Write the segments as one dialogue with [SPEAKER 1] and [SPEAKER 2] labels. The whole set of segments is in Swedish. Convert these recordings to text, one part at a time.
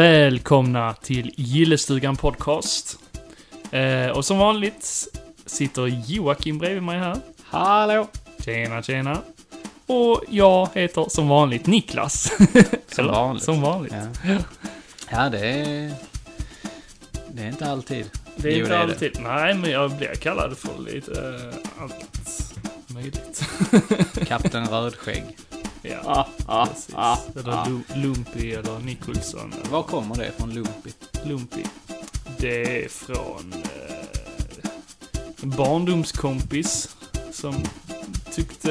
[SPEAKER 1] välkomna till Gillestugan Podcast. Eh, och som vanligt sitter Joakim bredvid mig här.
[SPEAKER 2] Hallå!
[SPEAKER 1] Tjena, tjena. Och jag heter som vanligt Niklas.
[SPEAKER 2] Som
[SPEAKER 1] Eller,
[SPEAKER 2] vanligt.
[SPEAKER 1] Som vanligt.
[SPEAKER 2] Ja, ja det är... Det är inte alltid.
[SPEAKER 1] Det är
[SPEAKER 2] Jo,
[SPEAKER 1] inte
[SPEAKER 2] det är det.
[SPEAKER 1] alltid. Nej, men jag blir kallad för lite eh, allt möjligt.
[SPEAKER 2] Kapten Rödskägg.
[SPEAKER 1] ja,
[SPEAKER 2] Ah, ah,
[SPEAKER 1] precis.
[SPEAKER 2] ah,
[SPEAKER 1] eller
[SPEAKER 2] ah.
[SPEAKER 1] Lu- Lumpy eller Nicholson. eller
[SPEAKER 2] Var kommer det från Lumpy?
[SPEAKER 1] Lumpy. Det är från eh, en barndomskompis som tyckte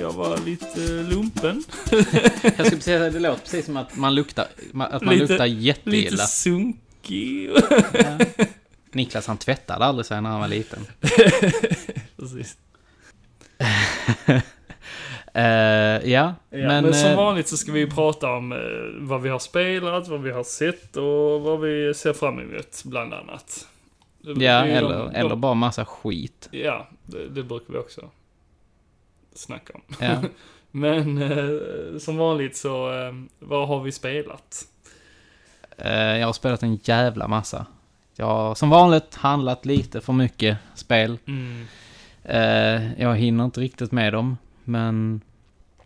[SPEAKER 1] jag var lite lumpen.
[SPEAKER 2] Jag skulle precis säga att det låter precis som att man luktar, ma- att man
[SPEAKER 1] Lite-
[SPEAKER 2] luktar
[SPEAKER 1] Lite
[SPEAKER 2] jätteilla.
[SPEAKER 1] sunkig.
[SPEAKER 2] Ja. Niklas han tvättade aldrig sig när han var liten.
[SPEAKER 1] Precis.
[SPEAKER 2] Eh, ja,
[SPEAKER 1] Ja, men,
[SPEAKER 2] men...
[SPEAKER 1] som
[SPEAKER 2] eh,
[SPEAKER 1] vanligt så ska vi ju prata om eh, vad vi har spelat, vad vi har sett och vad vi ser fram emot, bland annat. Det- det
[SPEAKER 2] ja,
[SPEAKER 1] är ju
[SPEAKER 2] eller,
[SPEAKER 1] de- de-
[SPEAKER 2] eller bara massa skit.
[SPEAKER 1] Ja, det, det brukar vi också snacka om.
[SPEAKER 2] Ja.
[SPEAKER 1] Men eh, som vanligt så, eh, vad har vi spelat?
[SPEAKER 2] Eh, jag har spelat en jävla massa. Jag har som vanligt handlat lite för mycket spel.
[SPEAKER 1] Mm.
[SPEAKER 2] Eh, jag hinner inte riktigt med dem, men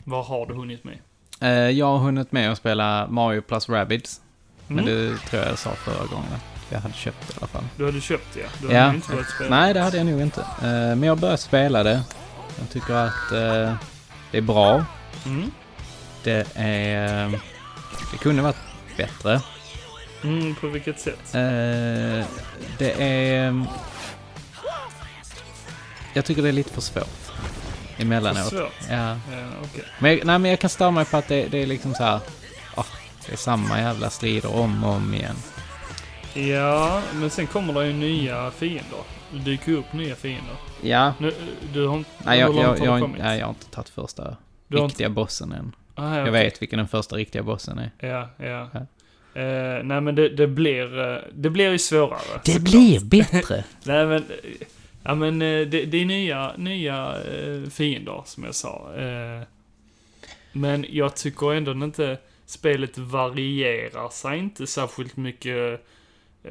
[SPEAKER 1] Vad har du hunnit med?
[SPEAKER 2] eh, jag har hunnit med att spela Mario plus Rabbids.
[SPEAKER 1] Mm.
[SPEAKER 2] Men det tror jag jag sa förra gången att jag hade köpt i alla fall.
[SPEAKER 1] Du hade köpt ja. Du
[SPEAKER 2] Ja.
[SPEAKER 1] hade ju inte varit spelare.
[SPEAKER 2] Nej, det hade jag nog inte. Eh, men jag började spela det. Jag tycker att eh, det är bra.
[SPEAKER 1] Mm.
[SPEAKER 2] Det är... eh, det kunde varit bättre.
[SPEAKER 1] Mm, på vilket sätt?
[SPEAKER 2] Eh, det är... Jag tycker det är lite för svårt. Emellanåt.
[SPEAKER 1] Svårt.
[SPEAKER 2] Ja.
[SPEAKER 1] Eh, okej.
[SPEAKER 2] Men jag, nej, men jag kan störa mig på att det, det är liksom så här... ah, det är samma jävla strider om och om igen.
[SPEAKER 1] Ja, men sen kommer det ju nya fiender. Det dyker ju upp nya fiender.
[SPEAKER 2] Ja.
[SPEAKER 1] Nu, eh, du har inte...
[SPEAKER 2] Nej, jag,
[SPEAKER 1] hur långt
[SPEAKER 2] jag,
[SPEAKER 1] har
[SPEAKER 2] jag,
[SPEAKER 1] du
[SPEAKER 2] jag,
[SPEAKER 1] kommit?
[SPEAKER 2] nej, jag har inte tagit första
[SPEAKER 1] Du har
[SPEAKER 2] riktiga bossen än.
[SPEAKER 1] Ah, ja,
[SPEAKER 2] Jag vet vilken den första riktiga bossen är.
[SPEAKER 1] Ja, ja. Eh, nej, men det, det blir... eh, Det blir ju svårare. såklart.
[SPEAKER 2] bättre!
[SPEAKER 1] Nej, men... eh, Ja, men eh, det, det är nya, nya eh, fiender, som jag sa. Eh, Men jag tycker ändå inte... Spelet varierar sig inte särskilt mycket eh,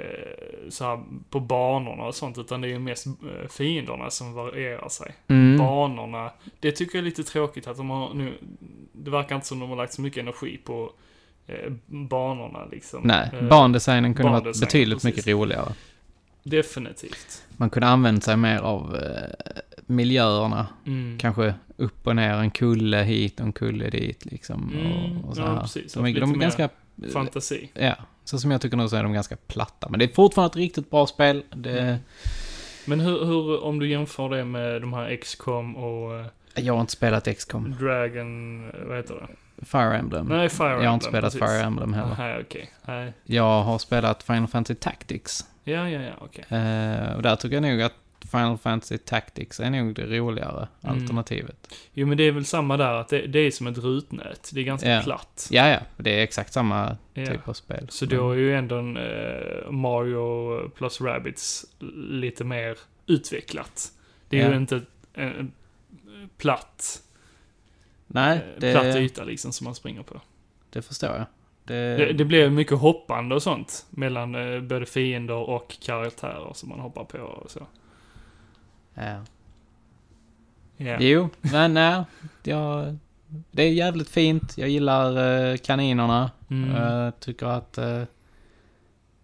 [SPEAKER 1] så här, på banorna och sånt, utan det är ju mest eh, fienderna som varierar sig.
[SPEAKER 2] mm.
[SPEAKER 1] Banorna, det tycker jag är lite tråkigt att de har nu... Det verkar inte som de har lagt så mycket energi på eh, banorna liksom.
[SPEAKER 2] Nej,
[SPEAKER 1] Eh,
[SPEAKER 2] bandesignen kunde varit
[SPEAKER 1] bandesign,
[SPEAKER 2] betydligt
[SPEAKER 1] precis.
[SPEAKER 2] mycket roligare.
[SPEAKER 1] Definitivt.
[SPEAKER 2] Man kunde använt sig mer av eh, miljöerna.
[SPEAKER 1] Mm.
[SPEAKER 2] Kanske upp och ner, en kulle hit och en kulle dit liksom.
[SPEAKER 1] Mm,
[SPEAKER 2] Och, och så
[SPEAKER 1] ja,
[SPEAKER 2] här.
[SPEAKER 1] precis.
[SPEAKER 2] De, är-
[SPEAKER 1] Lite
[SPEAKER 2] de är
[SPEAKER 1] mer
[SPEAKER 2] ganska...
[SPEAKER 1] Fantasi.
[SPEAKER 2] Ja, så som jag tycker nu så är de ganska platta. Men det är fortfarande ett riktigt bra spel.
[SPEAKER 1] Mm.
[SPEAKER 2] Det,
[SPEAKER 1] Men hur, hur, om du jämför det med de här XCOM och eh,
[SPEAKER 2] jag har inte spelat XCOM.
[SPEAKER 1] Dragon, eh, vad heter det?
[SPEAKER 2] Fire Emblem.
[SPEAKER 1] Nej, Fire Emblem.
[SPEAKER 2] Mm. jag har inte spelat
[SPEAKER 1] precis. Ah,
[SPEAKER 2] Fire Emblem heller.
[SPEAKER 1] Nej, okej. Nej.
[SPEAKER 2] Jag har spelat Final Fantasy Tactics.
[SPEAKER 1] Ja, ja, ja, okej.
[SPEAKER 2] Eh, och där tycker jag nog att Final Fantasy Tactics är nog det roligare
[SPEAKER 1] Mm.
[SPEAKER 2] alternativet.
[SPEAKER 1] Jo, men det är väl samma där, att det, det är som ett rutnät. Det är ganska
[SPEAKER 2] Ja.
[SPEAKER 1] platt.
[SPEAKER 2] Ja, ja, det är exakt samma
[SPEAKER 1] Ja.
[SPEAKER 2] typ av spel.
[SPEAKER 1] Så då är ju ändå en, eh, Mario plus Rabbids lite mer utvecklat. Det är
[SPEAKER 2] Ja.
[SPEAKER 1] ju inte ett- en, en platt,
[SPEAKER 2] Nej,
[SPEAKER 1] eh, platt
[SPEAKER 2] det,
[SPEAKER 1] yta liksom som man springer på.
[SPEAKER 2] det förstår jag. Eh.
[SPEAKER 1] Det, det blir mycket hoppande och sånt mellan eh, både fiender och karaktärer som man hoppar på och så.
[SPEAKER 2] ja.
[SPEAKER 1] Ja.
[SPEAKER 2] Jo, men nej. Jag, det är jävligt fint. Jag gillar eh, kaninerna.
[SPEAKER 1] Mm.
[SPEAKER 2] Jag tycker att eh,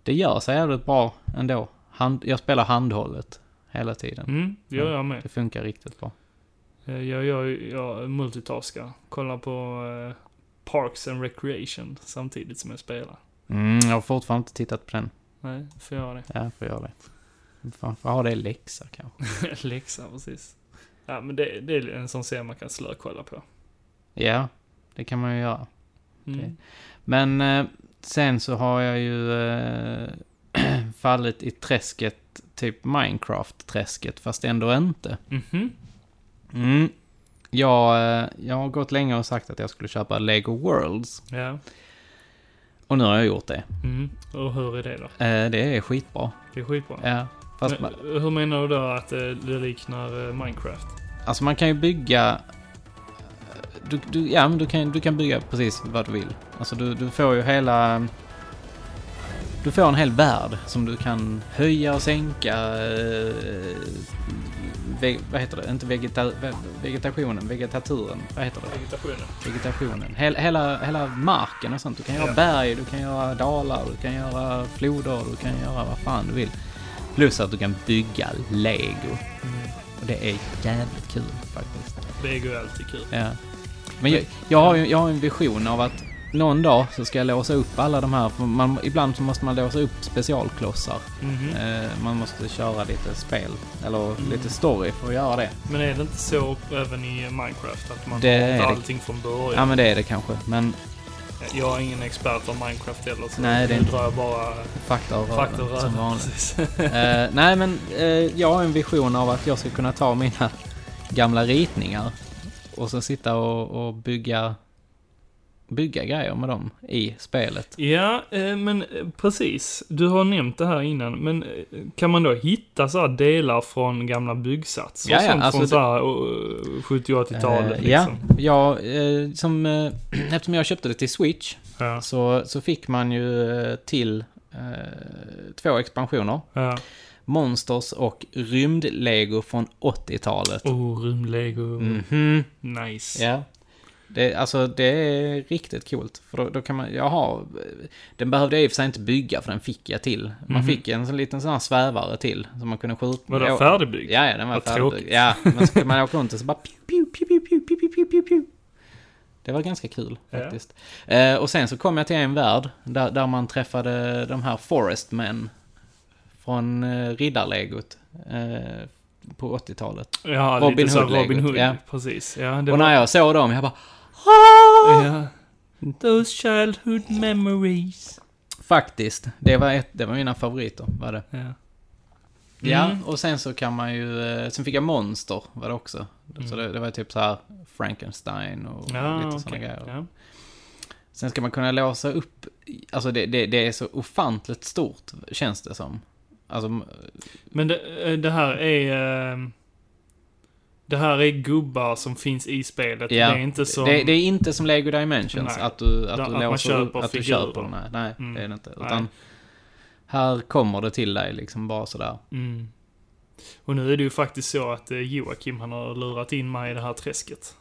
[SPEAKER 2] det gör sig jävligt bra ändå. Hand, jag spelar handhållet hela tiden.
[SPEAKER 1] Mm, det gör jag med.
[SPEAKER 2] Det funkar riktigt bra.
[SPEAKER 1] Eh, Jag, jag, jag multitaskar. Kollar på eh, Parks and Recreation samtidigt som jag spelar.
[SPEAKER 2] Mm, jag har fortfarande inte tittat på den.
[SPEAKER 1] Nej, får jag det?
[SPEAKER 2] Ja, får göra det. Fan, får ha det i läxa kanske.
[SPEAKER 1] Läxa, precis. Ja, men det, det är en sån serie man kan slökolla på.
[SPEAKER 2] Ja, det kan man ju göra.
[SPEAKER 1] Mm.
[SPEAKER 2] Men eh, sen så har jag ju eh, fallit i träsket, typ Minecraft-träsket, fast ändå inte.
[SPEAKER 1] Mhm.
[SPEAKER 2] Mm. Jag, eh, jag har gått länge och sagt att jag skulle köpa Lego Worlds.
[SPEAKER 1] Ja.
[SPEAKER 2] Och nu har jag gjort det.
[SPEAKER 1] Mm. Och hur är det då?
[SPEAKER 2] Eh, det är skitbra.
[SPEAKER 1] Det är skitbra.
[SPEAKER 2] Ja. Fast man,
[SPEAKER 1] men, hur menar du då att eh, det liknar eh, Minecraft?
[SPEAKER 2] alltså man kan ju bygga... eh, Du, du, ja, men du kan, du kan bygga precis vad du vill. Alltså du, du får ju hela... Du får en hel värld som du kan höja och sänka. eh, Ve- vad heter det? Inte vegeta- ve- vegetationen, vegetaturen. Vad heter det?
[SPEAKER 1] Vegetationen.
[SPEAKER 2] Vegetationen. Hel, hela, hela marken och sånt. Du kan göra
[SPEAKER 1] Ja.
[SPEAKER 2] berg, du kan göra dalar, du kan göra floder, du kan göra vad fan du vill. Plus att du kan bygga lego. Och det är jävligt kul faktiskt.
[SPEAKER 1] Lego är alltid kul.
[SPEAKER 2] Ja. Men jag, jag, har ju, jag har ju en vision av att någon dag så ska jag låsa upp alla de här. för Man, ibland så måste man låsa upp specialklossar.
[SPEAKER 1] Mhm.
[SPEAKER 2] Eh, man måste köra lite spel, eller lite story för att göra det.
[SPEAKER 1] Men är det inte så även i Minecraft? Att man
[SPEAKER 2] Det är
[SPEAKER 1] har
[SPEAKER 2] det.
[SPEAKER 1] allting från
[SPEAKER 2] Ja,
[SPEAKER 1] början?
[SPEAKER 2] men det är det kanske. Men
[SPEAKER 1] Jag är ingen expert av Minecraft heller, så
[SPEAKER 2] Nej, det är
[SPEAKER 1] nu
[SPEAKER 2] inte-
[SPEAKER 1] drar jag bara
[SPEAKER 2] fakta och
[SPEAKER 1] fakta
[SPEAKER 2] röven, som
[SPEAKER 1] röven.
[SPEAKER 2] vanligt.
[SPEAKER 1] Precis.
[SPEAKER 2] Eh, nej, men eh, jag har en vision av att jag ska kunna ta mina gamla ritningar och så sitta och, och bygga, bygga grejer med dem i spelet.
[SPEAKER 1] Ja, eh, men eh, precis. Du har nämnt det här innan, men eh, kan man då hitta så här delar från gamla byggsatser?
[SPEAKER 2] Ja, ja,
[SPEAKER 1] sånt
[SPEAKER 2] alltså
[SPEAKER 1] från
[SPEAKER 2] det-
[SPEAKER 1] så här eh, 70 och 80-talet
[SPEAKER 2] Eh,
[SPEAKER 1] liksom?
[SPEAKER 2] Ja, ja eh, som, eh, eftersom jag köpte det till Switch
[SPEAKER 1] Ja.
[SPEAKER 2] så, så fick man ju eh, till eh, två expansioner.
[SPEAKER 1] ja.
[SPEAKER 2] Monsters och rymdlego från 80-talet.
[SPEAKER 1] Oh, rymdlego.
[SPEAKER 2] Mhm,
[SPEAKER 1] Nice.
[SPEAKER 2] ja. Det, alltså det är riktigt coolt. För då, då kan man, jaha, eh, den behövde jag i och för sig inte bygga för den fick jag till. Man
[SPEAKER 1] Mhm.
[SPEAKER 2] fick en sån liten sån här svävare till som man kunde skjuta.
[SPEAKER 1] Var
[SPEAKER 2] Ja,
[SPEAKER 1] det färdigbyggd?
[SPEAKER 2] Ja, ja, den var
[SPEAKER 1] Vad
[SPEAKER 2] färdig.
[SPEAKER 1] tråkigt.
[SPEAKER 2] Ja, men så kunde man åka runt och så bara piu, piu, piu, piu, piu, piu, piu, piu, piu, piu. Det var ganska kul
[SPEAKER 1] Ja.
[SPEAKER 2] faktiskt. Eh, och sen så kom jag till en värld där, där man träffade de här Forest Men från eh, Riddarlegot eh, på 80-talet.
[SPEAKER 1] Ja,
[SPEAKER 2] Robin
[SPEAKER 1] lite så här
[SPEAKER 2] Hood-legot,
[SPEAKER 1] Robin Hood.
[SPEAKER 2] ja.
[SPEAKER 1] Precis. Ja, det
[SPEAKER 2] och
[SPEAKER 1] var...
[SPEAKER 2] när jag såg dem, jag bara
[SPEAKER 1] Ja. Those childhood memories.
[SPEAKER 2] faktiskt, det var, ett, det var mina favoriter. Var det.
[SPEAKER 1] Ja.
[SPEAKER 2] Ja,
[SPEAKER 1] Mm.
[SPEAKER 2] och sen så kan man ju, eh, sen fick jag Monster var det också. Så
[SPEAKER 1] Mm.
[SPEAKER 2] det, det var typ så här Frankenstein och
[SPEAKER 1] Ja,
[SPEAKER 2] lite
[SPEAKER 1] okej.
[SPEAKER 2] sådana grejer.
[SPEAKER 1] Ja.
[SPEAKER 2] Sen ska man kunna låsa upp, alltså det, det, det är så ofantligt stort, känns det som. Alltså,
[SPEAKER 1] Men det, eh, det här är... eh, Det här är gubbar som finns i spelet.
[SPEAKER 2] Ja,
[SPEAKER 1] Det är inte som...
[SPEAKER 2] det, det är inte som Lego Dimensions,
[SPEAKER 1] Nej.
[SPEAKER 2] att du,
[SPEAKER 1] Där-
[SPEAKER 2] att
[SPEAKER 1] att
[SPEAKER 2] du
[SPEAKER 1] man
[SPEAKER 2] låser upp,
[SPEAKER 1] köper
[SPEAKER 2] att du
[SPEAKER 1] figurer.
[SPEAKER 2] köper den här. Nej,
[SPEAKER 1] Mm.
[SPEAKER 2] det är det inte.
[SPEAKER 1] Nej.
[SPEAKER 2] Utan, här kommer det till dig liksom bara sådär.
[SPEAKER 1] Mm. Och nu är det ju faktiskt så att eh, Joakim han har lurat in mig i det här träsket.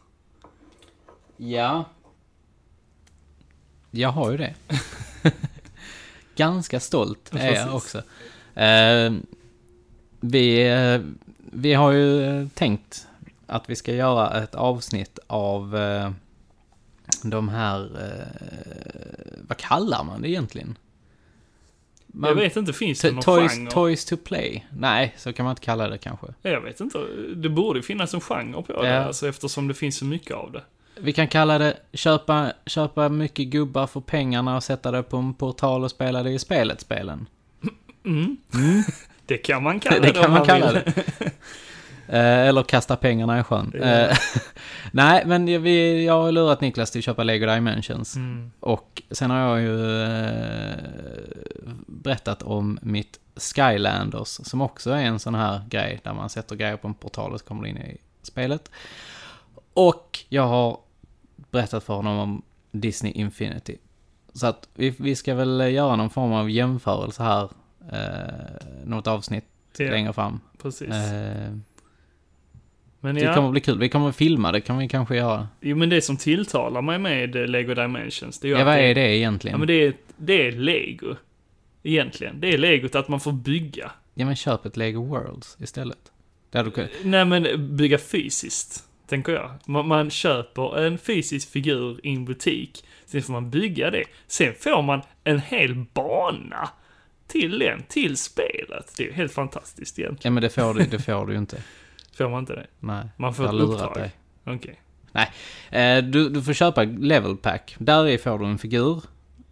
[SPEAKER 2] Ja. Jag har ju det. Ganska stolt är
[SPEAKER 1] Precis.
[SPEAKER 2] jag också. Eh, vi, eh, vi har ju eh, tänkt att vi ska göra ett avsnitt av eh, de här... Eh, vad kallar man det egentligen? Man,
[SPEAKER 1] jag vet inte, finns det
[SPEAKER 2] to-
[SPEAKER 1] någon
[SPEAKER 2] toys,
[SPEAKER 1] genre?
[SPEAKER 2] toys to play? Nej, så kan man inte kalla det kanske.
[SPEAKER 1] Jag vet inte, det borde finnas en genre på
[SPEAKER 2] Ja.
[SPEAKER 1] det alltså, eftersom det finns så mycket av det.
[SPEAKER 2] Vi kan kalla det köpa, köpa mycket gubbar för pengarna och sätta det på en portal och spela det i spelet-spelen.
[SPEAKER 1] Mm. det kan man kalla
[SPEAKER 2] Det,
[SPEAKER 1] det,
[SPEAKER 2] kan
[SPEAKER 1] om
[SPEAKER 2] man kalla
[SPEAKER 1] vill.
[SPEAKER 2] det. Eh, Eller kasta pengarna i sjön.
[SPEAKER 1] Ja.
[SPEAKER 2] Eh, Nej, men vi, jag har lurat Niklas till att köpa Lego Dimensions.
[SPEAKER 1] Mm.
[SPEAKER 2] Och sen har jag ju eh, berättat om mitt Skylanders, som också är en sån här grej där man sätter grejer på en portal och så kommer det in i spelet. Och jag har berättat för honom om Disney Infinity. Så att vi, vi ska väl göra någon form av jämförelse här, eh, något avsnitt
[SPEAKER 1] Ja,
[SPEAKER 2] längre fram.
[SPEAKER 1] Precis.
[SPEAKER 2] Eh,
[SPEAKER 1] men
[SPEAKER 2] det kommer
[SPEAKER 1] ja,
[SPEAKER 2] bli kul. Vi kommer filma, det kan vi kanske göra.
[SPEAKER 1] jo, men det som tilltalar mig med eh, Lego Dimensions, det är ju
[SPEAKER 2] Ja,
[SPEAKER 1] att
[SPEAKER 2] vad
[SPEAKER 1] det-
[SPEAKER 2] är det egentligen?
[SPEAKER 1] Ja, men det är, det är Lego. Egentligen. Det är legot att man får bygga.
[SPEAKER 2] Ja men köp ett Lego Worlds istället. Där du kan...
[SPEAKER 1] Nej, men bygga fysiskt, tänker jag. Man, man köper en fysisk figur i en butik, sen får man bygga det. Sen får man en hel bana till den, till spelet. Det är ju helt fantastiskt egentligen.
[SPEAKER 2] Ja men det får du, det får du ju inte.
[SPEAKER 1] Får man inte det?
[SPEAKER 2] Nej.
[SPEAKER 1] Man får
[SPEAKER 2] jag har
[SPEAKER 1] ett
[SPEAKER 2] lurat
[SPEAKER 1] uppdrag. Okej.
[SPEAKER 2] Eh, du, du får köpa level pack. Där i får du en figur.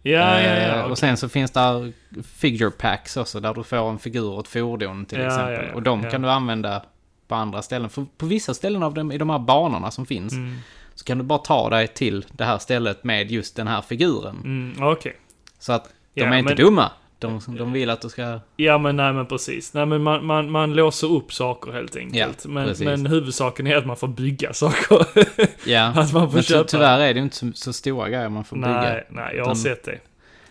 [SPEAKER 1] Ja, ja,
[SPEAKER 2] Eh,
[SPEAKER 1] ja.
[SPEAKER 2] Och
[SPEAKER 1] okej.
[SPEAKER 2] sen så finns där figure packs också, där du får en figur och ett fordon till
[SPEAKER 1] Ja,
[SPEAKER 2] exempel.
[SPEAKER 1] ja, ja,
[SPEAKER 2] och de
[SPEAKER 1] ja.
[SPEAKER 2] kan du använda på andra ställen. För på vissa ställen av dem, i de här banorna som finns,
[SPEAKER 1] Mm,
[SPEAKER 2] så kan du bara ta dig till det här stället med just den här figuren.
[SPEAKER 1] mm, okej.
[SPEAKER 2] Så att de
[SPEAKER 1] Ja,
[SPEAKER 2] är inte
[SPEAKER 1] men-
[SPEAKER 2] dumma. De, de vill att du ska...
[SPEAKER 1] Ja, men nej, men precis. Nej, men man, man, man låser upp saker helt enkelt.
[SPEAKER 2] Ja,
[SPEAKER 1] men,
[SPEAKER 2] precis.
[SPEAKER 1] men huvudsaken är att man får bygga saker.
[SPEAKER 2] Ja.
[SPEAKER 1] att man får
[SPEAKER 2] Men ty-
[SPEAKER 1] köpa.
[SPEAKER 2] tyvärr är det ju inte så, så stora grejer man får bygga.
[SPEAKER 1] Nej, nej, jag har
[SPEAKER 2] Utan-
[SPEAKER 1] sett det.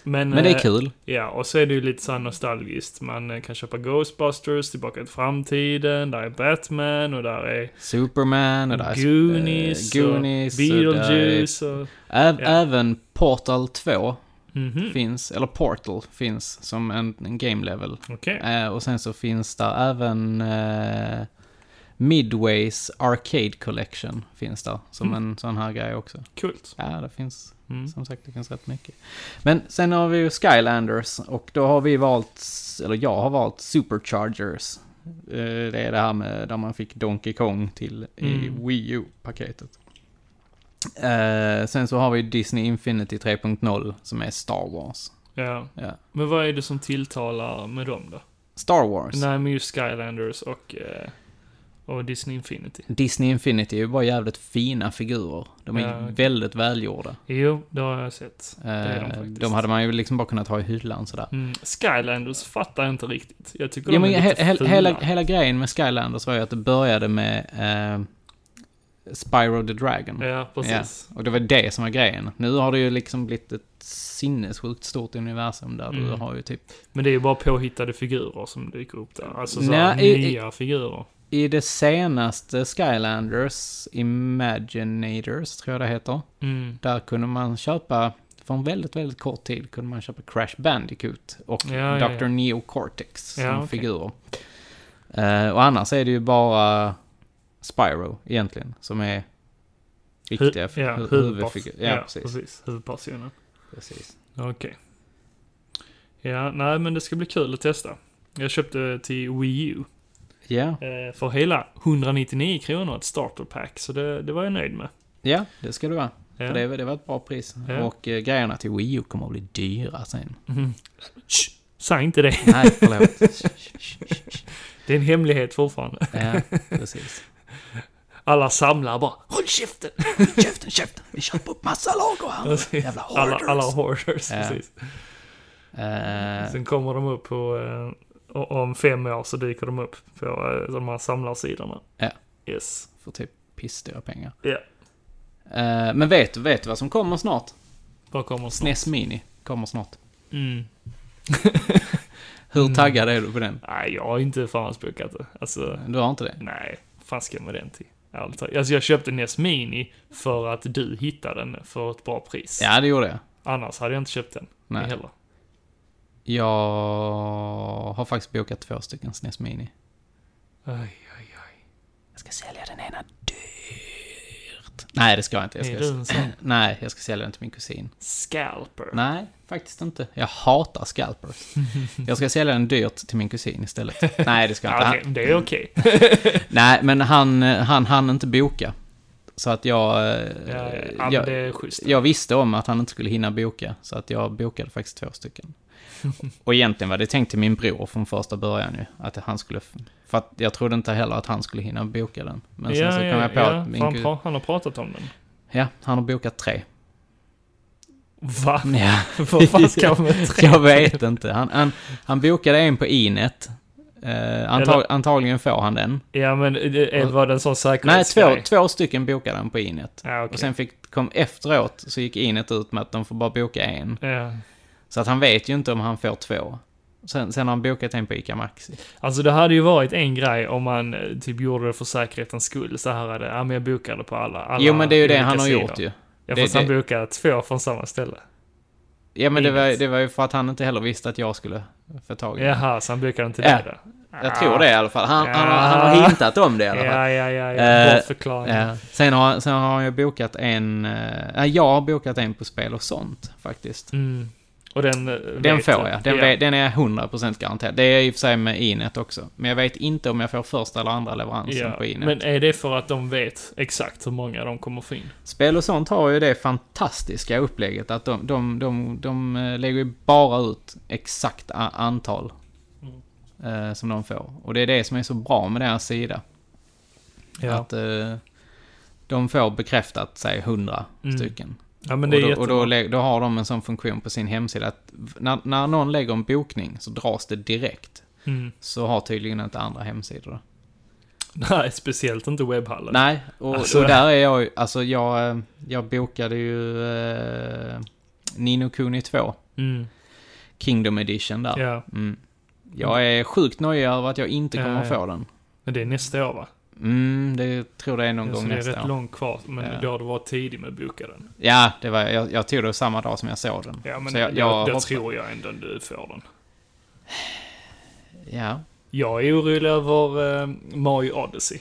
[SPEAKER 1] Men,
[SPEAKER 2] Men det
[SPEAKER 1] eh,
[SPEAKER 2] är kul.
[SPEAKER 1] Ja, och så är det ju lite så här nostalgiskt. Man eh, kan köpa Ghostbusters, Tillbaka till framtiden, där är Batman och där är
[SPEAKER 2] Superman och där är,
[SPEAKER 1] Goonies,
[SPEAKER 2] eh, Goonies
[SPEAKER 1] och
[SPEAKER 2] och där är-
[SPEAKER 1] Beetlejuice och...
[SPEAKER 2] Ä-
[SPEAKER 1] Ja.
[SPEAKER 2] Även Portal 2
[SPEAKER 1] Mhm,
[SPEAKER 2] finns, eller Portal finns som en, en game level.
[SPEAKER 1] okej.
[SPEAKER 2] Eh, och sen så finns där även eh, Midways Arcade Collection finns där som
[SPEAKER 1] Mm.
[SPEAKER 2] en sån här grej också.
[SPEAKER 1] Kul.
[SPEAKER 2] Ja, det finns
[SPEAKER 1] Mm.
[SPEAKER 2] som sagt det finns rätt mycket. Men sen har vi ju Skylanders och då har vi valt, eller jag har valt Superchargers. Eh, Det är det här med där man fick Donkey Kong till i
[SPEAKER 1] Mm.
[SPEAKER 2] Wii U-paketet. Eh, sen så har vi Disney Infinity 3.0 som är Star Wars.
[SPEAKER 1] Ja.
[SPEAKER 2] Ja.
[SPEAKER 1] Men vad är det som tilltalar med dem då?
[SPEAKER 2] Star Wars.
[SPEAKER 1] Nej, men just Skylanders och, eh, och Disney Infinity.
[SPEAKER 2] Disney Infinity är ju bara jävligt fina figurer. De är
[SPEAKER 1] Ja, okej.
[SPEAKER 2] väldigt välgjorda.
[SPEAKER 1] Jo, det har jag sett. är de
[SPEAKER 2] Eh,
[SPEAKER 1] faktiskt.
[SPEAKER 2] de hade man ju liksom bara kunnat ha i hyllan sådär.
[SPEAKER 1] Mm. Skylanders fattar jag inte riktigt. Jag tycker
[SPEAKER 2] Ja,
[SPEAKER 1] de
[SPEAKER 2] men
[SPEAKER 1] är
[SPEAKER 2] he
[SPEAKER 1] lite
[SPEAKER 2] he
[SPEAKER 1] fula.
[SPEAKER 2] hela, hela grejen med Skylanders var ju att det började med eh, Spyro the Dragon.
[SPEAKER 1] Ja, precis.
[SPEAKER 2] Och det var det som var grejen. Nu har det ju liksom blivit ett sinnessjukt stort universum där du
[SPEAKER 1] Mm.
[SPEAKER 2] har ju typ...
[SPEAKER 1] Men det är ju bara påhittade figurer som dyker upp där. Alltså så
[SPEAKER 2] Nej,
[SPEAKER 1] här
[SPEAKER 2] i- i-
[SPEAKER 1] nya figurer.
[SPEAKER 2] I det senaste Skylanders, Imaginators tror jag det heter,
[SPEAKER 1] Mm.
[SPEAKER 2] där kunde man köpa, för en väldigt, väldigt kort tid kunde man köpa Crash Bandicoot och
[SPEAKER 1] Ja, ja,
[SPEAKER 2] Dr.
[SPEAKER 1] ja.
[SPEAKER 2] Neo Cortex
[SPEAKER 1] Ja,
[SPEAKER 2] som
[SPEAKER 1] okej.
[SPEAKER 2] figurer. Eh, och annars är det ju bara Spyro egentligen som är riktiga
[SPEAKER 1] Hu- ja,
[SPEAKER 2] hu-
[SPEAKER 1] huvudperson.
[SPEAKER 2] huvudfigur- Ja, precis.
[SPEAKER 1] Huvudpersonen.
[SPEAKER 2] precis.
[SPEAKER 1] Okej. Ja, nej men det ska bli kul att testa. Jag köpte till Wii U
[SPEAKER 2] Ja,
[SPEAKER 1] eh, för hela 199 kronor ett starter pack, så det, det var jag nöjd med.
[SPEAKER 2] ja, det ska det vara.
[SPEAKER 1] Ja.
[SPEAKER 2] För det, det var ett bra pris.
[SPEAKER 1] Ja.
[SPEAKER 2] Och eh, grejerna till Wii U kommer att bli dyra sen.
[SPEAKER 1] Mhm. Shh, Säg inte det.
[SPEAKER 2] Nej, förlåt.
[SPEAKER 1] Det är en hemlighet fortfarande.
[SPEAKER 2] ja, precis.
[SPEAKER 1] Alla samlar bara Håll käften!
[SPEAKER 2] Käften, käften! Vi köper upp massa lager här!
[SPEAKER 1] Precis.
[SPEAKER 2] Jävla
[SPEAKER 1] Alla, alla
[SPEAKER 2] hoarders!
[SPEAKER 1] hoarders,
[SPEAKER 2] Ja.
[SPEAKER 1] precis.
[SPEAKER 2] Eh,
[SPEAKER 1] Sen kommer de upp på, eh, o- om fem år så dyker de upp på eh, de här samlarsidorna.
[SPEAKER 2] Ja.
[SPEAKER 1] Yes.
[SPEAKER 2] för typ pissdyra pengar.
[SPEAKER 1] Ja.
[SPEAKER 2] Eh, men vet du vet du vad som kommer snart?
[SPEAKER 1] Vad kommer snart?
[SPEAKER 2] SNES Mini kommer snart.
[SPEAKER 1] Mm.
[SPEAKER 2] Hur
[SPEAKER 1] Mm.
[SPEAKER 2] taggad är du på den?
[SPEAKER 1] Nej, jag har inte förhandsbokat det. Alltså,
[SPEAKER 2] Du har inte det?
[SPEAKER 1] nej. fan ska jag med den till? Ärligt talat. Alltså jag köpte NES Mini för att du hittade den för ett bra pris.
[SPEAKER 2] Ja, det gjorde jag.
[SPEAKER 1] Annars hade jag inte köpt den.
[SPEAKER 2] Nej.
[SPEAKER 1] Heller.
[SPEAKER 2] Jag har faktiskt bokat två stycken SNES Mini.
[SPEAKER 1] Aj, aj, aj.
[SPEAKER 2] Jag ska sälja den ena dyrt. Nej, det ska jag inte. Jag
[SPEAKER 1] Är
[SPEAKER 2] ska...
[SPEAKER 1] du en sån
[SPEAKER 2] Nej, jag ska sälja den till min kusin.
[SPEAKER 1] scalper?
[SPEAKER 2] Nej, faktiskt inte. Jag hatar scalpers. Jag ska sälja den dyrt till min kusin istället. Nej, det ska jag inte.
[SPEAKER 1] Ja,
[SPEAKER 2] Han...
[SPEAKER 1] okej, det är okej.
[SPEAKER 2] Nej, men han, han hann inte boka. Så att jag... eh,
[SPEAKER 1] Ja, ja, ja, men
[SPEAKER 2] jag-
[SPEAKER 1] det är schysst.
[SPEAKER 2] Jag visste om att han inte skulle hinna boka, så att jag bokade faktiskt två stycken. Och egentligen var det tänkt till min bror från första början ju, att han skulle... För att jag trodde inte heller att han skulle hinna boka den. Men sen så kom jag på att min
[SPEAKER 1] för han,
[SPEAKER 2] gud-
[SPEAKER 1] pra- han har pratat om den.
[SPEAKER 2] Ja, han har bokat tre.
[SPEAKER 1] Va?
[SPEAKER 2] Ja,
[SPEAKER 1] Vad fan ska han med tre?
[SPEAKER 2] jag vet inte. Han, han, han bokade en på Inet. Eh, antag,
[SPEAKER 1] Eller-
[SPEAKER 2] Antagligen får han den.
[SPEAKER 1] Ja, men det är- var det en sån
[SPEAKER 2] Nej,
[SPEAKER 1] säkerhetsgrej?
[SPEAKER 2] två, två stycken bokade han på Inet.
[SPEAKER 1] Ja, okej.
[SPEAKER 2] Och sen fick, kom efteråt så gick Inet ut med att de får bara boka en.
[SPEAKER 1] Ja.
[SPEAKER 2] Så att han vet ju inte om han får två. Sen, sen har han bokat en på ICA Maxi.
[SPEAKER 1] Alltså det hade ju varit en grej om man eh, typ gjorde det för säkerhetens skull. Så här är det, ja men jag bokade på alla. alla
[SPEAKER 2] jo men det är ju det
[SPEAKER 1] olika
[SPEAKER 2] han har
[SPEAKER 1] sidor.
[SPEAKER 2] gjort ju.
[SPEAKER 1] Ja
[SPEAKER 2] Det-
[SPEAKER 1] fast han
[SPEAKER 2] det-
[SPEAKER 1] bokade två från samma ställe.
[SPEAKER 2] Ja men det var,
[SPEAKER 1] Inget.
[SPEAKER 2] det var ju för att han inte heller visste att jag skulle få tag i den.
[SPEAKER 1] Jaha, så han bokade inte
[SPEAKER 2] Ja.
[SPEAKER 1] det då?
[SPEAKER 2] Jag tror det i alla fall. Han, han, har,
[SPEAKER 1] Ja.
[SPEAKER 2] han har hintat om det i alla
[SPEAKER 1] Ja,
[SPEAKER 2] fall.
[SPEAKER 1] ja, ja.
[SPEAKER 2] Eh,
[SPEAKER 1] ja. Bra förklaring.
[SPEAKER 2] Ja. Sen, har, sen har jag bokat en... eh, nej, jag har bokat en på spel och sånt faktiskt.
[SPEAKER 1] Mm. Och den eh,
[SPEAKER 2] Den
[SPEAKER 1] vet
[SPEAKER 2] får
[SPEAKER 1] du.
[SPEAKER 2] jag. Den,
[SPEAKER 1] Ja.
[SPEAKER 2] vet- den är 100% garanterad. Det är i och för sig med Inet också. Men jag vet inte om jag får första eller andra leveransen
[SPEAKER 1] Ja.
[SPEAKER 2] på Inet.
[SPEAKER 1] Men är det för att de vet exakt hur många de kommer få in?
[SPEAKER 2] Spel och sånt har ju det fantastiska upplägget att de, de, de, de eh, lägger ju bara ut exakt a- antal
[SPEAKER 1] Mm.
[SPEAKER 2] eh, som de får. Och det är det som är så bra med deras sida. Att eh, de får bekräftat, säg 100
[SPEAKER 1] Mm.
[SPEAKER 2] stycken.
[SPEAKER 1] ja men det är
[SPEAKER 2] och då, och
[SPEAKER 1] jättebra.
[SPEAKER 2] då, lä- då har de en sån funktion på sin hemsida att v- när, när någon lägger en bokning så dras det direkt.
[SPEAKER 1] mm.
[SPEAKER 2] Så har tydligen inte andra hemsidor det.
[SPEAKER 1] Nej, speciellt inte webbhallen.
[SPEAKER 2] Nej, och,
[SPEAKER 1] Alltså-
[SPEAKER 2] och där är jag ju, alltså jag, eh, jag bokade ju eh, Nino Kuni 2
[SPEAKER 1] Mm.
[SPEAKER 2] Kingdom Edition där.
[SPEAKER 1] Ja,
[SPEAKER 2] Mm. Jag är sjukt nöjd över att jag inte
[SPEAKER 1] Ja,
[SPEAKER 2] kommer att
[SPEAKER 1] ja.
[SPEAKER 2] få den.
[SPEAKER 1] men det är nästa år va?
[SPEAKER 2] Mm, det tror jag är någon
[SPEAKER 1] Ja,
[SPEAKER 2] gång
[SPEAKER 1] så det är
[SPEAKER 2] nästa
[SPEAKER 1] rätt
[SPEAKER 2] år.
[SPEAKER 1] långt kvar, men
[SPEAKER 2] Ja.
[SPEAKER 1] då har du varit tidig med att boka den.
[SPEAKER 2] Ja, det var, jag, jag tog det samma dag som jag såg den.
[SPEAKER 1] Ja, men
[SPEAKER 2] så jag,
[SPEAKER 1] jag,
[SPEAKER 2] jag
[SPEAKER 1] då
[SPEAKER 2] hoppas-
[SPEAKER 1] tror jag ändå du får den.
[SPEAKER 2] Ja.
[SPEAKER 1] Jag är orolig över eh, Mario Odyssey.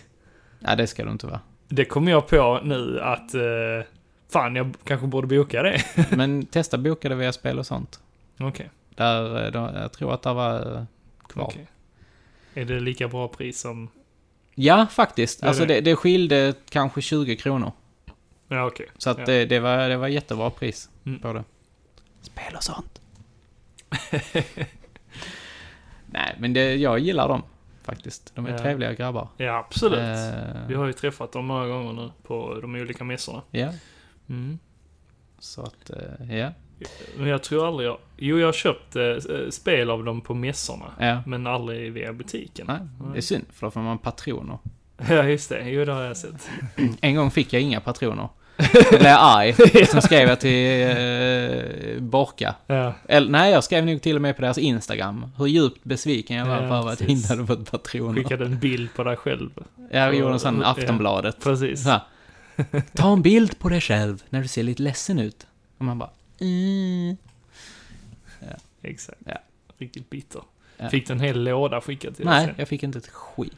[SPEAKER 2] ja, det ska du inte vara.
[SPEAKER 1] Det kom jag på nu att... Eh, fan, jag kanske borde boka det.
[SPEAKER 2] Men testa boka det via spel och sånt.
[SPEAKER 1] Okej,
[SPEAKER 2] Där, eh, då, jag tror att det var eh, kvar.
[SPEAKER 1] okej. Är det lika bra pris som...
[SPEAKER 2] Ja, faktiskt.
[SPEAKER 1] Det är
[SPEAKER 2] alltså
[SPEAKER 1] det.
[SPEAKER 2] det, det skilde kanske 20 kronor.
[SPEAKER 1] Ja, okej.
[SPEAKER 2] Så att
[SPEAKER 1] Ja.
[SPEAKER 2] det, det, var, det var jättebra pris
[SPEAKER 1] Mm.
[SPEAKER 2] på det. Spel och sånt. Nej, men det, jag gillar dem faktiskt. De är
[SPEAKER 1] Ja.
[SPEAKER 2] trevliga grabbar.
[SPEAKER 1] Ja, absolut.
[SPEAKER 2] Eh,
[SPEAKER 1] Vi har ju träffat dem många gånger nu på de olika mässorna.
[SPEAKER 2] Ja,
[SPEAKER 1] Mm.
[SPEAKER 2] så att, eh, ja.
[SPEAKER 1] Men jag tror aldrig jag... Jo, jag har köpt eh, spel av dem på mässorna.
[SPEAKER 2] ja.
[SPEAKER 1] Men aldrig via butiken.
[SPEAKER 2] Nej, det är synd, för då får man patroner.
[SPEAKER 1] Ja, just det. Jo, det har jag sett.
[SPEAKER 2] En gång fick jag inga patroner. Då blev jag arg. Sen skrev jag till eh, Borka.
[SPEAKER 1] Ja,
[SPEAKER 2] Eller nej, jag skrev nog till och med på deras Instagram. Hur djupt besviken jag var
[SPEAKER 1] Ja,
[SPEAKER 2] på att jag
[SPEAKER 1] precis.
[SPEAKER 2] inte hade fått patroner.
[SPEAKER 1] skickade en bild på dig själv.
[SPEAKER 2] Jag gjorde en sån
[SPEAKER 1] Ja.
[SPEAKER 2] Aftonbladet.
[SPEAKER 1] Precis.
[SPEAKER 2] Så här, Ta en bild på dig själv när du ser lite ledsen ut. Och man bara... Mm.
[SPEAKER 1] Exakt.
[SPEAKER 2] Ja.
[SPEAKER 1] Riktigt bitter.
[SPEAKER 2] Ja.
[SPEAKER 1] Fick du en hel låda skickad till
[SPEAKER 2] Nej,
[SPEAKER 1] dig sen?
[SPEAKER 2] jag fick inte ett skit.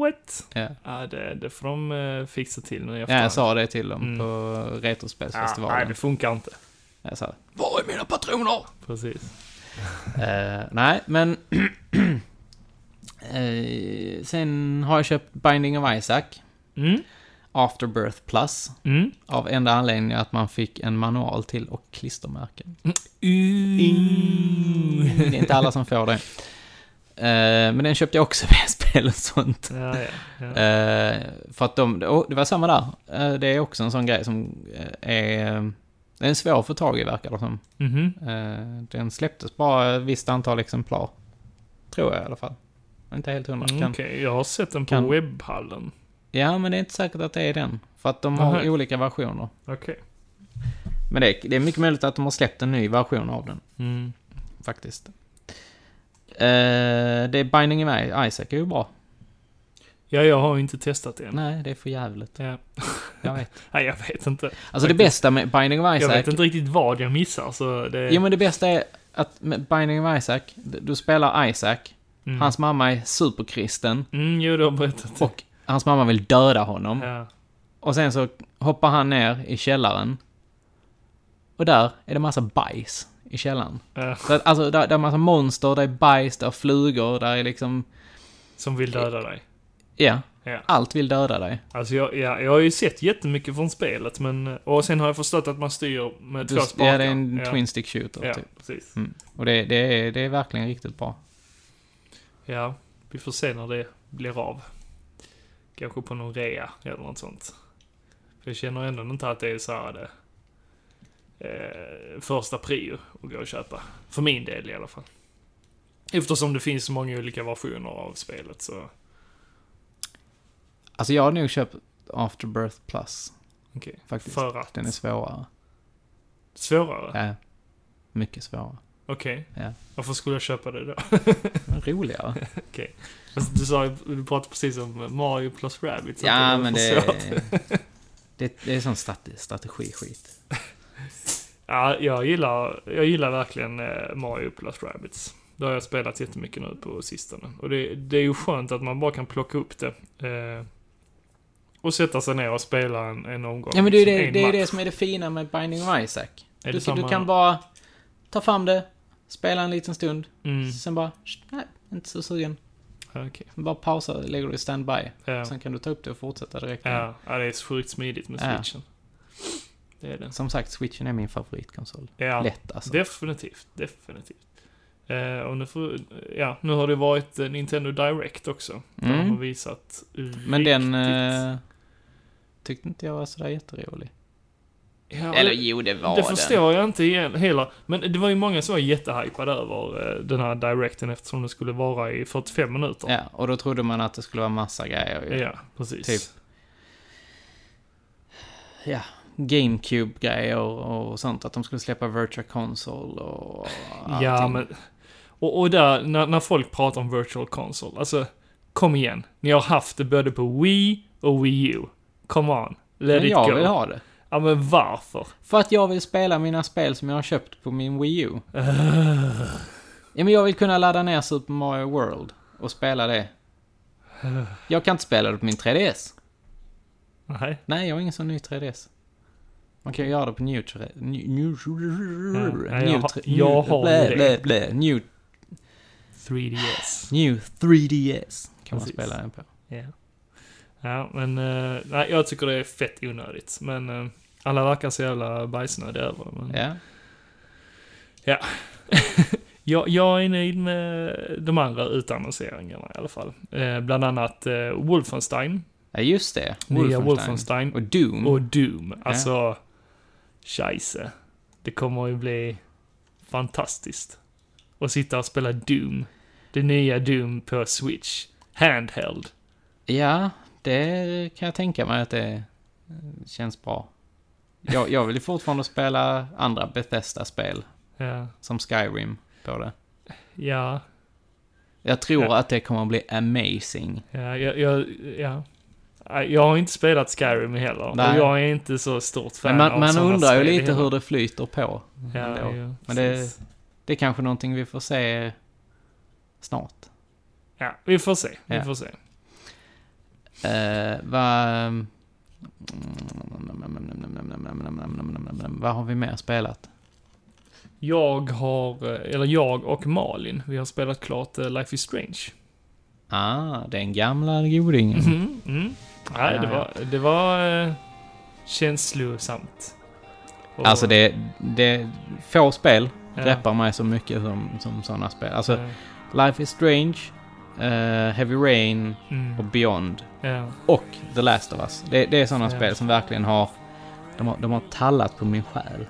[SPEAKER 1] What?
[SPEAKER 2] Ja.
[SPEAKER 1] Ja, det, det får de eh, fixa till nu i
[SPEAKER 2] Ja,
[SPEAKER 1] efterhand.
[SPEAKER 2] jag sa det till dem
[SPEAKER 1] Mm.
[SPEAKER 2] på
[SPEAKER 1] ja, Nej, det
[SPEAKER 2] Retrospelsfestivalen.
[SPEAKER 1] funkar inte.
[SPEAKER 2] Jag sa, var är mina patroner?
[SPEAKER 1] Precis.
[SPEAKER 2] Eh, nej, men... eh, sen har jag köpt Binding of Isaac,
[SPEAKER 1] Mm,
[SPEAKER 2] Afterbirth Plus,
[SPEAKER 1] mm.
[SPEAKER 2] av enda anledningen att man fick en manual till och klistermärken.
[SPEAKER 1] Mm.
[SPEAKER 2] Det är Mm. inte alla som får det. Eh, men den köpte jag också via spel och sånt.
[SPEAKER 1] Ja, ja, ja.
[SPEAKER 2] Eh, för att de... åh, det var samma där. Eh, det är också en sån grej som eh, är... Den är svår att få tag i verkar det som.
[SPEAKER 1] Mhm.
[SPEAKER 2] Eh, Den släpptes bara ett visst antal exemplar. Tror jag i alla fall. Inte helt hundra.
[SPEAKER 1] Mm,
[SPEAKER 2] kan-
[SPEAKER 1] Okej, jag har sett den på
[SPEAKER 2] kan-
[SPEAKER 1] webbhallen.
[SPEAKER 2] Ja, men det är inte säkert att det är den. För att de har
[SPEAKER 1] Aha.
[SPEAKER 2] olika versioner.
[SPEAKER 1] Okej.
[SPEAKER 2] Men det är, det är mycket möjligt att de har släppt en ny version av den,
[SPEAKER 1] Mm.
[SPEAKER 2] faktiskt. Eh, det är Binding of Isaac är ju bra.
[SPEAKER 1] Ja, jag har ju inte testat det än.
[SPEAKER 2] Nej, det är för jävligt.
[SPEAKER 1] Ja.
[SPEAKER 2] Jag vet.
[SPEAKER 1] Nej, jag vet inte.
[SPEAKER 2] Alltså det bästa med Binding of
[SPEAKER 1] Jag
[SPEAKER 2] Isaac...
[SPEAKER 1] vet inte riktigt vad jag missar, så det...
[SPEAKER 2] Jo, men det bästa är att med Binding of Isaac, du spelar Isaac,
[SPEAKER 1] mm.
[SPEAKER 2] hans mamma är superkristen
[SPEAKER 1] Mm, jo, du har berättat.
[SPEAKER 2] och hans mamma vill döda honom.
[SPEAKER 1] Ja.
[SPEAKER 2] Och sen så hoppar han ner i källaren. Och där är det massa bajs i källaren.
[SPEAKER 1] Ja.
[SPEAKER 2] Så att, alltså, där, där är massa monster, där är bajs, där är flugor, där är liksom...
[SPEAKER 1] Som vill döda dig.
[SPEAKER 2] Ja,
[SPEAKER 1] Ja.
[SPEAKER 2] allt vill döda dig.
[SPEAKER 1] Alltså jag, ja, jag har ju sett jättemycket från spelet men... Och sen har jag förstått att man styr med
[SPEAKER 2] Du,
[SPEAKER 1] två
[SPEAKER 2] ja,
[SPEAKER 1] spakar.
[SPEAKER 2] det är en twin stick shooter,
[SPEAKER 1] ja,
[SPEAKER 2] typ.
[SPEAKER 1] precis.
[SPEAKER 2] Mm. Och det, det, är, det är verkligen riktigt bra.
[SPEAKER 1] Ja, vi får se när det blir av. Kanske på någon rea eller något sånt. För jag känner ändå inte att det är så här det... Eh, första prio att gå och köpa. För min del i alla fall. Eftersom det finns så många olika versioner av spelet så...
[SPEAKER 2] Alltså, jag har nog köpt Afterbirth Plus,
[SPEAKER 1] Okej.
[SPEAKER 2] faktiskt.
[SPEAKER 1] För att...
[SPEAKER 2] Den är svårare.
[SPEAKER 1] Svårare?
[SPEAKER 2] Ja. Mycket svårare.
[SPEAKER 1] Okej.
[SPEAKER 2] Ja.
[SPEAKER 1] Varför skulle jag köpa det då?
[SPEAKER 2] Men roligare.
[SPEAKER 1] Fast du sa ju- du pratade precis om Mario plus Rabbids. att
[SPEAKER 2] ja,
[SPEAKER 1] var
[SPEAKER 2] men
[SPEAKER 1] för
[SPEAKER 2] det...
[SPEAKER 1] svårt.
[SPEAKER 2] Det, det är sån strate- strategi-skit.
[SPEAKER 1] Ja, jag gillar, jag gillar verkligen eh, Mario plus Rabbids. Det har jag spelat jättemycket nu på sistone. Och det, det är ju skönt att man bara kan plocka upp det. Eh, och sätta sig ner och spela en, en omgång.
[SPEAKER 2] Ja men det är
[SPEAKER 1] liksom
[SPEAKER 2] det,
[SPEAKER 1] en
[SPEAKER 2] det är
[SPEAKER 1] match.
[SPEAKER 2] det som är det fina med Binding of Isaac.
[SPEAKER 1] Är det
[SPEAKER 2] Du, du
[SPEAKER 1] samma-
[SPEAKER 2] kan bara ta fram det, spela en liten stund,
[SPEAKER 1] Mm,
[SPEAKER 2] sen bara, "Sh, nej, inte så sugen.
[SPEAKER 1] okej.
[SPEAKER 2] Sen bara pausa, lägger du i standby.
[SPEAKER 1] Ja.
[SPEAKER 2] Sen kan du ta upp det och fortsätta direkt.
[SPEAKER 1] Ja, ja, det är så sjukt smidigt med
[SPEAKER 2] Ja.
[SPEAKER 1] switchen. Det är det.
[SPEAKER 2] Som sagt, switchen är min favoritkonsol.
[SPEAKER 1] Ja.
[SPEAKER 2] Lätt alltså.
[SPEAKER 1] Definitivt, definitivt. Eh, och nu, får, ja, nu har det varit eh, Nintendo Direct också. Där
[SPEAKER 2] Mm.
[SPEAKER 1] de har visat
[SPEAKER 2] Men
[SPEAKER 1] riktigt-
[SPEAKER 2] den eh, tyckte inte jag var sådär jätterolig.
[SPEAKER 1] ja,
[SPEAKER 2] Eller
[SPEAKER 1] det,
[SPEAKER 2] jo, det var
[SPEAKER 1] det
[SPEAKER 2] den.
[SPEAKER 1] förstår jag inte igen heller. Men det var ju många som var jättehypade över eh, den här Directen eftersom den skulle vara i 45 minuter.
[SPEAKER 2] Ja, och då trodde man att Typ det skulle vara massa grejer. ju.
[SPEAKER 1] Ja, precis.
[SPEAKER 2] Typ. Ja, GameCube-grejer och sånt. Att de skulle släppa Virtual Console och allting.
[SPEAKER 1] Ja, men... Och, och där, när, när folk pratar om virtual console, alltså, kom igen. Ni har haft det både på Wii och Wii U. Come on, let
[SPEAKER 2] Men
[SPEAKER 1] it
[SPEAKER 2] jag
[SPEAKER 1] go.
[SPEAKER 2] vill ha det.
[SPEAKER 1] Ja, men varför?
[SPEAKER 2] För att jag vill spela mina spel som jag har köpt på min Wii U. Ja, men jag vill kunna ladda ner Super Mario World och spela det. Jag kan inte spela det på min 3DS.
[SPEAKER 1] Nej.
[SPEAKER 2] Nej, jag har ingen sån ny 3DS. Man kan ju göra det på new... tre- New... New...
[SPEAKER 1] Ja, Mm. jag
[SPEAKER 2] new
[SPEAKER 1] har-
[SPEAKER 2] tre-
[SPEAKER 1] jag
[SPEAKER 2] new-
[SPEAKER 1] har
[SPEAKER 2] blä,
[SPEAKER 1] det.
[SPEAKER 2] blä, blä, New,
[SPEAKER 1] 3DS.
[SPEAKER 2] new 3DS kan man
[SPEAKER 1] Precis.
[SPEAKER 2] spela den på.
[SPEAKER 1] Ja. Ja, men eh, nej, jag tycker det är fett onödigt. Men eh, alla verkar så jävla bajsnödiga över det. Men
[SPEAKER 2] Ja.
[SPEAKER 1] jag, jag är nöjd med de andra utannonseringarna i alla fall. Eh, bland annat eh, Wolfenstein,
[SPEAKER 2] ja, just det.
[SPEAKER 1] nya Wolfenstein
[SPEAKER 2] Och Doom.
[SPEAKER 1] och Doom. Alltså, scheisse. Det kommer ju bli fantastiskt. Att sitta och spela Doom. Det nya Doom på Switch. Handheld.
[SPEAKER 2] Ja, det kan jag tänka mig att det eh, känns bra. Jag, jag vill ju fortfarande spela andra Bethesda-spel,
[SPEAKER 1] Ja.
[SPEAKER 2] som Skyrim, på det.
[SPEAKER 1] Ja.
[SPEAKER 2] Jag tror
[SPEAKER 1] Ja.
[SPEAKER 2] att det kommer att bli amazing.
[SPEAKER 1] Ja, jag, jag, ja. Nej, jag har inte spelat Skyrim heller.
[SPEAKER 2] Nej.
[SPEAKER 1] Och jag är inte så stort fan
[SPEAKER 2] Men man,
[SPEAKER 1] av
[SPEAKER 2] man
[SPEAKER 1] såna
[SPEAKER 2] undrar ju
[SPEAKER 1] spel
[SPEAKER 2] lite
[SPEAKER 1] heller.
[SPEAKER 2] hur det flyter på.
[SPEAKER 1] Ja,
[SPEAKER 2] ändå.
[SPEAKER 1] ja,
[SPEAKER 2] Men det-
[SPEAKER 1] precis.
[SPEAKER 2] Det är kanske någonting vi får se snart.
[SPEAKER 1] ja, vi får se. Vi
[SPEAKER 2] Ja.
[SPEAKER 1] får se.
[SPEAKER 2] Eh, vad... mm, Vad har vi mer spelat?
[SPEAKER 1] Jag har, eh, eller jag och Malin, vi har spelat klart eh, Life is Strange.
[SPEAKER 2] Ah, den gamla godingen.
[SPEAKER 1] Mm. Mm. Nej,
[SPEAKER 2] Ja,
[SPEAKER 1] det
[SPEAKER 2] ja.
[SPEAKER 1] var, det var eh, känslosamt. Och-
[SPEAKER 2] Alltså det, det... Få spel
[SPEAKER 1] ja,
[SPEAKER 2] greppar mig så mycket som, som sådana spel. Alltså,
[SPEAKER 1] ja,
[SPEAKER 2] Life is Strange, eh, Heavy Rain
[SPEAKER 1] mm,
[SPEAKER 2] och Beyond.
[SPEAKER 1] ja,
[SPEAKER 2] Och The Last of Us. Det, det är sådana
[SPEAKER 1] Ja.
[SPEAKER 2] spel som verkligen har... De har, de har tallat på min själ.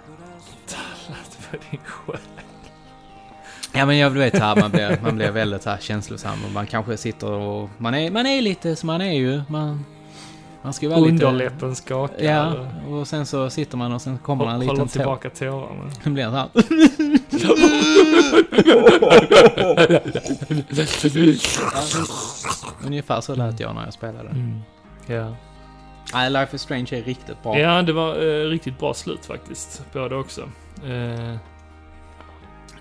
[SPEAKER 1] det var din själ.
[SPEAKER 2] Ja men jag vet så här, man blir, man blir väldigt så här känslosam och man kanske sitter och... Man är, man är lite som man är ju. Man, man ska ju vara lite...
[SPEAKER 1] Underläppen skakar.
[SPEAKER 2] Ja, och sen så sitter man och sen
[SPEAKER 1] och
[SPEAKER 2] kommer det en
[SPEAKER 1] håller
[SPEAKER 2] liten tår.
[SPEAKER 1] tillbaka tårarna.
[SPEAKER 2] Det blir så här. Ungefär så lät jag när jag spelade.
[SPEAKER 1] Mm. Ja.
[SPEAKER 2] Nej, Life is Strange är riktigt bra.
[SPEAKER 1] ja, det var eh, riktigt bra slut faktiskt på det också. Eh,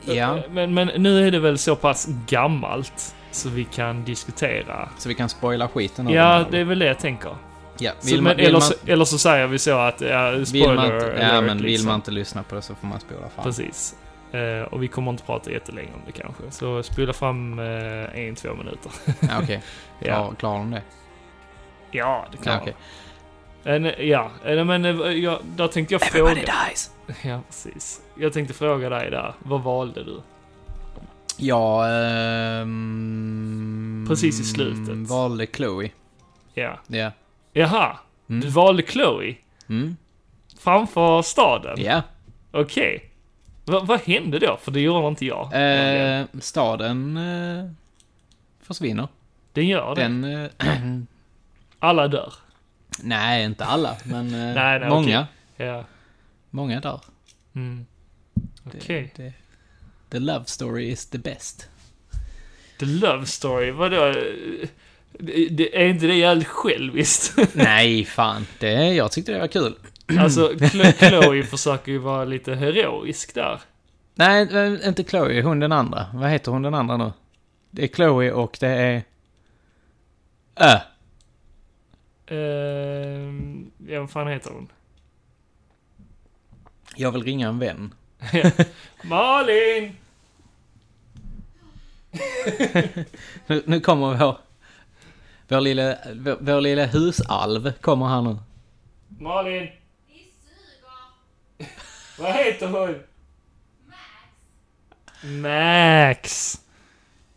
[SPEAKER 2] Ja,
[SPEAKER 1] eh, Men, men nu är det väl så pass gammalt så vi kan diskutera.
[SPEAKER 2] så vi kan spoila skiten av den
[SPEAKER 1] Ja,
[SPEAKER 2] här.
[SPEAKER 1] det är väl det jag tänker.
[SPEAKER 2] Ja,
[SPEAKER 1] Så,
[SPEAKER 2] vill man,
[SPEAKER 1] men,
[SPEAKER 2] vill
[SPEAKER 1] eller,
[SPEAKER 2] man,
[SPEAKER 1] så, eller så säger vi så att, ja,
[SPEAKER 2] vill
[SPEAKER 1] spoiler
[SPEAKER 2] man inte, ja,
[SPEAKER 1] alert,
[SPEAKER 2] men vill
[SPEAKER 1] liksom.
[SPEAKER 2] man inte lyssna på det så får man spola fram.
[SPEAKER 1] Precis. Eh, och vi kommer inte prata jättelänge om det kanske. Så spola fram eh, en, två minuter.
[SPEAKER 2] Ja, okej.
[SPEAKER 1] Ja,
[SPEAKER 2] Klar, klarar de det?
[SPEAKER 1] ja det kan
[SPEAKER 2] Ja,
[SPEAKER 1] man.
[SPEAKER 2] okej.
[SPEAKER 1] Eh, nej, Ja, eh, nej, men eh, jag, där tänkte jag fråga.
[SPEAKER 2] dies!
[SPEAKER 1] Ja, precis. Jag tänkte fråga dig där. Vad valde du?
[SPEAKER 2] Ja, ehm,
[SPEAKER 1] Precis i slutet.
[SPEAKER 2] Valde Chloe.
[SPEAKER 1] Ja.
[SPEAKER 2] Ja.
[SPEAKER 1] Jaha, du
[SPEAKER 2] Mm.
[SPEAKER 1] valde Chloe
[SPEAKER 2] Mm.
[SPEAKER 1] framför staden?
[SPEAKER 2] Ja.
[SPEAKER 1] Okej. Va- vad hände då? För det gjorde inte jag.
[SPEAKER 2] Eh, staden eh, försvinner.
[SPEAKER 1] den gör det.
[SPEAKER 2] Den... Eh,
[SPEAKER 1] Alla dör.
[SPEAKER 2] nej, inte alla, men eh,
[SPEAKER 1] Nej, nej,
[SPEAKER 2] många.
[SPEAKER 1] Ja.
[SPEAKER 2] Många dör.
[SPEAKER 1] Mm. Okej.
[SPEAKER 2] Det, det, the love story is the best.
[SPEAKER 1] The Love Story, vadå? Eh, Det, det, är inte det jävligt själviskt?
[SPEAKER 2] nej, fan. Det, jag tyckte det var kul.
[SPEAKER 1] alltså, Chlo- Chloe försöker ju vara lite heroisk där.
[SPEAKER 2] Nej, eh, inte Chloe. Hon den andra. Vad heter hon den andra nu? Det är Chloe och det är... Ö.
[SPEAKER 1] Ehm, ja, vad fan heter hon?
[SPEAKER 2] Jag vill ringa en vän.
[SPEAKER 1] Malin!
[SPEAKER 2] Nu, nu kommer vår... Vår lilla, vår, vår lilla husalv kommer här nu.
[SPEAKER 1] Malin! Vad heter hon? Max.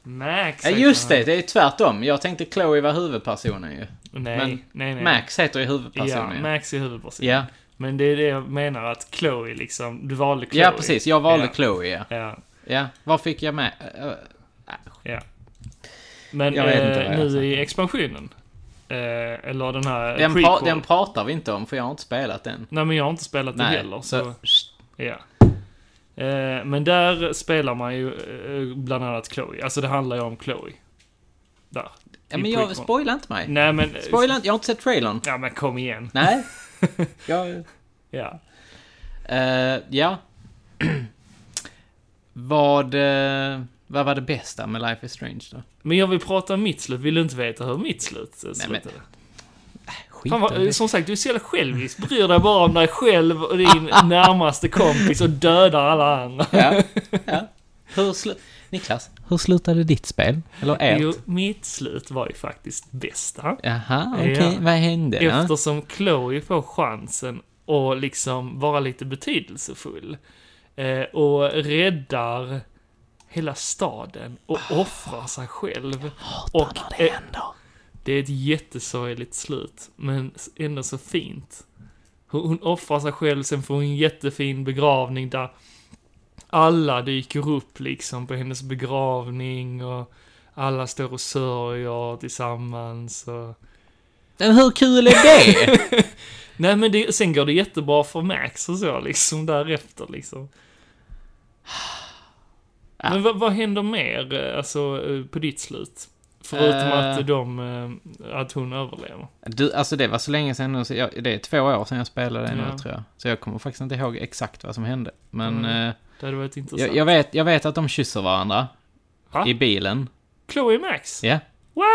[SPEAKER 1] Max.
[SPEAKER 2] Ja,
[SPEAKER 1] heter
[SPEAKER 2] just
[SPEAKER 1] han.
[SPEAKER 2] det. Det är tvärtom. Jag tänkte Chloe var huvudpersonen ju.
[SPEAKER 1] Nej,
[SPEAKER 2] Men
[SPEAKER 1] nej, nej.
[SPEAKER 2] Max heter ju
[SPEAKER 1] Ja,
[SPEAKER 2] huvudpersonen ju.
[SPEAKER 1] Max är huvudpersonen.
[SPEAKER 2] Ja,
[SPEAKER 1] Men det är det jag menar att Chloe liksom, du valde Chloe.
[SPEAKER 2] ja precis. Jag valde
[SPEAKER 1] Ja.
[SPEAKER 2] Chloe, ja.
[SPEAKER 1] Ja.
[SPEAKER 2] Ja, vad fick jag med? Äh, Ö, ö,
[SPEAKER 1] Men
[SPEAKER 2] Jag vet inte vad
[SPEAKER 1] eh,
[SPEAKER 2] jag
[SPEAKER 1] nu
[SPEAKER 2] har sagt.
[SPEAKER 1] i expansionen Eh, eller den här
[SPEAKER 2] Den, pra
[SPEAKER 1] prequel.
[SPEAKER 2] den pratar vi inte om, för jag har inte spelat den.
[SPEAKER 1] Nej, men jag har inte spelat den heller. Så,
[SPEAKER 2] så...
[SPEAKER 1] ja. Eh, men där spelar man ju eh, bland annat Chloe. Alltså det handlar ju om Chloe. Där.
[SPEAKER 2] Ja,
[SPEAKER 1] I
[SPEAKER 2] men jag...
[SPEAKER 1] prequel.
[SPEAKER 2] Spoila inte mig.
[SPEAKER 1] Nej, men... eh,
[SPEAKER 2] Spoila inte, jag har inte sett trailern.
[SPEAKER 1] Ja, men kom igen.
[SPEAKER 2] Nej. jag...
[SPEAKER 1] Ja.
[SPEAKER 2] Eh, ja. vad, eh, vad var det bästa med Life is Strange då?
[SPEAKER 1] Men jag vill prata om mitt slut. Vill du inte veta hur mitt slut eh,
[SPEAKER 2] men-
[SPEAKER 1] slutade?
[SPEAKER 2] Skit
[SPEAKER 1] Fan,
[SPEAKER 2] i det.
[SPEAKER 1] vad, som sagt, du är så jävla självisk. Bryr dig bara om dig själv och din närmaste kompis och dödar alla andra.
[SPEAKER 2] ja, ja. Hur slu... Niklas, hur slutade ditt spel? Eller ert?
[SPEAKER 1] Jo, mitt slut var ju faktiskt bästa.
[SPEAKER 2] Jaha, okej.
[SPEAKER 1] Ja.
[SPEAKER 2] Vad hände? då?
[SPEAKER 1] Eftersom Chloe får chansen och liksom vara lite betydelsefull. Eh, och räddar hela staden och offrar sig själv. Och
[SPEAKER 2] Hatar Ah. när
[SPEAKER 1] eh,
[SPEAKER 2] händer.
[SPEAKER 1] det är ett jättesorgligt slut, men ändå så fint. Hon- Hon offrar sig själv, sen får hon en jättefin begravning där alla dyker upp liksom på hennes begravning och alla står och sörjer tillsammans och...
[SPEAKER 2] Men hur kul är det?
[SPEAKER 1] Nej men det, sen går det jättebra för Max och så liksom därefter liksom.
[SPEAKER 2] Ja.
[SPEAKER 1] Men vad, vad händer mer, eh, alltså, eh, på ditt slut? Förutom
[SPEAKER 2] Eh.
[SPEAKER 1] att de, eh, att hon överlever.
[SPEAKER 2] du, alltså det var så länge sedan nu, så jag, det är två år sedan jag spelade nu
[SPEAKER 1] Ja.
[SPEAKER 2] tror jag. Så jag kommer faktiskt inte ihåg exakt vad som hände. Men
[SPEAKER 1] Mm.
[SPEAKER 2] eh,
[SPEAKER 1] Det hade varit intressant.
[SPEAKER 2] jag, jag, vet, jag vet att de kysser varandra.
[SPEAKER 1] Va?
[SPEAKER 2] I bilen.
[SPEAKER 1] Chloe och Max?
[SPEAKER 2] Ja.
[SPEAKER 1] What?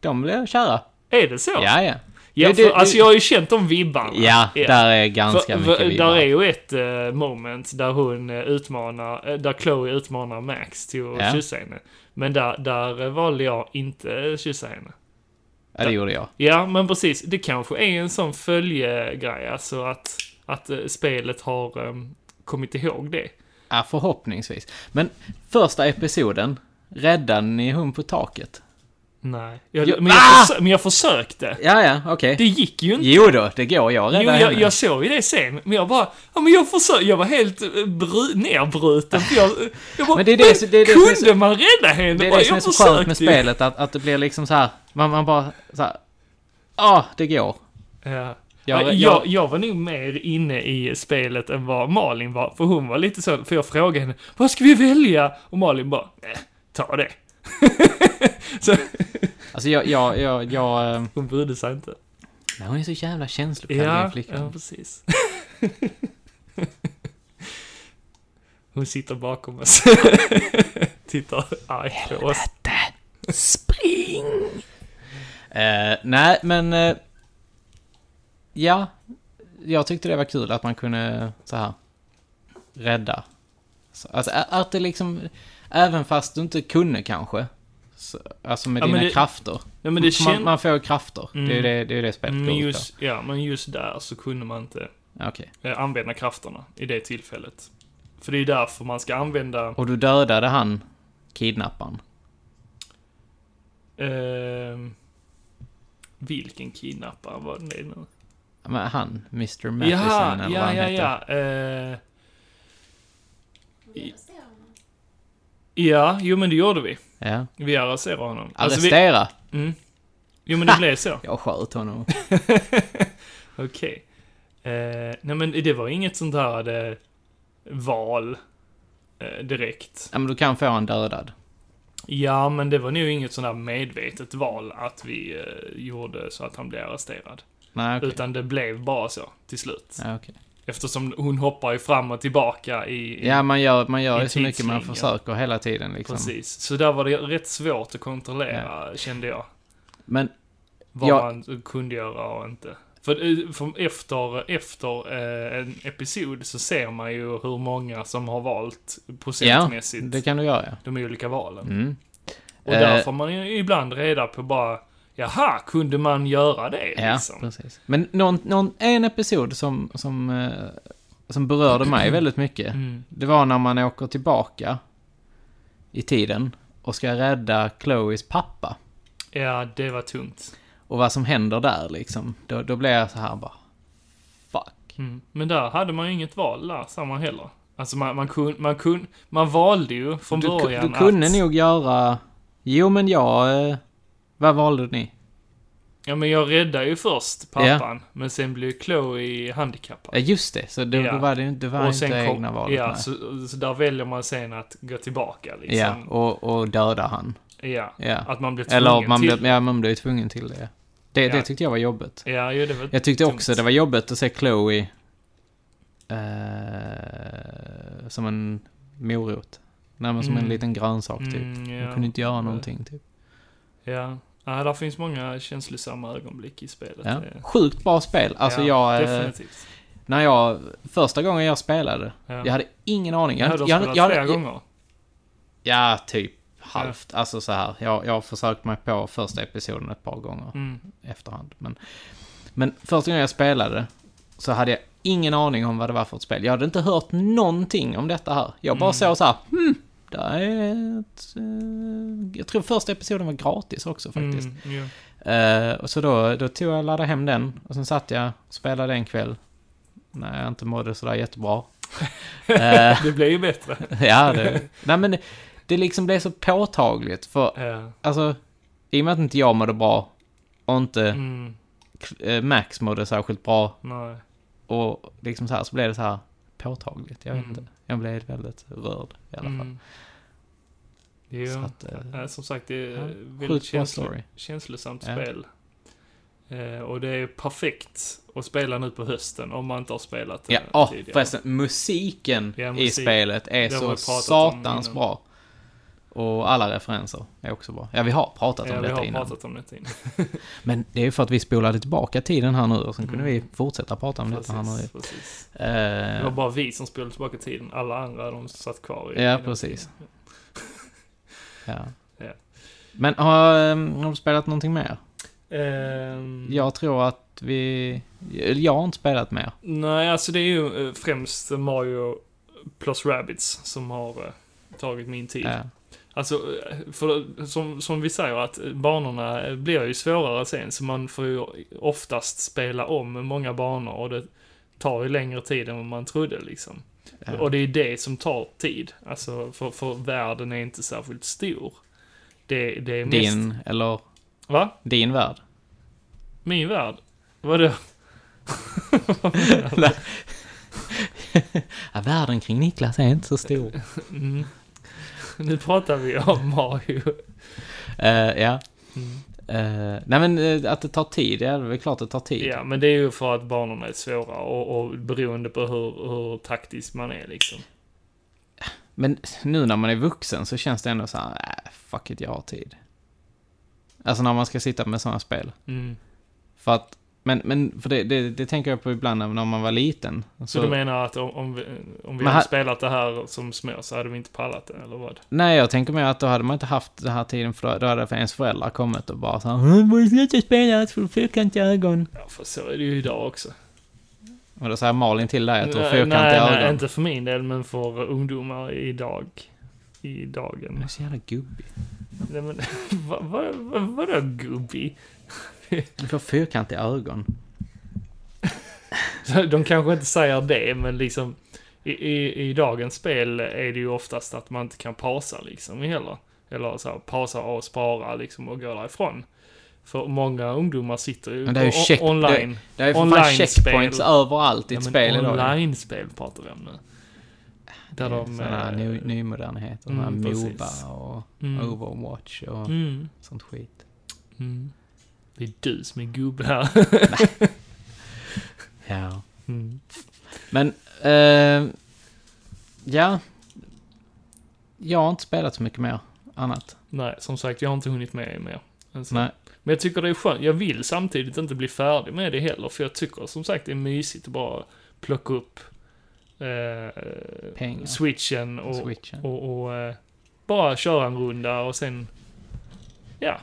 [SPEAKER 2] De blev kära.
[SPEAKER 1] Är det så?
[SPEAKER 2] Ja, ja.
[SPEAKER 1] Ja,
[SPEAKER 2] Du-
[SPEAKER 1] för,
[SPEAKER 2] du-
[SPEAKER 1] alltså
[SPEAKER 2] du-
[SPEAKER 1] jag har ju känt de vibbarna.
[SPEAKER 2] Ja, där är ganska
[SPEAKER 1] För-
[SPEAKER 2] mycket
[SPEAKER 1] för-
[SPEAKER 2] vibbar.
[SPEAKER 1] Där är ju ett eh, moment där hon eh, utmanar, eh, där Chloe utmanar Max till att
[SPEAKER 2] Ja.
[SPEAKER 1] kyssa henne. Men där, där eh, valde jag inte kyssa henne.
[SPEAKER 2] Ja, det gjorde jag.
[SPEAKER 1] Ja, men precis. Det kanske är en sån följegrej, alltså att, att eh, spelet har em, kommit ihåg det.
[SPEAKER 2] Ja, förhoppningsvis. Men första episoden, räddade ni hon på taket?
[SPEAKER 1] Nej. Jag,
[SPEAKER 2] Jo-
[SPEAKER 1] men, jag
[SPEAKER 2] Ah!
[SPEAKER 1] försö- men jag försökte.
[SPEAKER 2] Ja, ja, okej.
[SPEAKER 1] Det gick ju inte.
[SPEAKER 2] Jo då, det går. Jag
[SPEAKER 1] Jo,
[SPEAKER 2] räddade
[SPEAKER 1] jag,
[SPEAKER 2] henne.
[SPEAKER 1] jag såg ju det sen, men jag bara, ja men jag försökte, jag var helt eh, bry, nerbruten. för Jag, jag bara,
[SPEAKER 2] Men det är det som- det är det som är
[SPEAKER 1] kunde
[SPEAKER 2] så-
[SPEAKER 1] man rädda henne?
[SPEAKER 2] Det är
[SPEAKER 1] Bara,
[SPEAKER 2] det som är
[SPEAKER 1] jag
[SPEAKER 2] så skönt med
[SPEAKER 1] försökte ju.
[SPEAKER 2] spelet, att, att det blir liksom så här, man, man bara så här, ja, det går.
[SPEAKER 1] Ja.
[SPEAKER 2] Jag-
[SPEAKER 1] Jag,
[SPEAKER 2] jag-
[SPEAKER 1] jag, jag, var nog mer inne i spelet än vad Malin var, för hon var lite så, för jag frågade henne Vad ska vi välja? Och Malin bara, nej, ta det. så
[SPEAKER 2] Alltså jag, jag, jag, jag, eh,
[SPEAKER 1] hon brydde sig inte.
[SPEAKER 2] nej, hon är så jävla känslokall
[SPEAKER 1] Ja,
[SPEAKER 2] min
[SPEAKER 1] ja,
[SPEAKER 2] flickan.
[SPEAKER 1] precis. hon sitter bakom oss. Tittar arg på oss.
[SPEAKER 2] Spring! Eh, nej, men, eh, ja, jag tyckte det var kul att man kunde så här, rädda. Så, alltså ä- att det liksom, även fast du inte kunde kanske, så, alltså med
[SPEAKER 1] Ja, men
[SPEAKER 2] dina
[SPEAKER 1] det-
[SPEAKER 2] krafter.
[SPEAKER 1] Ja, men det
[SPEAKER 2] man,
[SPEAKER 1] känns...
[SPEAKER 2] man får krafter, det är ju det, det, är ju det spelet går
[SPEAKER 1] Men
[SPEAKER 2] ut på.
[SPEAKER 1] just, ja, men just där så kunde man inte
[SPEAKER 2] Okej.
[SPEAKER 1] eh, använda krafterna i det tillfället. För det är ju därför man ska använda
[SPEAKER 2] Och du dödade han, kidnapparen.
[SPEAKER 1] Ehm, vilken kidnappare var det nu?
[SPEAKER 2] Ja, Men han, Mr. Matheson
[SPEAKER 1] Jaha,
[SPEAKER 2] eller vad
[SPEAKER 1] ja,
[SPEAKER 2] han
[SPEAKER 1] ja,
[SPEAKER 2] heter.
[SPEAKER 1] ja. Eh, ja, jo men det gjorde vi.
[SPEAKER 2] ja.
[SPEAKER 1] Vi arresterade honom. Alltså, vi,
[SPEAKER 2] Arrestera!
[SPEAKER 1] mm, jo men det blev så.
[SPEAKER 2] Jag sköt honom.
[SPEAKER 1] Okej. Eh, nej men det var inget sånt här eh, val eh, direkt.
[SPEAKER 2] ja, men du kan få han dödad.
[SPEAKER 1] Ja, men det var nog inget sånt här medvetet val att vi eh, gjorde så att han blev arresterad.
[SPEAKER 2] Nej, okej.
[SPEAKER 1] Utan det blev bara så till slut.
[SPEAKER 2] Ja, okej.
[SPEAKER 1] Eftersom hon hoppar ju fram och tillbaka i... i
[SPEAKER 2] ja, man gör, man gör
[SPEAKER 1] i
[SPEAKER 2] ju så mycket man
[SPEAKER 1] tidslinjen.
[SPEAKER 2] försöker hela tiden liksom.
[SPEAKER 1] Precis, så där var det rätt svårt att kontrollera kände jag.
[SPEAKER 2] Men,
[SPEAKER 1] Vad
[SPEAKER 2] Ja.
[SPEAKER 1] man kunde göra och inte. För, eh, för efter, efter eh, en episod så ser man ju hur många som har valt procentmässigt
[SPEAKER 2] det kan du göra ja.
[SPEAKER 1] de olika valen.
[SPEAKER 2] Mm.
[SPEAKER 1] Och
[SPEAKER 2] Eh.
[SPEAKER 1] där får man ju ibland reda på bara, jaha, kunde man göra det
[SPEAKER 2] Ja,
[SPEAKER 1] liksom?
[SPEAKER 2] precis. Men någon, någon, en episod som, som, eh, som berörde mig väldigt mycket.
[SPEAKER 1] Mm.
[SPEAKER 2] Det var när man åker tillbaka i tiden och ska rädda Chloes pappa.
[SPEAKER 1] Ja, det var tungt.
[SPEAKER 2] Och vad som händer där liksom. Då, då blir jag så här bara... Fuck.
[SPEAKER 1] Mm. Men där hade man ju inget val där, samma heller. Alltså man, man kunde, man kunde, man valde ju från
[SPEAKER 2] Du, ku-
[SPEAKER 1] början
[SPEAKER 2] du kunde
[SPEAKER 1] att...
[SPEAKER 2] nog göra... Jo men jag... eh, Vad valde ni?
[SPEAKER 1] Ja, men jag räddade ju först pappan, men sen blev Chloe handikappad.
[SPEAKER 2] Ja, just det. Så det,
[SPEAKER 1] Ja.
[SPEAKER 2] då var det, ju- det var inte
[SPEAKER 1] kom-
[SPEAKER 2] egna valet.
[SPEAKER 1] Ja,
[SPEAKER 2] nej.
[SPEAKER 1] så, så där väljer man sen att gå tillbaka
[SPEAKER 2] ja
[SPEAKER 1] liksom.
[SPEAKER 2] och, och döda han.
[SPEAKER 1] Ja. ja.
[SPEAKER 2] Ja.
[SPEAKER 1] Att man blir tvungen
[SPEAKER 2] Eller man
[SPEAKER 1] till.
[SPEAKER 2] blev, ja, man blev ju tvungen till det. Det,
[SPEAKER 1] Ja.
[SPEAKER 2] det tyckte jag var jobbigt.
[SPEAKER 1] Ja, ju det var...
[SPEAKER 2] Jag tyckte
[SPEAKER 1] Tungt.
[SPEAKER 2] också det var jobbigt att se Chloe eh, som en morot. Nej, men som
[SPEAKER 1] Mm.
[SPEAKER 2] en liten grönsak typ.
[SPEAKER 1] Mm, ja.
[SPEAKER 2] Hon kunde inte göra någonting typ.
[SPEAKER 1] Ja. ja, där finns många känslosamma ögonblick i spelet.
[SPEAKER 2] Ja.
[SPEAKER 1] Det-
[SPEAKER 2] Sjukt bra spel. Alltså
[SPEAKER 1] ja,
[SPEAKER 2] jag, eh,
[SPEAKER 1] Definitivt.
[SPEAKER 2] när jag, första gången jag spelade,
[SPEAKER 1] Ja.
[SPEAKER 2] jag hade ingen aning.
[SPEAKER 1] Jag
[SPEAKER 2] Jag,
[SPEAKER 1] hade de
[SPEAKER 2] jag,
[SPEAKER 1] spelat
[SPEAKER 2] jag, jag,
[SPEAKER 1] flera
[SPEAKER 2] jag,
[SPEAKER 1] gånger.
[SPEAKER 2] Ja, typ halvt. Alltså så här. Jag, jag har försökt mig på första episoden ett par gånger
[SPEAKER 1] Mm.
[SPEAKER 2] efterhand. Men, men första gången jag spelade så hade jag ingen aning om vad det var för ett spel. Jag hade inte hört någonting om detta här. Jag bara
[SPEAKER 1] Mm.
[SPEAKER 2] såg så här, hmm, det är ett, eh, Jag tror första episoden var gratis också faktiskt.
[SPEAKER 1] Mm, ja.
[SPEAKER 2] Eh, och så då, då tog jag och laddade hem den och sen satt jag och spelade en kväll. När jag inte mådde sådär jättebra. Eh,
[SPEAKER 1] Det blev ju bättre.
[SPEAKER 2] ja, det... Nej men det, det liksom blev så påtagligt för,
[SPEAKER 1] Ja.
[SPEAKER 2] alltså, i och med att inte jag mådde bra och inte
[SPEAKER 1] Mm.
[SPEAKER 2] eh, Max mådde särskilt bra
[SPEAKER 1] Nej.
[SPEAKER 2] och liksom så här så blev det så här påtagligt. Jag vet
[SPEAKER 1] Mm.
[SPEAKER 2] inte. Jag blev väldigt rörd i alla fall.
[SPEAKER 1] Mm. Jo.
[SPEAKER 2] Så att, eh,
[SPEAKER 1] Ja, som sagt, det är
[SPEAKER 2] ja,
[SPEAKER 1] väldigt eh,
[SPEAKER 2] Sjukt bra
[SPEAKER 1] känslo
[SPEAKER 2] story.
[SPEAKER 1] känslosamt
[SPEAKER 2] Ja.
[SPEAKER 1] spel. Eh, och det är perfekt att spela nu på hösten om man inte har spelat det
[SPEAKER 2] Ja, åh,
[SPEAKER 1] tidigare.
[SPEAKER 2] förresten, musiken
[SPEAKER 1] Ja,
[SPEAKER 2] i
[SPEAKER 1] musik.
[SPEAKER 2] spelet är
[SPEAKER 1] Det har vi
[SPEAKER 2] så
[SPEAKER 1] pratat om
[SPEAKER 2] satans
[SPEAKER 1] innan.
[SPEAKER 2] bra. Och alla referenser är också bra. Ja, vi har pratat
[SPEAKER 1] ja,
[SPEAKER 2] om
[SPEAKER 1] vi
[SPEAKER 2] detta
[SPEAKER 1] har
[SPEAKER 2] innan.
[SPEAKER 1] pratat om detta innan.
[SPEAKER 2] Men det är ju för att vi spolade tillbaka tiden här nu och sen kunde
[SPEAKER 1] Mm.
[SPEAKER 2] vi fortsätta prata om detta här nu.
[SPEAKER 1] Precis, precis.
[SPEAKER 2] Eh,
[SPEAKER 1] Det var bara vi som spelade tillbaka tiden. Alla andra, de satt kvar i
[SPEAKER 2] Ja,
[SPEAKER 1] i den
[SPEAKER 2] precis.
[SPEAKER 1] tiden.
[SPEAKER 2] Ja.
[SPEAKER 1] Ja.
[SPEAKER 2] Men har, ehm, har du spelat någonting mer?
[SPEAKER 1] Ehm,
[SPEAKER 2] Jag tror att vi... Jag har inte spelat mer.
[SPEAKER 1] Nej, alltså det är ju eh, främst Mario plus Rabbids som har eh, tagit min tid.
[SPEAKER 2] Ja.
[SPEAKER 1] Alltså, eh, för, som, som vi säger att eh, banorna eh, blir ju svårare sen, så man får ju oftast spela om många banor och det tar ju längre tid än vad man trodde liksom.
[SPEAKER 2] Ja.
[SPEAKER 1] Och det är det som tar tid, alltså för, för världen är inte särskilt stor. Det, det är mest...
[SPEAKER 2] Din, eller
[SPEAKER 1] Va?
[SPEAKER 2] din värld.
[SPEAKER 1] Min värld? Vadå?
[SPEAKER 2] Ja, världen kring Niklas är inte så stor.
[SPEAKER 1] Mm. Nu pratar vi om Mario.
[SPEAKER 2] Eh, ja.
[SPEAKER 1] Mm.
[SPEAKER 2] Eh, nej men eh, att det tar tid, ja det är typ- väl klart det tar tid.
[SPEAKER 1] Ja, men det är ju för att banorna är svåra och, och beroende på hur, hur taktisk man är liksom.
[SPEAKER 2] Men nu när man är vuxen så känns det ändå så här, äh, fuck it, jag har tid. Alltså när man ska sitta med sådana spel.
[SPEAKER 1] Mm.
[SPEAKER 2] För att, men, men för det, det, det tänker jag på ibland när när man var liten.
[SPEAKER 1] Så, du menar att om, om vi, om vi
[SPEAKER 2] Men
[SPEAKER 1] hade
[SPEAKER 2] här-
[SPEAKER 1] spelat det här som små så hade vi inte pallat det, eller vad?
[SPEAKER 2] Nej, jag tänker mig att då hade man inte haft den här tiden, för då, då hade ens föräldrar kommit och bara "Äh, såhär “Sluta spela, du får fyrkantiga ögon”.
[SPEAKER 1] Ja, för så är det ju idag också.
[SPEAKER 2] Och då säger Malin till dig att du har
[SPEAKER 1] nej, nej,
[SPEAKER 2] fyrkantiga ögon.
[SPEAKER 1] inte för min del, men för ungdomar idag. I dagen.
[SPEAKER 2] Du är så jävla gubbig.
[SPEAKER 1] Nej, men vad, vad, vad, vadå gubbi?
[SPEAKER 2] Du får fyrkantiga ögon.
[SPEAKER 1] Så De kanske inte säger det, men liksom i, i, i dagens spel är det ju oftast att man inte kan pausa liksom heller. Eller så här, pausa och spara liksom och gå därifrån. För många ungdomar sitter ju,
[SPEAKER 2] Men det är ju
[SPEAKER 1] o-
[SPEAKER 2] check-
[SPEAKER 1] online.
[SPEAKER 2] Det är ju för fan
[SPEAKER 1] Online-spel.
[SPEAKER 2] checkpoints överallt i ett
[SPEAKER 1] Ja, men
[SPEAKER 2] spel idag.
[SPEAKER 1] online-spel pratar vi om nu. Där de...
[SPEAKER 2] Sådana här
[SPEAKER 1] eh,
[SPEAKER 2] ny, nymodernheter,
[SPEAKER 1] Mm,
[SPEAKER 2] mm,
[SPEAKER 1] precis.
[SPEAKER 2] Moba och
[SPEAKER 1] mm,
[SPEAKER 2] Overwatch och
[SPEAKER 1] mm,
[SPEAKER 2] sånt skit.
[SPEAKER 1] mm. Det är du som är gubbe här.
[SPEAKER 2] Ja.
[SPEAKER 1] Mm.
[SPEAKER 2] Men, eh, ja. Jag har inte spelat så mycket mer annat.
[SPEAKER 1] Nej, som sagt, jag har inte hunnit med mer. än så.
[SPEAKER 2] Nej.
[SPEAKER 1] Men jag tycker det är skönt. Jag vill samtidigt inte bli färdig med det heller, för jag tycker som sagt det är mysigt att bara plocka upp eh,
[SPEAKER 2] Pengar.
[SPEAKER 1] switchen och,
[SPEAKER 2] Switchen.
[SPEAKER 1] och, och eh, bara köra en runda och sen ja,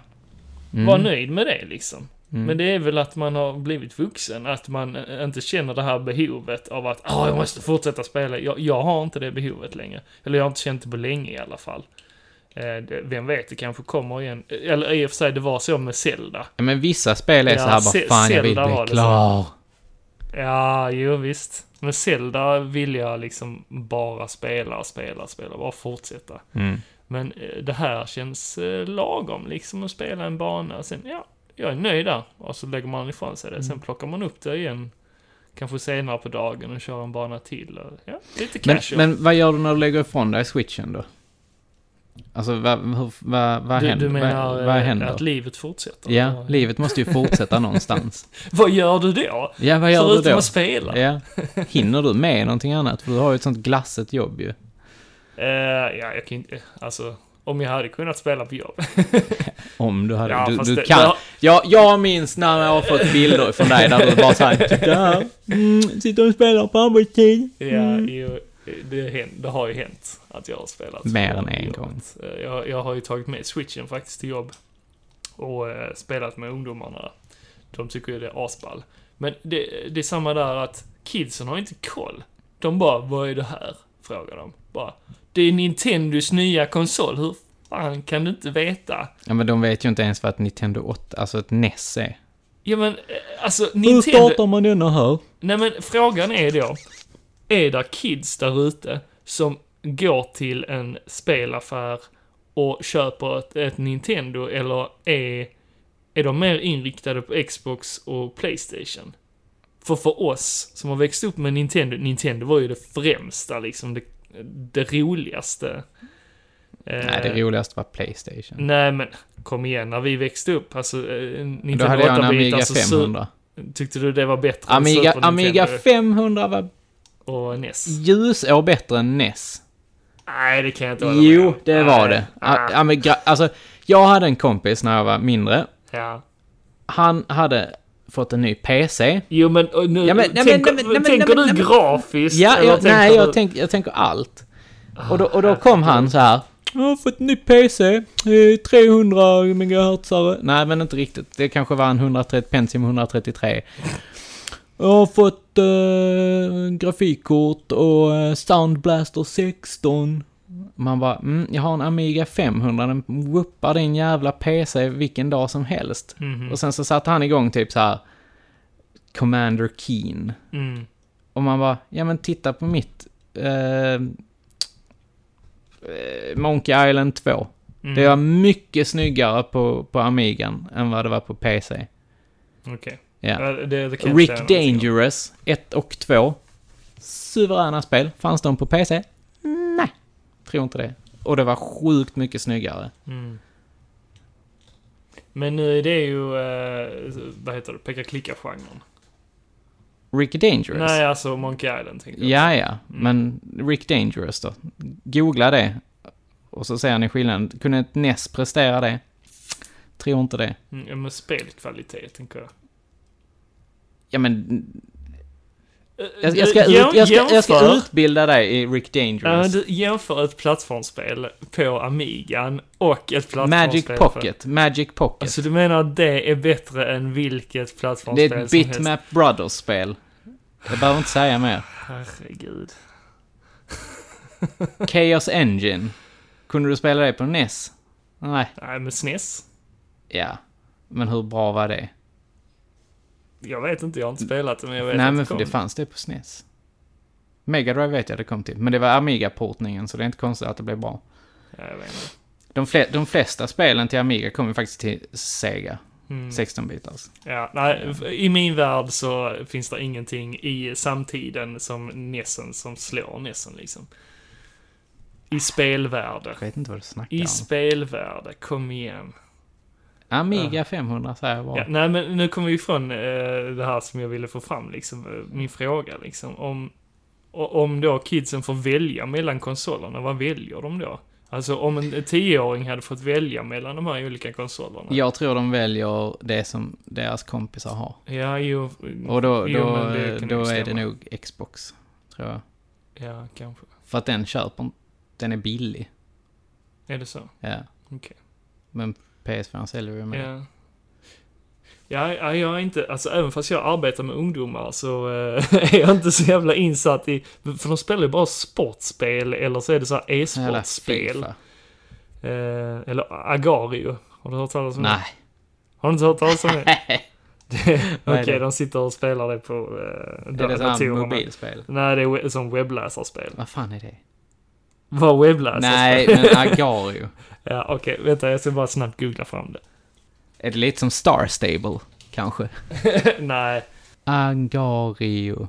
[SPEAKER 2] Mm.
[SPEAKER 1] vara nöjd med det liksom.
[SPEAKER 2] Mm.
[SPEAKER 1] Men det är väl att man har blivit vuxen, att man eh, inte känner det här behovet av att ah jag måste fortsätta spela. Jag, jag har inte det behovet längre. Eller jag har inte känt det på länge i alla fall. Eh, det, vem vet, det kanske kommer igen. Eh, Eller i och för sig, det var så med Zelda.
[SPEAKER 2] Ja, men vissa spel är
[SPEAKER 1] Ja,
[SPEAKER 2] så här
[SPEAKER 1] Se-
[SPEAKER 2] bara, fan jag vill
[SPEAKER 1] Zelda var
[SPEAKER 2] bli
[SPEAKER 1] det
[SPEAKER 2] klar.
[SPEAKER 1] Ja, jo visst. Men Zelda vill jag liksom bara spela, spela, spela, bara fortsätta.
[SPEAKER 2] Mm.
[SPEAKER 1] Men eh, det här känns eh, lagom liksom att spela en bana, sen ja, jag är nöjd där. Och så lägger man ifrån sig det, sen
[SPEAKER 2] Mm.
[SPEAKER 1] plockar man upp det igen. Kanske senare på dagen och kör en bana till. Och, ja, lite
[SPEAKER 2] Men,
[SPEAKER 1] casual.
[SPEAKER 2] men vad gör du när du lägger ifrån dig switchen då? Alltså vad, hur, vad, vad
[SPEAKER 1] du,
[SPEAKER 2] händer?
[SPEAKER 1] du menar
[SPEAKER 2] vad,
[SPEAKER 1] eh,
[SPEAKER 2] vad händer?
[SPEAKER 1] att livet fortsätter?
[SPEAKER 2] ja, livet måste ju fortsätta någonstans.
[SPEAKER 1] Vad gör du då?
[SPEAKER 2] Ja, vad gör
[SPEAKER 1] Förutom
[SPEAKER 2] du då?
[SPEAKER 1] att spela?
[SPEAKER 2] Ja. Hinner du med någonting annat? För du har ju ett sånt glassigt jobb ju.
[SPEAKER 1] Eh, ja, jag kan inte, alltså, om jag hade kunnat spela på jobb.
[SPEAKER 2] Om du hade...
[SPEAKER 1] Ja,
[SPEAKER 2] du,
[SPEAKER 1] fast
[SPEAKER 2] du
[SPEAKER 1] det-
[SPEAKER 2] kan...
[SPEAKER 1] det har-
[SPEAKER 2] jag, jag minns när jag har fått bilder från dig där du bara såhär... "Titta här, Mm, sitter och spelar på arbetstid.
[SPEAKER 1] Ja,
[SPEAKER 2] Mm.
[SPEAKER 1] ju, det, hän- det har ju hänt att jag har spelat.
[SPEAKER 2] Mer
[SPEAKER 1] på
[SPEAKER 2] än en
[SPEAKER 1] jobbet.
[SPEAKER 2] gång.
[SPEAKER 1] Eh, Jag, jag har ju tagit med switchen faktiskt till jobb och eh, spelat med ungdomarna. De tycker ju det är asball. Men det, det är samma där att kidsen har inte koll. De bara, vad är det här? Frågar de. Bara, det är Nintendos nya konsol, hur fan kan du inte veta?
[SPEAKER 2] Ja, men de vet ju inte ens vad ett Nintendo 8, alltså ett NES är.
[SPEAKER 1] Ja men, eh, alltså
[SPEAKER 2] Hur
[SPEAKER 1] Nintendo...
[SPEAKER 2] startar man denna här?
[SPEAKER 1] Nej men frågan är då, är det kids där ute som går till en spelaffär och köper ett, ett Nintendo eller är, är de mer inriktade på Xbox och Playstation? För för oss som har växt upp med Nintendo, Nintendo var ju det främsta liksom, det, det roligaste. Eh,
[SPEAKER 2] Nej, det roligaste var Playstation.
[SPEAKER 1] Nej men, kom igen, när vi växte upp, alltså eh,
[SPEAKER 2] Då
[SPEAKER 1] Nintendo
[SPEAKER 2] hade jag en
[SPEAKER 1] 8-bit,
[SPEAKER 2] Amiga
[SPEAKER 1] alltså, su-
[SPEAKER 2] 500.
[SPEAKER 1] tyckte du det var bättre än
[SPEAKER 2] Amiga,
[SPEAKER 1] Super
[SPEAKER 2] Amiga
[SPEAKER 1] Nintendo
[SPEAKER 2] 500 var
[SPEAKER 1] och NES?
[SPEAKER 2] ljusår bättre än NES.
[SPEAKER 1] Nej, det kan jag inte hålla med
[SPEAKER 2] Jo,
[SPEAKER 1] om.
[SPEAKER 2] det
[SPEAKER 1] Nej.
[SPEAKER 2] var det.
[SPEAKER 1] Ah,
[SPEAKER 2] A- Amiga, alltså, jag hade en kompis när jag var mindre.
[SPEAKER 1] ja.
[SPEAKER 2] Han hade fått en ny PC.
[SPEAKER 1] Jo, men och nu...
[SPEAKER 2] Ja, men- nej, men-
[SPEAKER 1] tänker
[SPEAKER 2] nej, men- nej, men-
[SPEAKER 1] tänker
[SPEAKER 2] nej, men-
[SPEAKER 1] du grafiskt?
[SPEAKER 2] Ja,
[SPEAKER 1] eller
[SPEAKER 2] jag,
[SPEAKER 1] tänker
[SPEAKER 2] nej,
[SPEAKER 1] du- Ah,
[SPEAKER 2] jag, tänk, jag tänker allt. Och då, och då kom han så här. Jag har fått en ny PC. eh, 300 MHz. Nej, men inte riktigt. Det kanske var en 130, Pentium 133. Jag har fått eh, grafikkort och eh, Soundblaster 16. Man bara, mm, jag har en Amiga 500, den whoopar din jävla PC vilken dag som helst.
[SPEAKER 1] Mhm,
[SPEAKER 2] Och sen så satte han igång typ så här Commander Keen.
[SPEAKER 1] mm.
[SPEAKER 2] Och man bara, ja men titta på mitt eh, eh, Monkey Island 2.
[SPEAKER 1] Mm.
[SPEAKER 2] Det var mycket snyggare på, på Amigan än vad det var på PC.
[SPEAKER 1] Okej.
[SPEAKER 2] Ja.
[SPEAKER 1] Ja, det, det kan jag inte
[SPEAKER 2] Rick
[SPEAKER 1] säga någonting om.
[SPEAKER 2] Dangerous 1 och 2. Suveräna spel. Fanns de på PC? Nej, tror inte det. Och det var sjukt mycket snyggare.
[SPEAKER 1] Mm. Men nu är det ju... Eh, vad heter det? Peka-klicka-genren.
[SPEAKER 2] Rick Dangerous?
[SPEAKER 1] Nej, alltså Monkey Island tänkte jag. Mm.
[SPEAKER 2] Ja, ja. Men Rick Dangerous då? Googla det. Och så ser ni skillnaden. Kunde ett NES prestera det? Tror inte det.
[SPEAKER 1] Mm, ja, men spelkvalitet, tänker jag.
[SPEAKER 2] Ja, men
[SPEAKER 1] Eh,
[SPEAKER 2] jag, jag, ska,
[SPEAKER 1] eh,
[SPEAKER 2] ut, jag, ska, jag ska
[SPEAKER 1] jämför-
[SPEAKER 2] utbilda dig i Rick
[SPEAKER 1] Ja,
[SPEAKER 2] Dangerous.
[SPEAKER 1] du jämför ett plattformsspel på Amigan och ett plattformsspel
[SPEAKER 2] Magic
[SPEAKER 1] för-
[SPEAKER 2] Pocket. Magic Pocket.
[SPEAKER 1] Alltså du menar att det är bättre än vilket
[SPEAKER 2] det
[SPEAKER 1] plattformsspel
[SPEAKER 2] är ett
[SPEAKER 1] som helst?
[SPEAKER 2] Bitmap Brothers-spel. Jag behöver inte säga mer.
[SPEAKER 1] Herregud.
[SPEAKER 2] Chaos Engine. Kunde du spela det på NES? Nej.
[SPEAKER 1] Nej, men SNES?
[SPEAKER 2] Ja. Men hur bra var det?
[SPEAKER 1] Jag vet inte, jag har inte spelat det, men jag vet
[SPEAKER 2] Mm. Nej,
[SPEAKER 1] att
[SPEAKER 2] men
[SPEAKER 1] det kom.
[SPEAKER 2] det fanns det på SNES. Mega Drive vet jag det kom till, men det var Amiga-portningen, så det är inte konstigt att det blev bra.
[SPEAKER 1] Ja, jag vet inte.
[SPEAKER 2] De, fle- de flesta spelen till Amiga kom ju faktiskt till Sega, alltså.
[SPEAKER 1] Mm.
[SPEAKER 2] 16-bitars.
[SPEAKER 1] Ja, nej, I min värld så finns det ingenting i samtiden som Nessen som slår Nessen liksom. I spelvärde.
[SPEAKER 2] Jag vet inte vad du snackar
[SPEAKER 1] I
[SPEAKER 2] om.
[SPEAKER 1] spelvärde, kom igen.
[SPEAKER 2] Amiga 500 säger jag bara.
[SPEAKER 1] Ja, nej, men nu kommer vi ifrån eh, det här som jag ville få fram, liksom, eh, min fråga. Liksom, om, o- om då kidsen får välja mellan konsolerna, vad väljer de då? Alltså om en tioåring hade fått välja mellan de här olika konsolerna.
[SPEAKER 2] Jag tror de väljer det som deras kompisar har.
[SPEAKER 1] Ja, jo.
[SPEAKER 2] Och då, då,
[SPEAKER 1] Jo, men det kan
[SPEAKER 2] då
[SPEAKER 1] nog
[SPEAKER 2] är det
[SPEAKER 1] stämma.
[SPEAKER 2] nog Xbox, tror jag.
[SPEAKER 1] Ja, kanske.
[SPEAKER 2] För att den köper inte- den är billig.
[SPEAKER 1] Är det så?
[SPEAKER 2] Ja.
[SPEAKER 1] Okej.
[SPEAKER 2] Men PS4 säljer ju mer.
[SPEAKER 1] Ja. Ja, ja, jag är inte, alltså även fast jag arbetar med ungdomar så eh, är jag inte så jävla insatt i, för de spelar ju bara sportspel eller så är det så här
[SPEAKER 2] Jävla
[SPEAKER 1] e-sportspel.
[SPEAKER 2] FIFA.
[SPEAKER 1] Eh, eller Agario. Har du hört talas om det?
[SPEAKER 2] Nej.
[SPEAKER 1] Har du inte hört talas om det? Det-
[SPEAKER 2] Vad
[SPEAKER 1] Okej,
[SPEAKER 2] är det?
[SPEAKER 1] de sitter och spelar det på eh,
[SPEAKER 2] Är det
[SPEAKER 1] da-
[SPEAKER 2] sådana
[SPEAKER 1] datorerna.
[SPEAKER 2] mobilspel?
[SPEAKER 1] Nej, det är we- som webbläsarspel.
[SPEAKER 2] Vad fan är det?
[SPEAKER 1] Var webbläsare.
[SPEAKER 2] Nej, men Agario.
[SPEAKER 1] Ja, okej. Vänta, jag ska bara snabbt googla fram det.
[SPEAKER 2] Är det lite som Star Stable, kanske?
[SPEAKER 1] Nej.
[SPEAKER 2] Agario.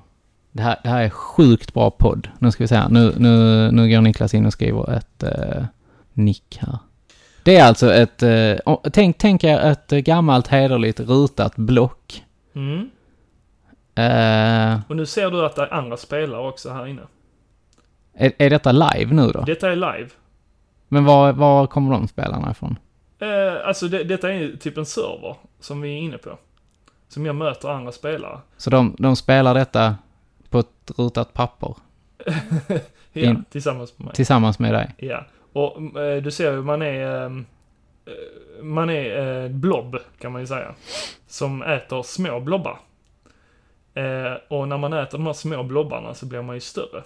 [SPEAKER 2] Det här, det här är sjukt bra podd. Nu ska vi se här. Nu, nu, nu går Niklas in och skriver ett eh, nick här. Det är alltså ett, eh, o- tänk, tänk er ett eh, gammalt hederligt rutat block.
[SPEAKER 1] Mm.
[SPEAKER 2] Eh,
[SPEAKER 1] Och nu ser du att det är andra spelare också här inne.
[SPEAKER 2] är, är detta live nu då?
[SPEAKER 1] Detta är live.
[SPEAKER 2] Men var, var kommer de spelarna ifrån?
[SPEAKER 1] Eh, alltså, det, detta är ju typ en server som vi är inne på. Som jag möter andra spelare.
[SPEAKER 2] Så de, de spelar detta på ett rutat papper
[SPEAKER 1] Ja,
[SPEAKER 2] In-
[SPEAKER 1] tillsammans med mig.
[SPEAKER 2] tillsammans med dig?
[SPEAKER 1] Ja. Och mm, eh, du ser ju, man är... ehm, eh, Man är eh, blob, kan man ju säga. Som äter små blobbar. Eh, och när man äter de här små blobbarna så blir man ju större.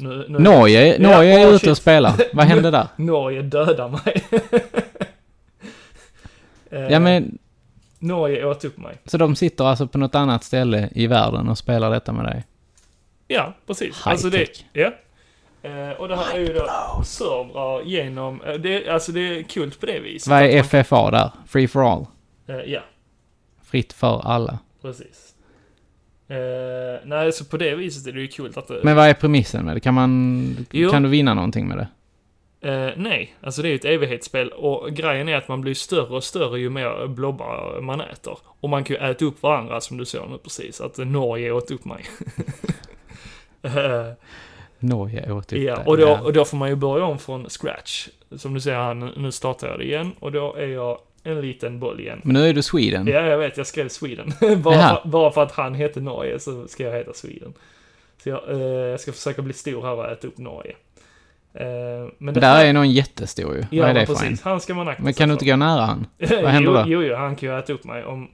[SPEAKER 1] Nu, nu,
[SPEAKER 2] Norge,
[SPEAKER 1] Ja,
[SPEAKER 2] Norge är
[SPEAKER 1] åh,
[SPEAKER 2] ute och
[SPEAKER 1] shit.
[SPEAKER 2] spelar. Vad hände där?
[SPEAKER 1] Norge dödar mig. Eh,
[SPEAKER 2] Ja men,
[SPEAKER 1] Norge åt upp mig.
[SPEAKER 2] så de sitter alltså på något annat ställe i världen och spelar detta med dig?
[SPEAKER 1] Ja, precis.
[SPEAKER 2] High
[SPEAKER 1] alltså det,
[SPEAKER 2] tech.
[SPEAKER 1] ja. Eh, och det här är ju då servrar genom, eh, det, alltså det är kul på det viset.
[SPEAKER 2] Vad är
[SPEAKER 1] Att
[SPEAKER 2] FFA där? Free for all?
[SPEAKER 1] man- eh, ja,
[SPEAKER 2] Fritt för alla.
[SPEAKER 1] precis. Eh, nej, så på det viset är det ju kul att det...
[SPEAKER 2] Men vad är premissen med det? Kan man...
[SPEAKER 1] Jo.
[SPEAKER 2] Kan du vinna någonting med det?
[SPEAKER 1] Eh, nej, alltså det är ju ett evighetsspel och grejen är att man blir större och större ju mer blobbar man äter. Och man kan ju äta upp varandra som du såg nu precis, att Norge åt upp mig. Eh,
[SPEAKER 2] Norge åt upp
[SPEAKER 1] Ja,
[SPEAKER 2] Typ det.
[SPEAKER 1] och då,
[SPEAKER 2] Ja.
[SPEAKER 1] och då får man ju börja om från scratch. Som du ser här, nu- nu startar jag det igen och då är jag en liten boll igen.
[SPEAKER 2] Men nu är du Sweden.
[SPEAKER 1] Ja, jag vet, jag skrev Sweden. bara,
[SPEAKER 2] Jaha.
[SPEAKER 1] för, bara för att han hette Norge så ska jag heta Sweden. Så jag, eh, jag ska försöka bli stor här och äta upp Norge. Eh, men det
[SPEAKER 2] Där är någon jättestor ju.
[SPEAKER 1] Ja,
[SPEAKER 2] vad är det
[SPEAKER 1] men
[SPEAKER 2] för en?
[SPEAKER 1] precis. Han ska man akta
[SPEAKER 2] Men kan du inte gå nära han?
[SPEAKER 1] gå...
[SPEAKER 2] vad händer
[SPEAKER 1] jo,
[SPEAKER 2] då?
[SPEAKER 1] jo, jo, han kan ju äta upp mig om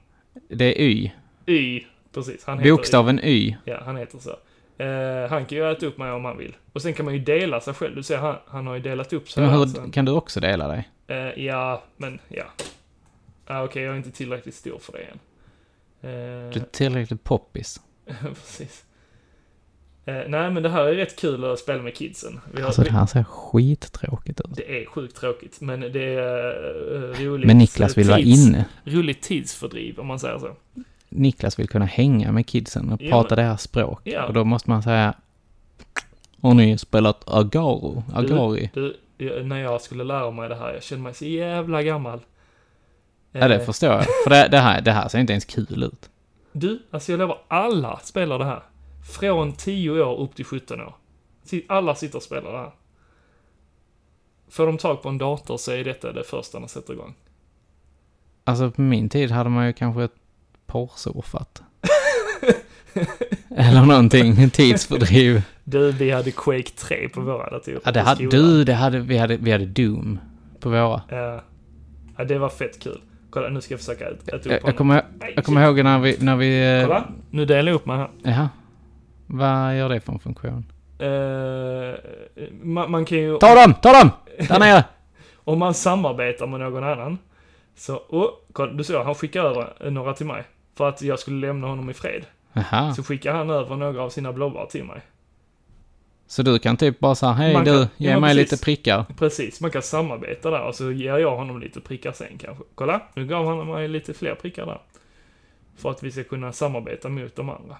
[SPEAKER 2] Det är Y.
[SPEAKER 1] Y. Precis, han heter Y.
[SPEAKER 2] Bokstaven Y.
[SPEAKER 1] Ja, han heter så. Eh, han kan ju äta upp mig om han vill. Och sen kan man ju dela sig själv. Du ser, han, han har ju delat upp sig.
[SPEAKER 2] Men
[SPEAKER 1] här sen.
[SPEAKER 2] hur, kan du också dela dig?
[SPEAKER 1] Eh, ja, men ja. Ah, Okej, jag är inte tillräckligt stor för det än. Eh,
[SPEAKER 2] Du är tillräckligt poppis.
[SPEAKER 1] precis. Eh, nej, men det här är rätt kul att spela med kidsen. Vi har,
[SPEAKER 2] Alltså det
[SPEAKER 1] vi,
[SPEAKER 2] här ser skittråkigt ut.
[SPEAKER 1] det är sjukt tråkigt, men det är eh, roligt.
[SPEAKER 2] Men Niklas vill vara
[SPEAKER 1] tids-
[SPEAKER 2] inne.
[SPEAKER 1] Roligt tidsfördriv, om man säger så.
[SPEAKER 2] Niklas vill kunna hänga med kidsen och
[SPEAKER 1] Ja,
[SPEAKER 2] prata deras språk.
[SPEAKER 1] Ja.
[SPEAKER 2] Och då måste man säga... Har ni spelat Agaro? Agari?
[SPEAKER 1] Du, jag- när jag skulle lära mig det här, jag kände mig så jävla gammal.
[SPEAKER 2] Ja, det
[SPEAKER 1] Eh,
[SPEAKER 2] förstår jag. För det, det, här, det här ser inte ens kul ut.
[SPEAKER 1] Du, alltså jag lovar, alla spelar det här. Från 10 år upp till 17 år. Si- Alla sitter och spelar det här. Får de tag på en dator så är detta det första de sätter igång.
[SPEAKER 2] Alltså på min tid hade man ju kanske ett porrsurfat. Eller någonting, tidsfördriv.
[SPEAKER 1] Du, vi hade Quake 3 på våra datorer
[SPEAKER 2] Ja, det
[SPEAKER 1] på
[SPEAKER 2] hade,
[SPEAKER 1] skolan.
[SPEAKER 2] du, det hade, vi, hade, vi hade Doom på våra.
[SPEAKER 1] Ja. ja, det var fett kul. Kolla, nu ska jag försöka äta, äta upp
[SPEAKER 2] Jag,
[SPEAKER 1] honom.
[SPEAKER 2] jag, kommer,
[SPEAKER 1] Nej,
[SPEAKER 2] jag kommer ihåg när vi... När vi eh,
[SPEAKER 1] Kolla, nu delar jag upp mig här.
[SPEAKER 2] Jaha. Vad gör det för en funktion?
[SPEAKER 1] Eh, man, man kan ju...
[SPEAKER 2] Ta dem! Ta dem! Där nere!
[SPEAKER 1] Om man samarbetar med någon annan. Så, oh, kolla, du såg, han skickade över eh, några till mig. För att jag skulle lämna honom i fred.
[SPEAKER 2] Jaha.
[SPEAKER 1] Så skickar han över några av sina blobbar till mig.
[SPEAKER 2] Så du kan typ bara säga hej
[SPEAKER 1] Man kan-
[SPEAKER 2] du,
[SPEAKER 1] ja,
[SPEAKER 2] ge
[SPEAKER 1] men
[SPEAKER 2] mig
[SPEAKER 1] precis.
[SPEAKER 2] lite prickar.
[SPEAKER 1] Precis, man kan samarbeta där och så ger jag honom lite prickar sen kanske. Kolla, nu gav han mig lite fler prickar där. För att vi ska kunna samarbeta mot de andra.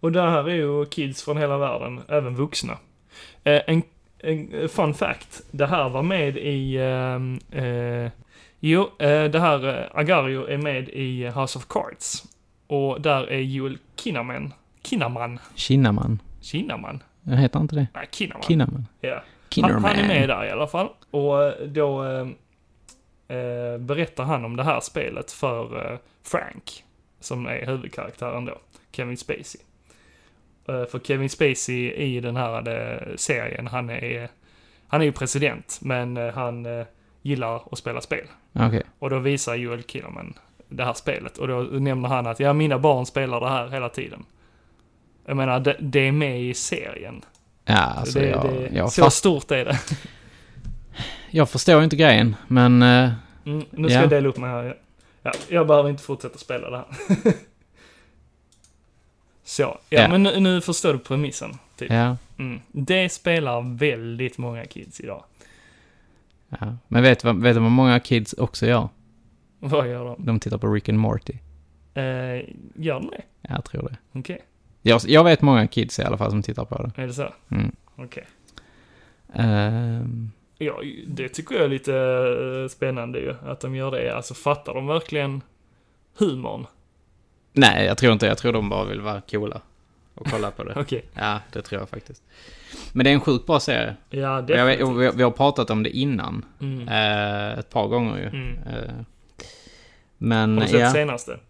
[SPEAKER 1] Och det här är ju kids från hela världen, även vuxna. Eh, en, en eh, fun fact, det här var med i... ehm, eh, jo, eh, det här eh, Agario är med i House of Cards. Och där är Joel Kinnaman. Kinnaman?
[SPEAKER 2] Kinnaman.
[SPEAKER 1] Kinnaman?
[SPEAKER 2] Jag heter inte det.
[SPEAKER 1] Nej, Kinnaman.
[SPEAKER 2] Kinnaman.
[SPEAKER 1] ja. Han,
[SPEAKER 2] Kinnerman.
[SPEAKER 1] han är med där i alla fall. Och eh, då eh, eh, berättar han om det här spelet för eh, Frank, som är huvudkaraktären då, Kevin Spacey. Eh, för Kevin Spacey i den här eh, serien, han är, han är ju president, men eh, han eh, gillar att spela spel.
[SPEAKER 2] Okej.
[SPEAKER 1] Och då visar Joel Kinnaman det här spelet och då nämner han att ja, mina barn spelar det här hela tiden. Jag menar, det, det är med i serien.
[SPEAKER 2] Ja, alltså
[SPEAKER 1] det,
[SPEAKER 2] jag,
[SPEAKER 1] det,
[SPEAKER 2] jag,
[SPEAKER 1] så
[SPEAKER 2] fast,
[SPEAKER 1] stort är det.
[SPEAKER 2] jag förstår ju inte grejen, men... eh,
[SPEAKER 1] Mm, nu ska
[SPEAKER 2] Ja.
[SPEAKER 1] jag dela upp mig här. Ja. Ja, jag behöver inte fortsätta spela det här. Så, ja
[SPEAKER 2] Ja.
[SPEAKER 1] men nu, nu förstår du premissen. Typ.
[SPEAKER 2] ja.
[SPEAKER 1] Mm. Det spelar väldigt många kids idag.
[SPEAKER 2] Ja. Men vet du vad, vet du vad många kids också gör?
[SPEAKER 1] Vad gör de?
[SPEAKER 2] De tittar på Rick and Morty.
[SPEAKER 1] Eh, gör de det?
[SPEAKER 2] Ja, Jag tror det.
[SPEAKER 1] Okej,
[SPEAKER 2] Jag, jag vet många kids i alla fall som tittar på det.
[SPEAKER 1] är det så?
[SPEAKER 2] Mm.
[SPEAKER 1] Okej.
[SPEAKER 2] Ehm,
[SPEAKER 1] Ja, det tycker jag är lite eh, spännande ju, att de gör det. Alltså fattar de verkligen humorn?
[SPEAKER 2] nej, jag tror inte. Jag tror de bara vill vara coola och kolla på det.
[SPEAKER 1] Okej.
[SPEAKER 2] Ja, det tror jag faktiskt. Men det är en sjukt bra serie.
[SPEAKER 1] Ja,
[SPEAKER 2] Och Jag, vet-
[SPEAKER 1] definitivt.
[SPEAKER 2] och vi, vi har pratat om det innan.
[SPEAKER 1] Mm.
[SPEAKER 2] eh, ett par gånger ju.
[SPEAKER 1] Mm.
[SPEAKER 2] Eh, men
[SPEAKER 1] Har du sett
[SPEAKER 2] ja,
[SPEAKER 1] senaste?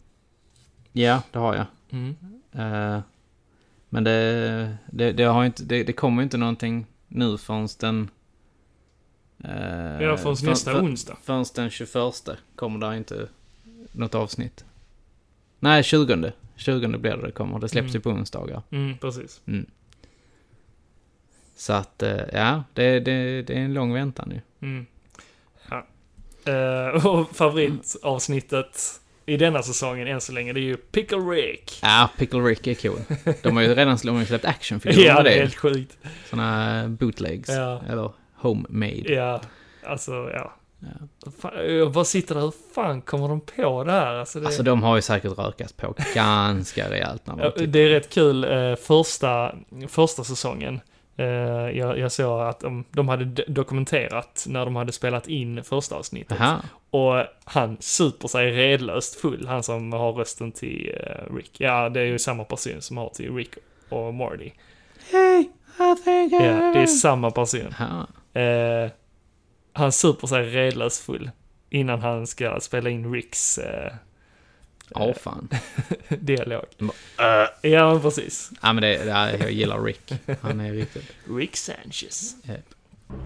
[SPEAKER 2] ja, det har jag.
[SPEAKER 1] Mm.
[SPEAKER 2] Eh, men det, det, det, har ju inte, det, det kommer ju inte någonting nu förrän den... eh,
[SPEAKER 1] Ja, förrän
[SPEAKER 2] för-
[SPEAKER 1] nästa
[SPEAKER 2] för-
[SPEAKER 1] onsdag.
[SPEAKER 2] Förrän den 21 kommer det inte något avsnitt. Nej, 20. 20 blir det det kommer. Det släpps
[SPEAKER 1] Mm.
[SPEAKER 2] ju på onsdagar.
[SPEAKER 1] Mm, precis.
[SPEAKER 2] Så att, eh, ja, det, det, det är en lång väntan ju.
[SPEAKER 1] Mm. Ja. Eh, och favoritavsnittet i denna säsongen än så länge, det är ju Pickle Rick.
[SPEAKER 2] Ja, Pickle Rick är cool. De har ju redan de har ju släppt actionfigurer
[SPEAKER 1] Ja,
[SPEAKER 2] med
[SPEAKER 1] det är
[SPEAKER 2] det.
[SPEAKER 1] helt sjukt.
[SPEAKER 2] Såna bootlegs.
[SPEAKER 1] Ja.
[SPEAKER 2] Eller homemade.
[SPEAKER 1] Ja, alltså ja.
[SPEAKER 2] Ja.
[SPEAKER 1] Fan, jag bara sitter där, hur fan kommer de på det här? Alltså, det...
[SPEAKER 2] Alltså de har ju säkert rökat på ganska rejält när de typ-
[SPEAKER 1] Ja,
[SPEAKER 2] tittar.
[SPEAKER 1] Det är rätt kul, eh, första, första säsongen. eh, Jag, jag såg att de, de hade d- dokumenterat när de hade spelat in första avsnittet.
[SPEAKER 2] Aha.
[SPEAKER 1] Och han super sig redlöst full, han som har rösten till eh, Rick. Ja, det är ju samma person som har till Rick och Morty.
[SPEAKER 2] Hey, I think I...
[SPEAKER 1] Ja, det är samma person.
[SPEAKER 2] Aha.
[SPEAKER 1] Eh, han super sig redlöst full innan han ska spela in Ricks eh,
[SPEAKER 2] Åh fan.
[SPEAKER 1] dialog.
[SPEAKER 2] Mm.
[SPEAKER 1] Ja, men precis.
[SPEAKER 2] Ja men det, det, jag gillar Rick. Han är riktigt...
[SPEAKER 1] Rick Sanchez.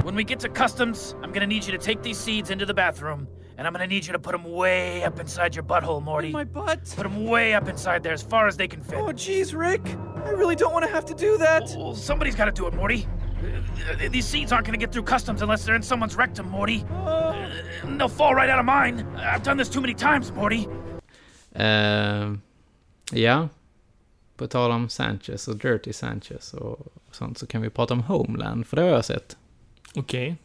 [SPEAKER 3] When we get to customs, I'm gonna need you to take these seeds into the bathroom, and I'm gonna need you to put them way up inside your butthole, Morty.
[SPEAKER 4] My butt?
[SPEAKER 3] Put them way up inside there as far as they can fit.
[SPEAKER 4] Oh, jeez, Rick. I really don't want to have to do that.
[SPEAKER 3] Well, somebody's gotta do it, Morty. Uh, uh, These seeds aren't gonna get through customs unless they're in someone's rectum, Morty.
[SPEAKER 4] Oh.
[SPEAKER 3] And they'll fall right out of mine. I've done this too many times, Morty.
[SPEAKER 2] Ehm, ja. På tal om Sanchez och Dirty Sanchez och sånt så kan vi prata om Homeland, för det har jag sett.
[SPEAKER 1] Okej.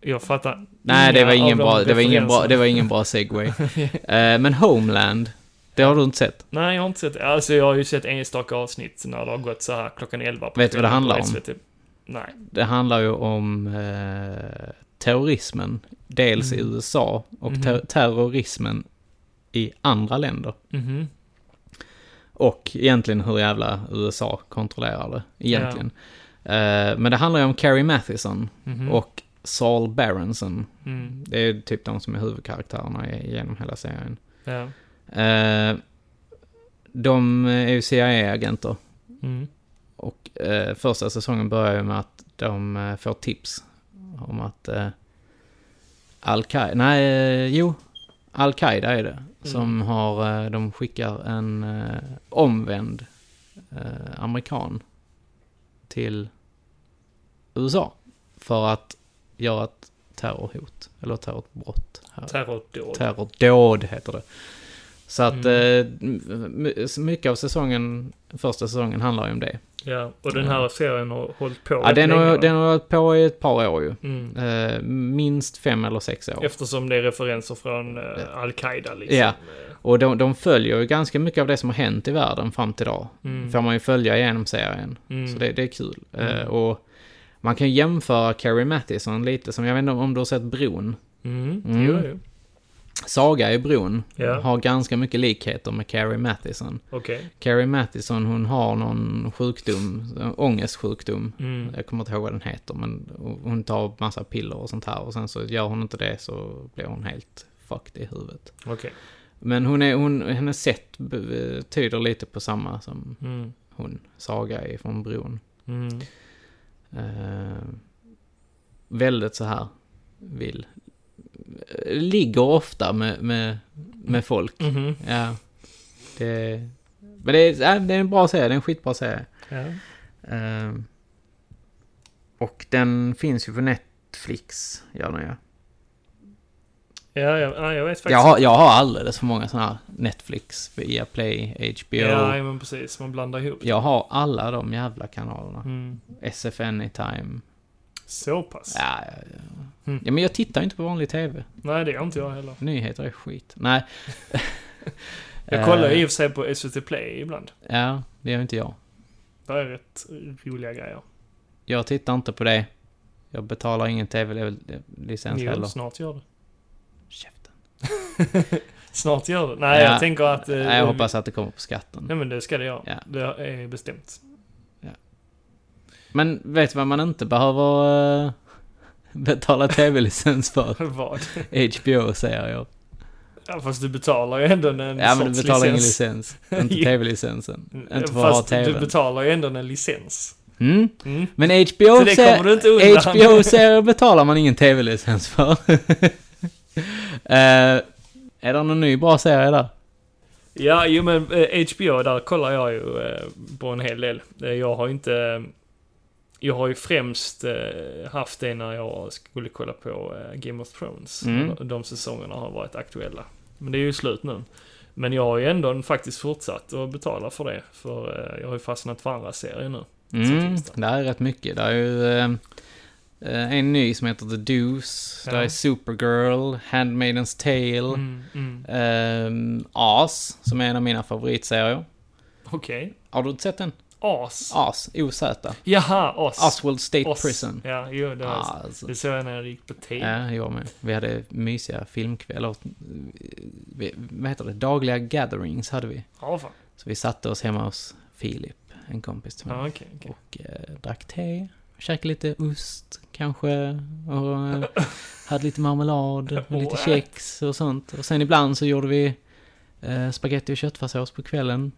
[SPEAKER 1] Jag fattar.
[SPEAKER 2] Nej, det
[SPEAKER 1] inga av
[SPEAKER 2] var ingen
[SPEAKER 1] de
[SPEAKER 2] bra, det var ingen bra,
[SPEAKER 1] referenserna.
[SPEAKER 2] det var ingen bra segway. Eh, men Homeland, det har du inte sett?
[SPEAKER 1] Nej, jag har inte sett Alltså, jag har ju sett enstaka avsnitt när det har gått så här klockan 11 på
[SPEAKER 2] Vet du vad det
[SPEAKER 1] kvällen
[SPEAKER 2] handlar
[SPEAKER 1] på
[SPEAKER 2] om?
[SPEAKER 1] SVT. Nej.
[SPEAKER 2] Det handlar ju om eh, terrorismen, dels i USA och ter- terrorismen i andra länder.
[SPEAKER 1] Mhm.
[SPEAKER 2] Och egentligen hur jävla USA kontrollerar det, egentligen. Eh, men det handlar ju om Carrie Mathison och Saul Berenson.
[SPEAKER 1] Mm.
[SPEAKER 2] Det är typ de som är huvudkaraktärerna i- genom hela serien.
[SPEAKER 1] Ja.
[SPEAKER 2] Eh, de är ju CIA-agenter.
[SPEAKER 1] Mm.
[SPEAKER 2] Och eh, första säsongen börjar ju med att de eh, får tips om att eh, Al-Qaida, nej, eh, jo, Al-Qaida är det. Som har, eh, de skickar en eh, omvänd eh, amerikan till USA. För att göra ett terrorhot, eller terrorbrott. här.
[SPEAKER 1] Terrordåd.
[SPEAKER 2] Terrordåd heter det. Så att eh, m- m- mycket av säsongen, första säsongen handlar ju om det.
[SPEAKER 1] ja, och den här serien har hållit på
[SPEAKER 2] Ja,
[SPEAKER 1] rätt
[SPEAKER 2] den
[SPEAKER 1] länge,
[SPEAKER 2] har,
[SPEAKER 1] va?
[SPEAKER 2] den har varit på i ett par år ju.
[SPEAKER 1] Mm.
[SPEAKER 2] Eh, minst fem eller sex år.
[SPEAKER 1] Eftersom det är referenser från eh, Al-Qaida liksom.
[SPEAKER 2] Ja. Och de, de följer ju ganska mycket av det som har hänt i världen fram till idag.
[SPEAKER 1] Mm.
[SPEAKER 2] Får man ju följa igenom serien. Så det, det är kul. Eh, och man kan ju jämföra Carrie Mathison lite som, jag vet inte om du har sett Bron.
[SPEAKER 1] Mm.
[SPEAKER 2] Mm.
[SPEAKER 1] Jo, jo.
[SPEAKER 2] Saga i Bron
[SPEAKER 1] Ja.
[SPEAKER 2] har ganska mycket likheter med Carrie Mathison.
[SPEAKER 1] Okej.
[SPEAKER 2] Carrie Mathison hon har någon sjukdom, en ångestsjukdom.
[SPEAKER 1] Mm.
[SPEAKER 2] Jag kommer inte ihåg vad den heter men hon tar massa piller och sånt här och sen så gör hon inte det så blir hon helt fucked i huvudet.
[SPEAKER 1] Okej.
[SPEAKER 2] Men hon är, hon, hennes sätt b- tyder lite på samma som
[SPEAKER 1] Mm.
[SPEAKER 2] hon, Saga ifrån Bron.
[SPEAKER 1] Mm.
[SPEAKER 2] Eh, väldigt så här vill. eh, Ligger ofta med, med, med folk.
[SPEAKER 1] Mhm.
[SPEAKER 2] Ja. Det, men det är, ja, det är en bra serie, det är en skitbra serie.
[SPEAKER 1] Ja.
[SPEAKER 2] Ehm, och den finns ju på Netflix, gör den ja.
[SPEAKER 1] Ja, ja, ja, jag vet faktiskt.
[SPEAKER 2] Jag har, jag har alldeles för många sådana här Netflix, Viaplay, HBO.
[SPEAKER 1] Ja, ja, men precis. Man blandar ihop.
[SPEAKER 2] Jag har alla de jävla kanalerna.
[SPEAKER 1] Mm.
[SPEAKER 2] SF Anytime.
[SPEAKER 1] Så pass.
[SPEAKER 2] Ja, ja, ja.
[SPEAKER 1] Mm.
[SPEAKER 2] ja, men jag tittar ju inte på vanlig TV.
[SPEAKER 1] Nej, det gör inte jag heller.
[SPEAKER 2] Nyheter är skit. Nej.
[SPEAKER 1] Jag kollar
[SPEAKER 2] Eh,
[SPEAKER 1] i och för sig på SVT Play ibland.
[SPEAKER 2] Ja, det gör inte jag.
[SPEAKER 1] Det är rätt roliga grejer.
[SPEAKER 2] Jag tittar inte på det. Jag betalar ingen TV-licens
[SPEAKER 1] Jo,
[SPEAKER 2] heller.
[SPEAKER 1] snart gör det.
[SPEAKER 2] Käften.
[SPEAKER 1] Snart gör det. Nej,
[SPEAKER 2] Ja.
[SPEAKER 1] jag tänker att... eh,
[SPEAKER 2] Nej, jag hoppas att det kommer på skatten.
[SPEAKER 1] Nej, men det ska det göra.
[SPEAKER 2] Ja.
[SPEAKER 1] Det är bestämt.
[SPEAKER 2] Men vet du vad man inte behöver eh, betala TV-licens för?
[SPEAKER 1] Vad?
[SPEAKER 2] HBO-serier.
[SPEAKER 1] Ja, fast du betalar ju ändå en
[SPEAKER 2] Ja, men
[SPEAKER 1] sorts
[SPEAKER 2] du betalar ingen
[SPEAKER 1] licens.
[SPEAKER 2] licens. Inte
[SPEAKER 1] Jo.
[SPEAKER 2] TV-licensen. Inte för att ha
[SPEAKER 1] Fast du
[SPEAKER 2] TV.
[SPEAKER 1] betalar ju ändå en licens.
[SPEAKER 2] Mm?
[SPEAKER 1] Mm.
[SPEAKER 2] Men
[SPEAKER 1] Så det kommer du inte
[SPEAKER 2] HBO-serier
[SPEAKER 1] undan.
[SPEAKER 2] HBO -serier betalar man ingen TV-licens för. Eh, är det någon ny bra serie där?
[SPEAKER 1] Ja, jo men eh, HBO, där kollar jag ju eh, på en hel del. Eh, jag har inte... eh, jag har ju främst eh, haft det när jag skulle kolla på eh, Game of Thrones.
[SPEAKER 2] Mm.
[SPEAKER 1] De, de säsongerna har varit aktuella. Men det är ju slut nu. Men jag har ju ändå faktiskt fortsatt att betala för det. För eh, jag har ju fastnat för andra serier nu.
[SPEAKER 2] Mm,
[SPEAKER 1] finns det.
[SPEAKER 2] det här är rätt mycket. Det är ju eh, eh, en ny som heter The Deuce,
[SPEAKER 1] Ja.
[SPEAKER 2] det är Supergirl, Handmaidens Tale,
[SPEAKER 1] Mm, mm.
[SPEAKER 2] ehm, As, som är en av mina favoritserier.
[SPEAKER 1] Okej.
[SPEAKER 2] Har du inte sett den?
[SPEAKER 1] As.
[SPEAKER 2] As, OZ.
[SPEAKER 1] Jaha, As.
[SPEAKER 2] Oswald State
[SPEAKER 1] Oz.
[SPEAKER 2] Prison.
[SPEAKER 1] Ja, jo, det, har jag sett.
[SPEAKER 2] Alltså.
[SPEAKER 1] det såg jag när jag gick på TV.
[SPEAKER 2] Ja, jag med. Vi hade mysiga filmkvällar. Vi- Vad heter det? Dagliga gatherings hade vi.
[SPEAKER 1] Ja, fan.
[SPEAKER 2] Så vi satte oss hemma hos Filip, en kompis till mig.
[SPEAKER 1] Ja, okej, okej.
[SPEAKER 2] och eh, drack te, käkade lite ost kanske och eh, hade lite marmelad och lite
[SPEAKER 1] What?
[SPEAKER 2] kex och sånt. Och sen ibland så gjorde vi eh, spaghetti och köttfärssås på kvällen.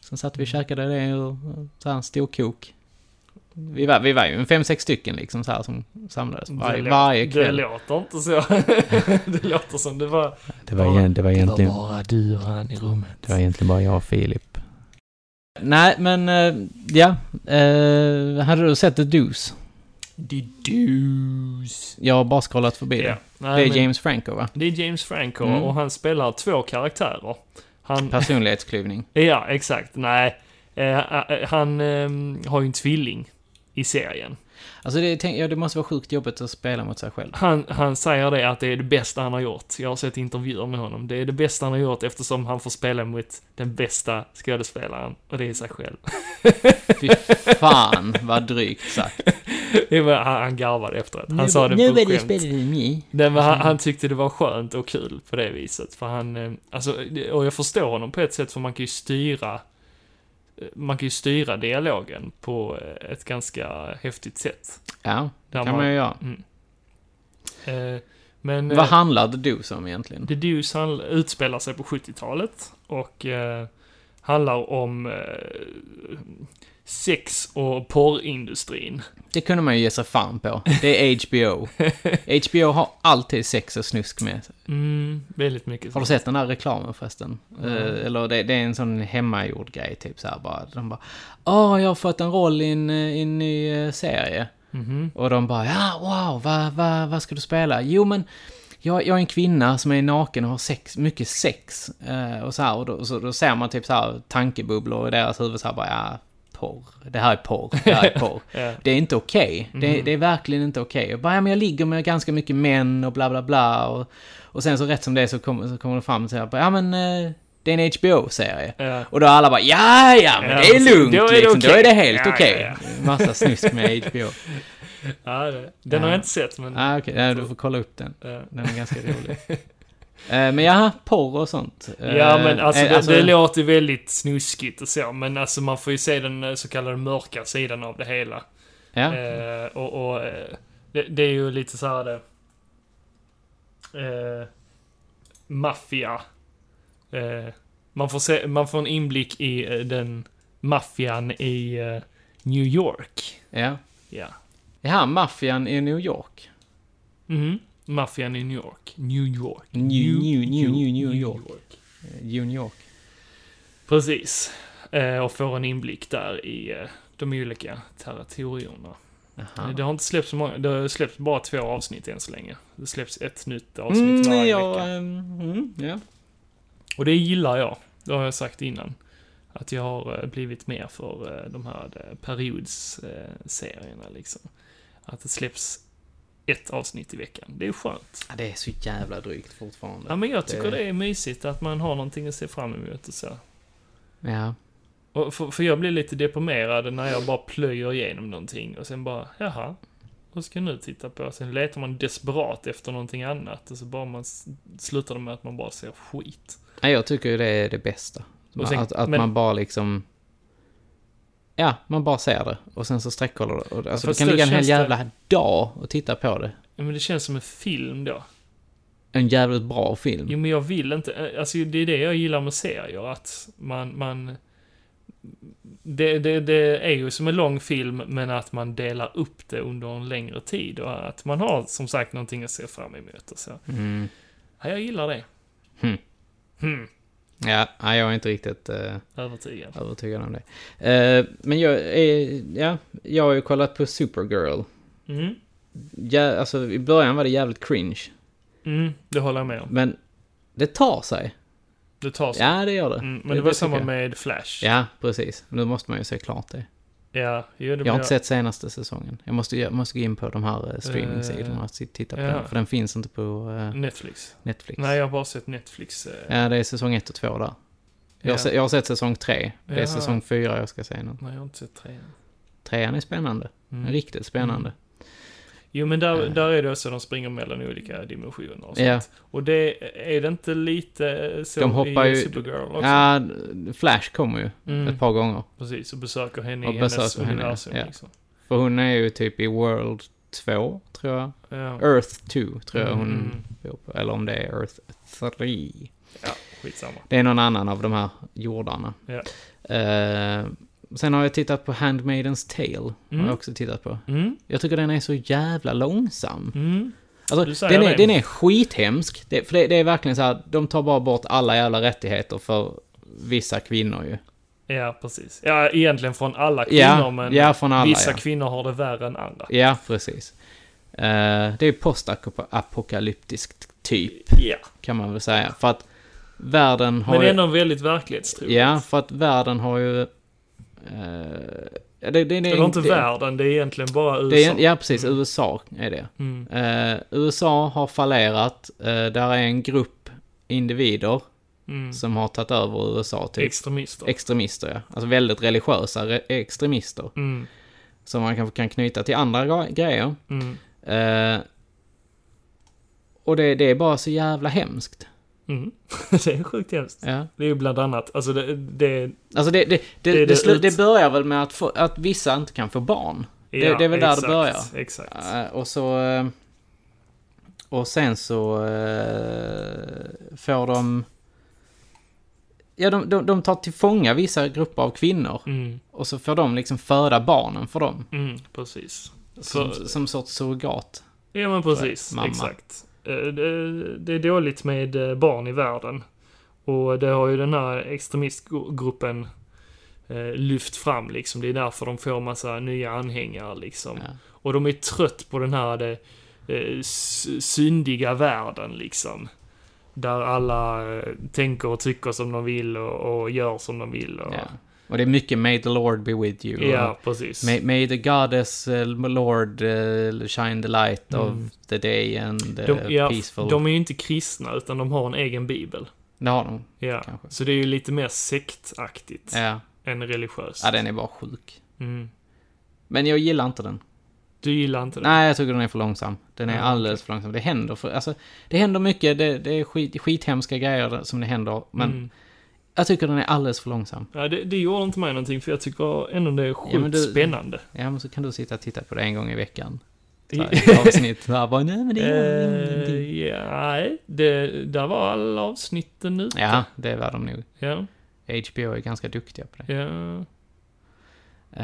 [SPEAKER 2] Sen satt vi och käkade det och, och så här en storkok. Vi var, vi var ju en fem, sex stycken liksom så här som samlades varje,
[SPEAKER 1] lå-
[SPEAKER 2] varje kväll.
[SPEAKER 1] Det låter inte så. det låter som det var...
[SPEAKER 2] Det
[SPEAKER 1] var egent-
[SPEAKER 2] det var
[SPEAKER 1] bara du och han i rummet.
[SPEAKER 2] Det var egentligen bara jag och Filip. Nej, men eh, ja. Eh, hade du sett The Deuce?
[SPEAKER 1] Didus.
[SPEAKER 2] Jag har bara scrollat förbi det.
[SPEAKER 1] Ja.
[SPEAKER 2] Det
[SPEAKER 1] Nej,
[SPEAKER 2] är
[SPEAKER 1] men
[SPEAKER 2] James Franco va?
[SPEAKER 1] det är James Franco
[SPEAKER 2] Mm.
[SPEAKER 1] och han spelar två karaktärer. Han,
[SPEAKER 2] Personlighetsklyvning.
[SPEAKER 1] ja, exakt. Nej. Eh, eh, han ehm, har ju en tvilling i serien.
[SPEAKER 2] Alltså det, är- tänk, ja, det måste vara sjukt jobbigt att spela mot sig själv.
[SPEAKER 1] Han, han säger det att det är det bästa han har gjort. Jag har sett intervjuer med honom. Det är det bästa han har gjort eftersom han får spela mot den bästa skådespelaren och det är sig själv.
[SPEAKER 2] Fy fan vad drygt sagt.
[SPEAKER 1] Det var- han, han garvade efterat. Han sa det på skämt.
[SPEAKER 2] än mig.
[SPEAKER 1] Nej, men han, han tyckte det var skönt och kul på det viset. För han, eh, alltså, det- och jag förstår honom på ett sätt för man kan ju styra eh, man kan ju styra dialogen på eh, ett ganska häftigt sätt.
[SPEAKER 2] Ja, det
[SPEAKER 1] Där
[SPEAKER 2] kan man ju göra.
[SPEAKER 1] eh, Men
[SPEAKER 2] Vad
[SPEAKER 1] eh,
[SPEAKER 2] handlar The Deuce om egentligen?
[SPEAKER 1] The Deuce han utspelar sig på 70-talet och eh, handlar om eh, sex och porrindustrin.
[SPEAKER 2] Det kunde man ju ge sig fan på. Det är HBO. HBO har alltid sex och snusk med.
[SPEAKER 1] Mm, väldigt mycket
[SPEAKER 2] Har du
[SPEAKER 1] så.
[SPEAKER 2] sett den här reklamen förresten? Eh, eller det, det är en sån hemmagjord grej typ så här bara. De bara Åh, jag har fått en roll i en, eh, i en ny eh, serie.
[SPEAKER 1] Mhm.
[SPEAKER 2] Mm-hmm. Och de bara ja, wow, vad vad vad ska du spela? Jo men, jag, jag är en kvinna som är naken och har sex, mycket sex. Eh, och så här, och då, så, då ser man typ så här tankebubblor i deras huvud så här bara, ja, porr. Det här är porr, det här är porr.
[SPEAKER 1] Ja. Mm-hmm.
[SPEAKER 2] Det är inte okej. Det, det är verkligen inte okej. Och bara, ja, men jag ligger med ganska mycket män och bla bla bla. Och, och sen så rätt som det är så kommer så kommer det fram och säger, bara, ja men, eh, det är en HBO-serie.
[SPEAKER 1] Ja.
[SPEAKER 2] Och då alla bara, ja ja, men
[SPEAKER 1] Ja,
[SPEAKER 2] det är
[SPEAKER 1] precis.
[SPEAKER 2] lugnt
[SPEAKER 1] Då är det
[SPEAKER 2] liksom. Då
[SPEAKER 1] okej."
[SPEAKER 2] är det helt
[SPEAKER 1] Ja, ja,
[SPEAKER 2] okej.
[SPEAKER 1] ja.
[SPEAKER 2] Massa snusk med HBO.
[SPEAKER 1] Ja, det, den har jag inte sett, men...
[SPEAKER 2] Ah, okej. Ja, du får kolla upp den.
[SPEAKER 1] eh.
[SPEAKER 2] Den är ganska rolig. Eh, men jaha, porr och sånt. Eh,
[SPEAKER 1] Ja, men alltså,
[SPEAKER 2] eh,
[SPEAKER 1] det, det låter väldigt snuskigt och så, men alltså man får ju se den eh, så kallade mörka sidan av det hela.
[SPEAKER 2] Ja,
[SPEAKER 1] Eh, och och eh, det, det är ju lite så här det... Eh, maffia. Eh, man, får se, man får en inblick i eh, den maffian i eh, New York.
[SPEAKER 2] ja.
[SPEAKER 1] Ja.
[SPEAKER 2] Jaha, maffian i New York.
[SPEAKER 1] Mhm. Maffian i New York. New York.
[SPEAKER 2] New- New- New- New- New York. Eh, New York.
[SPEAKER 1] Precis. Eh, och får en inblick där i eh, de olika territorierna. Det har inte släppts så många, det har släppts bara två avsnitt än så länge. Det släpps ett nytt avsnitt
[SPEAKER 2] Mm,
[SPEAKER 1] varje
[SPEAKER 2] ja,
[SPEAKER 1] vecka.
[SPEAKER 2] ehm, mm, ja.
[SPEAKER 1] Och det gillar jag. Det har jag sagt innan. Att jag har eh, blivit mer för eh, de här eh, periodsserierna liksom. Att det släpps ett avsnitt i veckan. Det är skönt.
[SPEAKER 2] Ja, Det är så jävla drygt fortfarande.
[SPEAKER 1] Ja, men jag tycker
[SPEAKER 2] Det-
[SPEAKER 1] det är mysigt att man har någonting att se fram emot och så.
[SPEAKER 2] Ja.
[SPEAKER 1] Och för, för jag blir lite deprimerad när jag bara plöjer igenom någonting och sen bara, jaha, vad ska jag nu titta på? Sen letar man desperat efter någonting annat och så bara man s- slutar det med att man bara ser skit.
[SPEAKER 2] Nej, jag tycker ju det är det bästa.
[SPEAKER 1] Och sen-
[SPEAKER 2] att att
[SPEAKER 1] men-
[SPEAKER 2] man bara liksom... Ja, man bara ser det och sen så sträckkollar det. Och, alltså, du
[SPEAKER 1] Fast
[SPEAKER 2] kan
[SPEAKER 1] då
[SPEAKER 2] ligga en hel
[SPEAKER 1] känns det-
[SPEAKER 2] jävla dag och titta på det.
[SPEAKER 1] Ja, Men det känns som en film då.
[SPEAKER 2] En jävligt bra film.
[SPEAKER 1] Jo, men jag vill inte, eh, alltså det är det jag gillar med serier, att man, man det, det, det är ju som en lång film, men att man delar upp det under en längre tid och att man har som sagt någonting att se fram emot och så.
[SPEAKER 2] Mm.
[SPEAKER 1] Ja, jag gillar det.
[SPEAKER 2] Hmm.
[SPEAKER 1] Hmm.
[SPEAKER 2] Ja, nej, jag är inte riktigt eh,
[SPEAKER 1] Övertygad.
[SPEAKER 2] övertygad om det. Eh, men jag är... Ja, jag har ju kollat på Supergirl.
[SPEAKER 1] Mm.
[SPEAKER 2] Ja, alltså, I början var det jävligt cringe.
[SPEAKER 1] Mm, det håller jag med om.
[SPEAKER 2] Men det tar sig.
[SPEAKER 1] Det tar sig.
[SPEAKER 2] Ja, det gör det.
[SPEAKER 1] Mm, men det var
[SPEAKER 2] tycker
[SPEAKER 1] samma
[SPEAKER 2] jag.
[SPEAKER 1] med Flash.
[SPEAKER 2] Ja, precis. Nu måste man ju se klart det.
[SPEAKER 1] Ja, jo, det
[SPEAKER 2] Jag har
[SPEAKER 1] blir-
[SPEAKER 2] inte sett senaste säsongen. Jag måste, jag måste gå in på de här eh, streamingsidorna och se- titta på
[SPEAKER 1] ja.
[SPEAKER 2] den. För den finns inte på eh,
[SPEAKER 1] Netflix.
[SPEAKER 2] Netflix.
[SPEAKER 1] Nej, jag har bara sett Netflix. eh,
[SPEAKER 2] Ja, det är säsong ett och två där. Jag,
[SPEAKER 1] Ja.
[SPEAKER 2] har, se, jag har sett säsong tre. Det är
[SPEAKER 1] Ja.
[SPEAKER 2] säsong fyra jag ska se nu.
[SPEAKER 1] Nej, jag har inte sett trean.
[SPEAKER 2] Trean är spännande.
[SPEAKER 1] Mm.
[SPEAKER 2] Riktigt spännande.
[SPEAKER 1] Jo, men där,
[SPEAKER 2] Eh.
[SPEAKER 1] där är det också de springer mellan olika dimensioner och sånt.
[SPEAKER 2] Ja.
[SPEAKER 1] Och det, är det inte lite eh, så
[SPEAKER 2] De hoppar
[SPEAKER 1] i
[SPEAKER 2] ju-
[SPEAKER 1] Supergirl också?
[SPEAKER 2] Ja, Flash kommer ju
[SPEAKER 1] Mm.
[SPEAKER 2] ett par gånger.
[SPEAKER 1] Precis, och besöker henne i
[SPEAKER 2] Och
[SPEAKER 1] hennes
[SPEAKER 2] besöker henne,
[SPEAKER 1] universum
[SPEAKER 2] ja.
[SPEAKER 1] liksom.
[SPEAKER 2] För hon är ju typ i World 2, tror jag.
[SPEAKER 1] Ja.
[SPEAKER 2] Earth 2, tror jag hon
[SPEAKER 1] Mm.
[SPEAKER 2] bor på. Eller om det är Earth 3.
[SPEAKER 1] ja, skitsamma.
[SPEAKER 2] Det är någon annan av de här jordarna.
[SPEAKER 1] Ja.
[SPEAKER 2] Eh, sen har jag tittat på Handmaidens Tale. Har
[SPEAKER 1] Mm.
[SPEAKER 2] jag också tittat på.
[SPEAKER 1] Mm,
[SPEAKER 2] Jag tycker den är så jävla långsam.
[SPEAKER 1] mm. Du
[SPEAKER 2] Alltså,
[SPEAKER 1] säger
[SPEAKER 2] den
[SPEAKER 1] det.
[SPEAKER 2] är, den är skithemsk. Det, för det, det är verkligen så här, de tar bara bort alla jävla rättigheter för vissa kvinnor ju.
[SPEAKER 1] Ja, precis. Ja, egentligen från alla kvinnor,
[SPEAKER 2] Ja,
[SPEAKER 1] men
[SPEAKER 2] ja från alla
[SPEAKER 1] vissa
[SPEAKER 2] ja.
[SPEAKER 1] kvinnor har det värre än andra.
[SPEAKER 2] Ja, precis. Eh, det är postapokalyptiskt typ,
[SPEAKER 1] Ja.
[SPEAKER 2] kan man väl säga. För att världen har
[SPEAKER 1] Men
[SPEAKER 2] ju...
[SPEAKER 1] ändå väldigt verklighetstroget.
[SPEAKER 2] Ja, för att världen har ju... eh, ja, det, det, det,
[SPEAKER 1] Eller inte
[SPEAKER 2] det,
[SPEAKER 1] världen, det är egentligen bara USA.
[SPEAKER 2] Det är, ja, precis. USA är det.
[SPEAKER 1] Mm.
[SPEAKER 2] Eh, USA har fallerat. Eh, där är en grupp individer
[SPEAKER 1] Mm.
[SPEAKER 2] som har tagit över USA. Typ.
[SPEAKER 1] Extremister.
[SPEAKER 2] extremister, ja. Alltså väldigt religiösa re- extremister.
[SPEAKER 1] mm.
[SPEAKER 2] Som man kanske kan knyta till andra gra- grejer.
[SPEAKER 1] Mm.
[SPEAKER 2] Eh, och det, det är bara så jävla hemskt.
[SPEAKER 1] Mm. det är sjukt hemskt.
[SPEAKER 2] Ja.
[SPEAKER 1] Det är ju bland annat, alltså det, det
[SPEAKER 2] Alltså det, det, det,
[SPEAKER 1] Det
[SPEAKER 2] det,
[SPEAKER 1] är det
[SPEAKER 2] slu-
[SPEAKER 1] ut-
[SPEAKER 2] det börjar väl med att, få, att vissa inte kan få barn.
[SPEAKER 1] ja,
[SPEAKER 2] det är väl där det
[SPEAKER 1] exakt,
[SPEAKER 2] börjar.
[SPEAKER 1] Exakt.
[SPEAKER 2] Eh, och så... eh, och sen så eh, får de... Ja, de, de, de tar till fånga vissa grupper av kvinnor.
[SPEAKER 1] Mm.
[SPEAKER 2] Och så får de liksom föda barnen för dem.
[SPEAKER 1] Mm. Precis.
[SPEAKER 2] Som,
[SPEAKER 1] För-
[SPEAKER 2] som sorts surrogat.
[SPEAKER 1] Ja, men precis.
[SPEAKER 2] Mamma.
[SPEAKER 1] Exakt. Eh, det- Det är dåligt med eh, barn i världen. Och det har ju den här extremistgruppen eh, lyft fram liksom. Det är därför de får massa nya anhängare liksom.
[SPEAKER 2] Ja.
[SPEAKER 1] Och de är trött på den här det, eh, s- syndiga världen liksom. Där alla eh, tänker och tycker som de vill och, och gör som de vill. Och,
[SPEAKER 2] Ja. Och det är mycket May the Lord be with you.
[SPEAKER 1] Ja,
[SPEAKER 2] och
[SPEAKER 1] precis.
[SPEAKER 2] May, may the goddess eh, Lord eh, shine the light of the day and eh,
[SPEAKER 1] Mm. de, ja,
[SPEAKER 2] peaceful.
[SPEAKER 1] de är ju inte kristna utan de har en egen bibel.
[SPEAKER 2] Det har de.
[SPEAKER 1] Ja,
[SPEAKER 2] Kanske.
[SPEAKER 1] så det är ju lite mer sektaktigt
[SPEAKER 2] Ja.
[SPEAKER 1] än religiöst.
[SPEAKER 2] ja, den är bara sjuk.
[SPEAKER 1] mm.
[SPEAKER 2] Men jag gillar inte den.
[SPEAKER 1] Du gillar inte det?
[SPEAKER 2] Nej, jag tycker den är för långsam. Den är
[SPEAKER 1] Ja,
[SPEAKER 2] alldeles för långsam. Det händer för, alltså, det händer mycket. Det, det är skit, skithemska grejer som det händer. Men
[SPEAKER 1] Mm.
[SPEAKER 2] jag tycker den är alldeles för långsam.
[SPEAKER 1] Ja, det, det gjorde inte mig någonting för jag tycker ändå det är sjukt
[SPEAKER 2] Ja, men du-
[SPEAKER 1] spännande.
[SPEAKER 2] Ja, men så kan du sitta och titta på det en gång i veckan. Så
[SPEAKER 1] Ja,
[SPEAKER 2] här, ett avsnitt. Så här, bara, nej, men det gör ingenting.
[SPEAKER 1] Eh, nej, det, där var alla avsnitten ute.
[SPEAKER 2] Ja, det var de nog.
[SPEAKER 1] Ja,
[SPEAKER 2] HBO är ganska duktiga på det.
[SPEAKER 1] ja.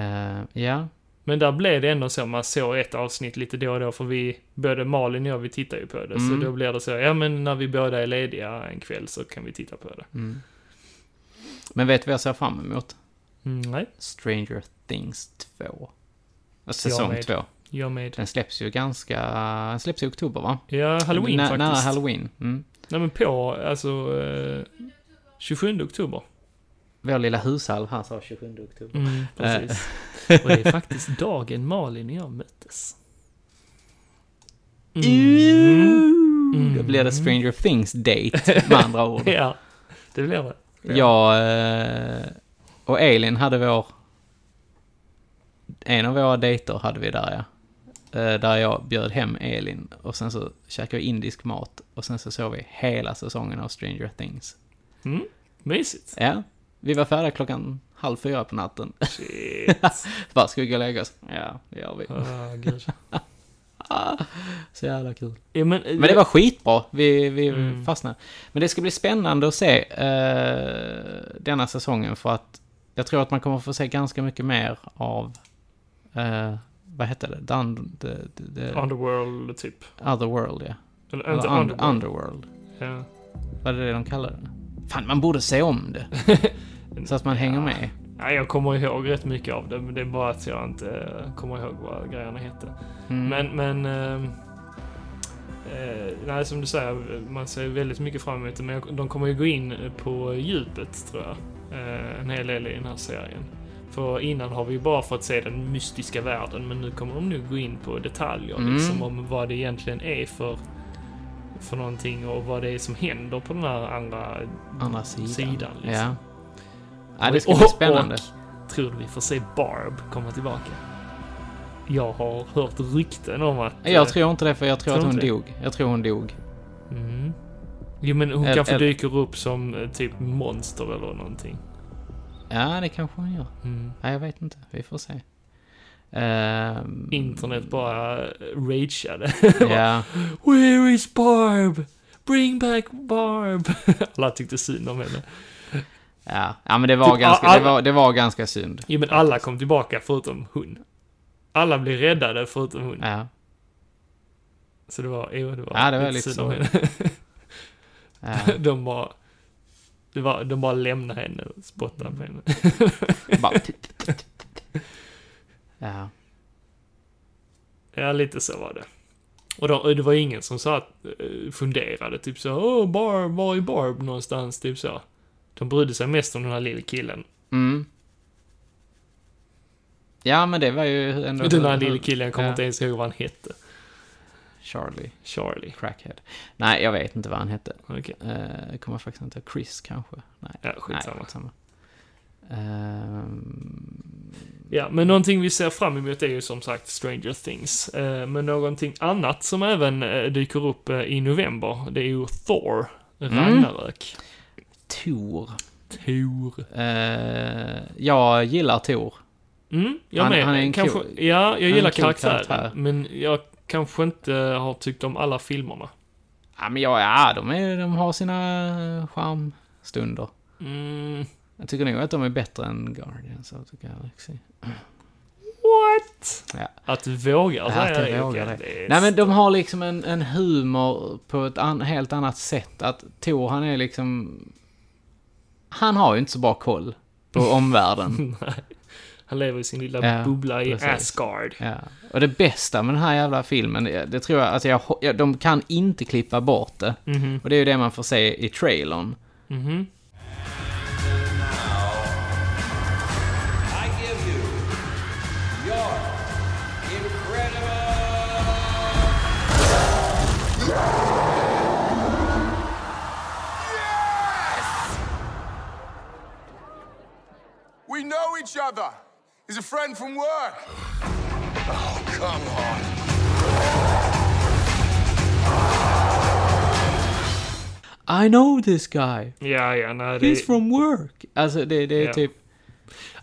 [SPEAKER 2] Eh, ja,
[SPEAKER 1] Men där blev det ändå så, man såg ett avsnitt lite då och då för vi, både Malin och jag, vi tittar ju på det.
[SPEAKER 2] Mm.
[SPEAKER 1] Så då blir det så, ja men när vi båda är lediga en kväll så kan vi titta på det.
[SPEAKER 2] Mm. men vet du vad jag ser fram emot?
[SPEAKER 1] Mm, nej,
[SPEAKER 2] Stranger Things 2.
[SPEAKER 1] Jag
[SPEAKER 2] Säsong
[SPEAKER 1] med.
[SPEAKER 2] 2.
[SPEAKER 1] Jag med.
[SPEAKER 2] Den släpps ju ganska... Den släpps i oktober, va?
[SPEAKER 1] Ja, halloween
[SPEAKER 2] Nä-
[SPEAKER 1] faktiskt.
[SPEAKER 2] Nära halloween. Mm.
[SPEAKER 1] Nej men på, alltså... Eh, 27 oktober.
[SPEAKER 2] Vår lilla hushall här sa 27 oktober.
[SPEAKER 1] Mm, precis. Och det är faktiskt dagen Malin och jag möttes.
[SPEAKER 2] Mm. Då blir det Stranger Things date, med andra ord.
[SPEAKER 1] Ja, det blir det.
[SPEAKER 2] Jag eh, och Elin hade vår... En av våra dejter hade vi där, ja. Eh, Där jag bjöd hem Elin och sen så käkade vi indisk mat och sen så såg vi hela säsongen av Stranger Things.
[SPEAKER 1] Mm, mysigt.
[SPEAKER 2] Ja, vi var färdiga klockan halv fyra på natten.
[SPEAKER 1] Shit.
[SPEAKER 2] Bara, ska vi gå och lägga oss? Ja, det gör vi.
[SPEAKER 1] Ah, gud.
[SPEAKER 2] Så jävla kul.
[SPEAKER 1] Ja, men, eh,
[SPEAKER 2] Men det var skitbra. Vi, vi
[SPEAKER 1] Mm.
[SPEAKER 2] fastnade. Men det ska bli spännande att se eh, denna säsongen för att jag tror att man kommer få se ganska mycket mer av, eh, vad hette det? The, un- the, the, the
[SPEAKER 1] Underworld, typ.
[SPEAKER 2] Otherworld, ja.
[SPEAKER 1] Eller
[SPEAKER 2] Eller
[SPEAKER 1] inte
[SPEAKER 2] un-
[SPEAKER 1] Underworld.
[SPEAKER 2] underworld.
[SPEAKER 1] Ja.
[SPEAKER 2] Vad är det de kallar det? Fan, man borde se om det. så att man hänger med.
[SPEAKER 1] Nej, jag kommer ihåg rätt mycket av det, men det är bara att jag inte eh, kommer ihåg vad grejerna hette.
[SPEAKER 2] Mm.
[SPEAKER 1] Men, men... ehm, eh, nej, som du säger, man ser väldigt mycket fram emot det, men jag, de kommer ju gå in på djupet, tror jag. Eh, en hel del i den här serien. För innan har vi ju bara fått se den mystiska världen, men nu kommer de nog gå in på detaljer,
[SPEAKER 2] Mm.
[SPEAKER 1] liksom om vad det egentligen är för för någonting och vad det är som händer på den här andra
[SPEAKER 2] Andra sidan.
[SPEAKER 1] sidan, liksom.
[SPEAKER 2] Ja. ja, det ska
[SPEAKER 1] Och-
[SPEAKER 2] bli spännande.
[SPEAKER 1] Och tror du vi får se Barb komma tillbaka? Jag har hört rykten om att... eh,
[SPEAKER 2] Jag tror inte det, för jag tror,
[SPEAKER 1] Tror
[SPEAKER 2] att hon
[SPEAKER 1] inte det.
[SPEAKER 2] dog. Jag tror hon dog.
[SPEAKER 1] Mm. Jo, men hon
[SPEAKER 2] Eller-
[SPEAKER 1] kanske
[SPEAKER 2] eller-
[SPEAKER 1] dyker upp som eh, typ monster eller någonting.
[SPEAKER 2] Ja, det kanske hon gör.
[SPEAKER 1] Mm.
[SPEAKER 2] Nej, jag vet inte. Vi får se. Ehm,
[SPEAKER 1] Internet bara eh, rageade.
[SPEAKER 2] ja,
[SPEAKER 1] Where is Barb? Bring back Barb! alla tyckte synd om henne.
[SPEAKER 2] ja. ja, men det var,
[SPEAKER 1] Typ,
[SPEAKER 2] ganska,
[SPEAKER 1] all-
[SPEAKER 2] det, var, det var ganska synd.
[SPEAKER 1] Jo, men alla kom tillbaka förutom hon. Alla blev räddade förutom hon.
[SPEAKER 2] Ja,
[SPEAKER 1] Så det var, jo, det var,
[SPEAKER 2] Ja, det var lite
[SPEAKER 1] synd om
[SPEAKER 2] så.
[SPEAKER 1] henne.
[SPEAKER 2] ja.
[SPEAKER 1] De bara... Det var, de bara lämnade henne och
[SPEAKER 2] Mm.
[SPEAKER 1] spottade på henne.
[SPEAKER 2] Bara titt, titt, titt, titt. ja.
[SPEAKER 1] Ja, lite så var det. Och då, det var ingen som sa att, eh, funderade typ så, åh, Barb, var är Barb någonstans? Typ så. De brydde sig mest om den här lille killen.
[SPEAKER 2] Mm. ja, men det var ju ändå...
[SPEAKER 1] Den här lille killen, jag kommer
[SPEAKER 2] Ja.
[SPEAKER 1] inte ens ihåg vad han hette.
[SPEAKER 2] Charlie
[SPEAKER 1] Charlie.
[SPEAKER 2] Crackhead. Nej, jag vet inte vad han hette.
[SPEAKER 1] Okej.
[SPEAKER 2] Eh, jag kommer faktiskt inte ihåg. Chris kanske? Nej,
[SPEAKER 1] Ja, skitsamma.
[SPEAKER 2] Nej, skitsamma. Ehm,
[SPEAKER 1] Ja, men någonting vi ser fram emot är ju som sagt Stranger Things. Eh, Men någonting annat som även eh, dyker upp eh, i november, det är ju Thor,
[SPEAKER 2] Mm.
[SPEAKER 1] Ragnarök.
[SPEAKER 2] Tor.
[SPEAKER 1] Thor.
[SPEAKER 2] Eh, jag gillar Tor.
[SPEAKER 1] Mm, jag
[SPEAKER 2] Han-
[SPEAKER 1] med.
[SPEAKER 2] han är en
[SPEAKER 1] kanske,
[SPEAKER 2] cool-
[SPEAKER 1] ja, jag
[SPEAKER 2] en
[SPEAKER 1] gillar
[SPEAKER 2] cool
[SPEAKER 1] karaktären,
[SPEAKER 2] karaktär.
[SPEAKER 1] men jag kanske inte har tyckt om alla filmerna.
[SPEAKER 2] Ja, men ja, ja de, är, de har sina eh, charmstunder.
[SPEAKER 1] Mm,
[SPEAKER 2] Jag tycker nog att de är bättre än Guardians of the Galaxy.
[SPEAKER 1] what?
[SPEAKER 2] Ja.
[SPEAKER 1] Att våga
[SPEAKER 2] Ja,
[SPEAKER 1] säga
[SPEAKER 2] att jag
[SPEAKER 1] det,
[SPEAKER 2] vågar
[SPEAKER 1] okej,
[SPEAKER 2] det.
[SPEAKER 1] det är
[SPEAKER 2] Nej, men
[SPEAKER 1] st-
[SPEAKER 2] de har liksom en, en humor på ett an, helt annat sätt. Att Tor, han är liksom... Han har ju inte så bra koll på omvärlden.
[SPEAKER 1] Han lever i sin lilla
[SPEAKER 2] Ja,
[SPEAKER 1] bubbla i
[SPEAKER 2] precis.
[SPEAKER 1] Asgard.
[SPEAKER 2] Ja. Och det bästa med den här jävla filmen, det, det tror jag, alltså jag, ho- ja, de kan inte klippa bort det.
[SPEAKER 1] Mhm,
[SPEAKER 2] Och det är ju det man får se i trailern.
[SPEAKER 1] mhm.
[SPEAKER 5] I give you your incredible.
[SPEAKER 6] We know each other. He's a friend from work. Oh, come on.
[SPEAKER 2] I know this guy,
[SPEAKER 1] Ja, ja, nej, det,
[SPEAKER 2] he's from work. Alltså det, det är
[SPEAKER 1] Ja.
[SPEAKER 2] typ...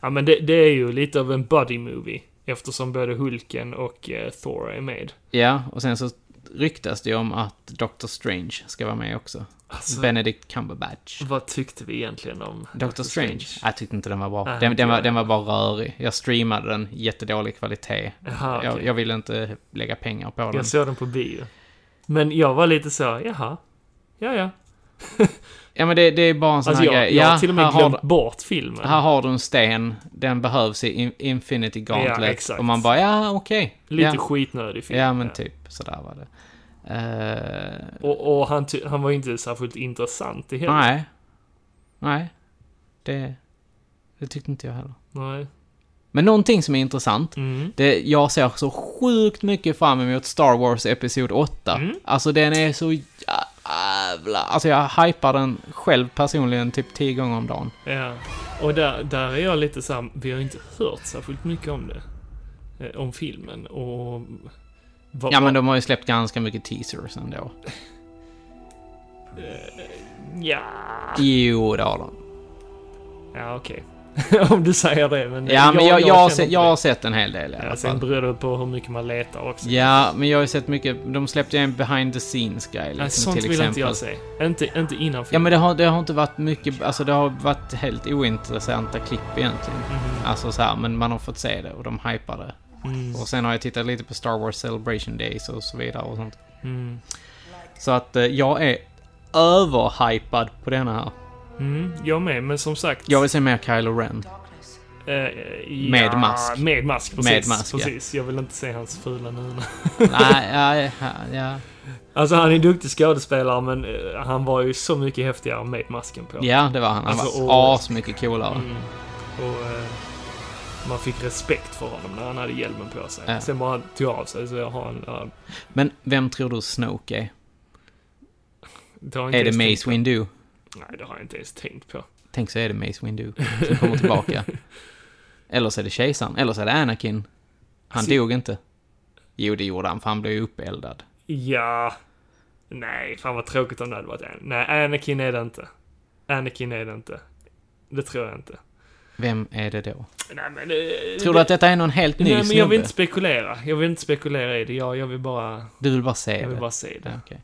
[SPEAKER 1] ja, men det, det är ju lite av en buddy movie. Eftersom både Hulken och eh, Thor är med.
[SPEAKER 2] Ja, och sen så ryktas det ju om att Doctor Strange ska vara med också.
[SPEAKER 1] Alltså-
[SPEAKER 2] Benedict Cumberbatch.
[SPEAKER 1] Vad tyckte vi egentligen om
[SPEAKER 2] Doctor Strange. Jag tyckte inte den var bra.
[SPEAKER 1] Nej,
[SPEAKER 2] den,
[SPEAKER 1] inte
[SPEAKER 2] den, var,
[SPEAKER 1] jag
[SPEAKER 2] den var bara rörig. Jag streamade den, jättedålig kvalitet.
[SPEAKER 1] Jaha,
[SPEAKER 2] jag,
[SPEAKER 1] okej.
[SPEAKER 2] jag ville inte lägga pengar på den.
[SPEAKER 1] Jag såg den på bio. Men jag var lite så, jaha. Ja, ja.
[SPEAKER 2] Ja men det, det är bara en sån
[SPEAKER 1] Alltså
[SPEAKER 2] här
[SPEAKER 1] jag,
[SPEAKER 2] grej.
[SPEAKER 1] jag
[SPEAKER 2] Ja,
[SPEAKER 1] har till och med
[SPEAKER 2] här, har,
[SPEAKER 1] glömt bort filmen.
[SPEAKER 2] här har du en sten. Den behövs i In- Infinity Gauntlet.
[SPEAKER 1] exakt.
[SPEAKER 2] Och man bara, ja okej.
[SPEAKER 1] Lite
[SPEAKER 2] ja.
[SPEAKER 1] skitnödig film.
[SPEAKER 2] Ja men typ, sådär var det. Eh,
[SPEAKER 1] Och, och han, ty- han var ju inte särskilt intressant i heller.
[SPEAKER 2] nej. Nej. Det, det tyckte inte jag heller.
[SPEAKER 1] Nej.
[SPEAKER 2] Men någonting som är intressant.
[SPEAKER 1] Mm.
[SPEAKER 2] Det, jag ser så sjukt mycket fram emot Star Wars Episod 8.
[SPEAKER 1] Mm.
[SPEAKER 2] Alltså den är så jävla... Alltså jag hypar den själv personligen typ 10 gånger om dagen.
[SPEAKER 1] Ja. Och där, där är jag lite såhär, vi har inte hört särskilt mycket om det. Eh, Om filmen och... Vad,
[SPEAKER 2] Ja men de har ju släppt ganska mycket teasers ändå.
[SPEAKER 1] Ja,
[SPEAKER 2] Jo, det har de.
[SPEAKER 1] ja okej. om du säger det, men... eh,
[SPEAKER 2] Ja men jag, jag, har
[SPEAKER 1] känner
[SPEAKER 2] se,
[SPEAKER 1] inte
[SPEAKER 2] jag
[SPEAKER 1] det. Alltså,
[SPEAKER 2] har sett en hel del i alla
[SPEAKER 1] Ja, sen
[SPEAKER 2] fall.
[SPEAKER 1] beror det på hur mycket man letar också.
[SPEAKER 2] Ja, men jag har ju sett mycket. De släppte ju en behind the scenes grej
[SPEAKER 1] Nej,
[SPEAKER 2] liksom,
[SPEAKER 1] sånt
[SPEAKER 2] till
[SPEAKER 1] vill inte
[SPEAKER 2] exempel.
[SPEAKER 1] jag se. Inte, inte innan
[SPEAKER 2] Ja
[SPEAKER 1] filmen.
[SPEAKER 2] men det har, det har inte varit mycket, alltså det har varit helt ointressanta klipp egentligen.
[SPEAKER 1] Mhm.
[SPEAKER 2] Alltså så här, men man har fått se det och de hypar det.
[SPEAKER 1] Mm.
[SPEAKER 2] Och sen har jag tittat lite på Star Wars Celebration Days och så vidare och sånt.
[SPEAKER 1] Mm.
[SPEAKER 2] Så att eh, jag är överhypad på denna här.
[SPEAKER 1] mm, jag med, men som sagt...
[SPEAKER 2] Jag vill se mer Kylo Ren.
[SPEAKER 1] eh, ja,
[SPEAKER 2] Med mask.
[SPEAKER 1] Med mask, precis.
[SPEAKER 2] Med mask, ja.
[SPEAKER 1] precis. Jag vill inte se hans fula nuna.
[SPEAKER 2] Nej, ja, ja, ja.
[SPEAKER 1] Alltså han är en duktig skådespelare men eh, han var ju så mycket häftigare med masken på.
[SPEAKER 2] ja, det var han. Han
[SPEAKER 1] Alltså, Mm.
[SPEAKER 2] var
[SPEAKER 1] och-
[SPEAKER 2] asmycket coolare.
[SPEAKER 1] Och, eh, man fick respekt för honom när han hade hjälmen på sig.
[SPEAKER 2] Ja.
[SPEAKER 1] Sen bara han tog av sig så jag har en... ja,
[SPEAKER 2] Men vem tror du Snoke är?
[SPEAKER 1] det har jag inte
[SPEAKER 2] Är det
[SPEAKER 1] ens tänkt
[SPEAKER 2] Mace Windu?
[SPEAKER 1] på. Nej, det har jag inte ens tänkt på.
[SPEAKER 2] Tänk så är det Mace Windu som kommer tillbaka. Eller så är det kejsaren, eller så är det Anakin. Han
[SPEAKER 1] Alltså-
[SPEAKER 2] dog inte. Jo, det gjorde han, för han blev ju uppeldad.
[SPEAKER 1] Ja... Nej, fan vad tråkigt om det hade varit An- Nej, Anakin är det inte. Anakin är det inte. Det tror jag inte.
[SPEAKER 2] Vem är det då?
[SPEAKER 1] Nej, men... eh,
[SPEAKER 2] Tror du att detta är någon helt ny
[SPEAKER 1] Nej, men
[SPEAKER 2] snubbe?
[SPEAKER 1] jag vill inte spekulera. Jag vill inte spekulera i det. Jag, jag vill bara...
[SPEAKER 2] Du vill bara se
[SPEAKER 1] Jag vill
[SPEAKER 2] det?
[SPEAKER 1] bara se
[SPEAKER 2] Ja,
[SPEAKER 1] det.
[SPEAKER 2] okej.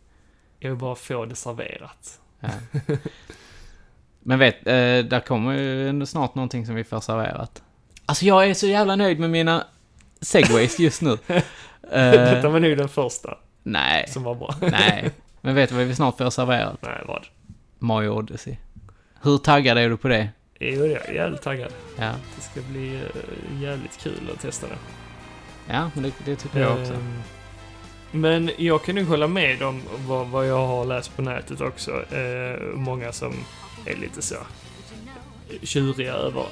[SPEAKER 1] Jag vill bara få det serverat.
[SPEAKER 2] Ja. Men vet, eh, där kommer ju ändå snart någonting som vi får serverat. Alltså jag är så jävla nöjd med mina segways just nu.
[SPEAKER 1] Detta
[SPEAKER 2] Eh,
[SPEAKER 1] var nog den första
[SPEAKER 2] nej,
[SPEAKER 1] som var bra.
[SPEAKER 2] nej. Men vet du vad vi snart får serverat?
[SPEAKER 1] Nej, vad?
[SPEAKER 2] Mario Odyssey. Hur taggad är du på det?
[SPEAKER 1] Jo, jag är jävligt taggad.
[SPEAKER 2] Ja.
[SPEAKER 1] Det ska bli eh, jävligt kul att testa det.
[SPEAKER 2] Ja, men det, det tycker jag också.
[SPEAKER 1] Ehm, Men jag kan nog hålla med om vad, vad jag har läst på nätet också. Eh, många som är lite så tjuriga över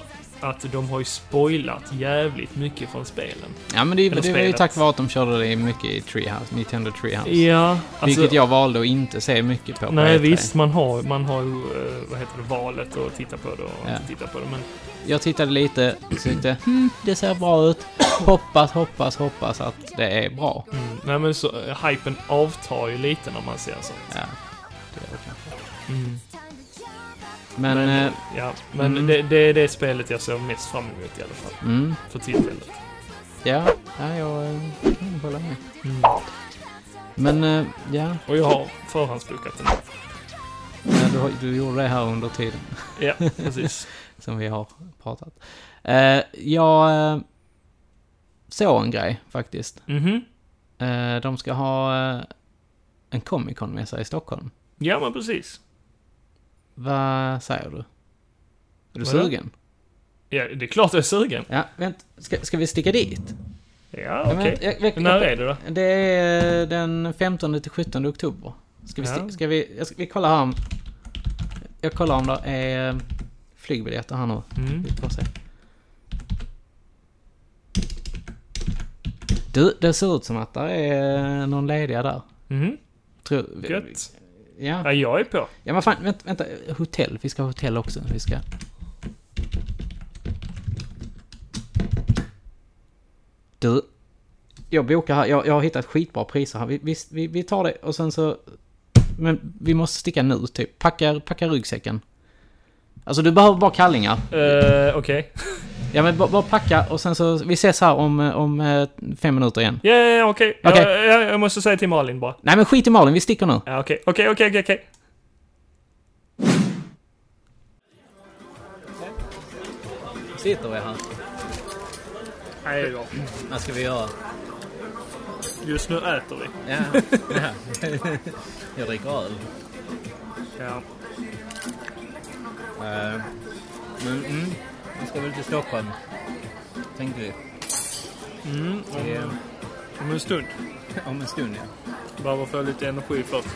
[SPEAKER 1] att de har ju spoilat jävligt mycket från spelen.
[SPEAKER 2] Ja, men det,
[SPEAKER 1] Eller
[SPEAKER 2] det var ju
[SPEAKER 1] spelet.
[SPEAKER 2] tack vare att de körde det mycket i Treehouse, Nintendo Treehouse.
[SPEAKER 1] Ja, alltså...
[SPEAKER 2] Vilket jag valde att inte se mycket på. på
[SPEAKER 1] Nej,
[SPEAKER 2] E3.
[SPEAKER 1] visst, man har, man har ju, eh, vad heter det, valet att titta på det och
[SPEAKER 2] Ja.
[SPEAKER 1] inte titta på det. Men
[SPEAKER 2] Jag tittade lite och tyckte, hmm, det ser bra ut. Hoppas, hoppas, hoppas att det är bra.
[SPEAKER 1] Mm, nej men så, eh, hypen avtar ju lite när man ser sånt.
[SPEAKER 2] Ja, det är det kanske.
[SPEAKER 1] Mm.
[SPEAKER 2] Men, eh,
[SPEAKER 1] ja, men
[SPEAKER 2] mm.
[SPEAKER 1] det, det är det spelet jag ser mest fram emot i alla fall.
[SPEAKER 2] mm,
[SPEAKER 1] För tillfället.
[SPEAKER 2] ja, ja, jag eh, kan hålla med.
[SPEAKER 1] Mm.
[SPEAKER 2] Men, eh, ja,
[SPEAKER 1] Och jag har förhandsbokat den.
[SPEAKER 2] ja, du, har- du gjorde det här under tiden.
[SPEAKER 1] Ja, precis.
[SPEAKER 2] som vi har pratat. Eh, jag eh, såg en grej faktiskt.
[SPEAKER 1] Mhm.
[SPEAKER 2] Eh, de ska ha eh, en Comic Con-mässa i Stockholm.
[SPEAKER 1] Ja, men precis.
[SPEAKER 2] Vad säger du? Är du
[SPEAKER 1] Vadå?
[SPEAKER 2] sugen?
[SPEAKER 1] Ja, det är klart jag är sugen.
[SPEAKER 2] Ja, vänt. Ska, ska vi sticka dit?
[SPEAKER 1] Ja,
[SPEAKER 2] Ja,
[SPEAKER 1] okej.
[SPEAKER 2] vänt, jag- jag-
[SPEAKER 1] När
[SPEAKER 2] jag-
[SPEAKER 1] är det då?
[SPEAKER 2] Det är eh, den 15 till 17 oktober. Ska vi,
[SPEAKER 1] Ja.
[SPEAKER 2] sti- ska vi, jag ska, vi kollar här om... Jag kollar om det är eh, flygbiljetter här nu.
[SPEAKER 1] Mm.
[SPEAKER 2] Vi får se. Du, det ser ut som att det är eh, någon lediga där.
[SPEAKER 1] Mhm.
[SPEAKER 2] Tror,
[SPEAKER 1] Gött. Ja,
[SPEAKER 2] Ja.
[SPEAKER 1] jag är på.
[SPEAKER 2] ja, men fan, vänta, vänta. Hotell. Vi ska ha hotell också. Vi ska... Du. Jag bokar här. Jag, jag har hittat skitbra priser här. Vi, vi, vi, vi tar det och sen så... Men vi måste sticka nu, typ. Packa, packa ryggsäcken. Alltså, du behöver bara kallingar. Mm.
[SPEAKER 1] Eh, okej.
[SPEAKER 2] Ja men bara, bara packa och sen så, vi ses här om, eh, om eh, fem minuter igen.
[SPEAKER 1] Ja, ja, ja, okej. Jag-
[SPEAKER 2] Okej.
[SPEAKER 1] jag- Jag måste säga till Malin bara.
[SPEAKER 2] Nej men skit i Malin, vi sticker nu.
[SPEAKER 1] Ja, okej, okej, okej, okej, okej.
[SPEAKER 2] Sitter vi här?
[SPEAKER 1] Nej, det är bra.
[SPEAKER 2] Vad ska vi göra?
[SPEAKER 1] Just nu äter vi.
[SPEAKER 2] Ja. Jag dricker öl.
[SPEAKER 1] Ja.
[SPEAKER 2] Eh, men mm, vi ska väl till Stockholm, tänkte vi.
[SPEAKER 1] Mm, om,
[SPEAKER 2] Det är-
[SPEAKER 1] om en stund.
[SPEAKER 2] Om en stund, ja.
[SPEAKER 1] Behöver få lite energi först.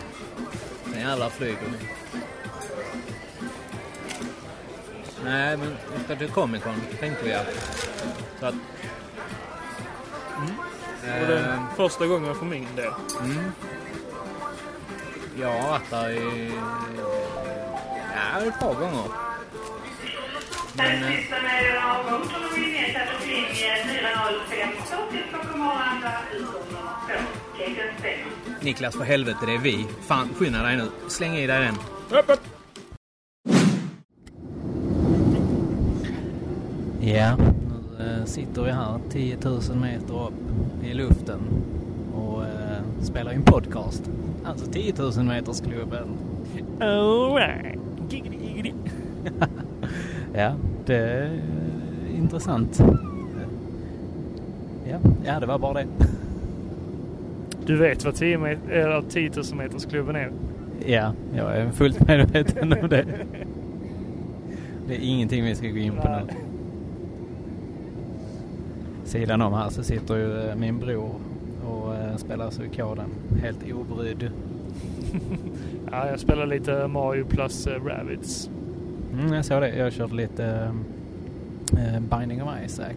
[SPEAKER 2] Sen jävlar flyger ni. Nej, men vi ska till Comic Con, tänkte vi ja. Så att...
[SPEAKER 1] Och det är
[SPEAKER 2] Eh,
[SPEAKER 1] första gången för min del.
[SPEAKER 2] jag har varit där i... Ja, ett par gånger. Men... eh,
[SPEAKER 7] Tidslistan är avgång från och med nedsatt linje 405 till Stockholm Arlanda utgång 2. Gate 5.
[SPEAKER 2] Niklas, för helvete, det är vi. Fan, skynda dig nu. Släng i dig den. Ja, nu eh, sitter vi här 10 000 meter upp i luften och eh, spelar in podcast. Alltså 10 000 metersklubben.
[SPEAKER 8] Alright. ja, det är intressant. Ja, ja, det var bara det.
[SPEAKER 1] Du vet vad 10, met- eller 10 000 metersklubben är?
[SPEAKER 8] Ja, jag är fullt medveten om det. Det är ingenting vi ska gå in på nu. Sidan om här så sitter ju eh, min bror och eh, spelar koden helt obrydd.
[SPEAKER 1] Ja, jag spelar lite Mario plus eh, Rabbids.
[SPEAKER 8] Mm, jag såg det. Jag körde lite eh, eh, Binding of Isaac.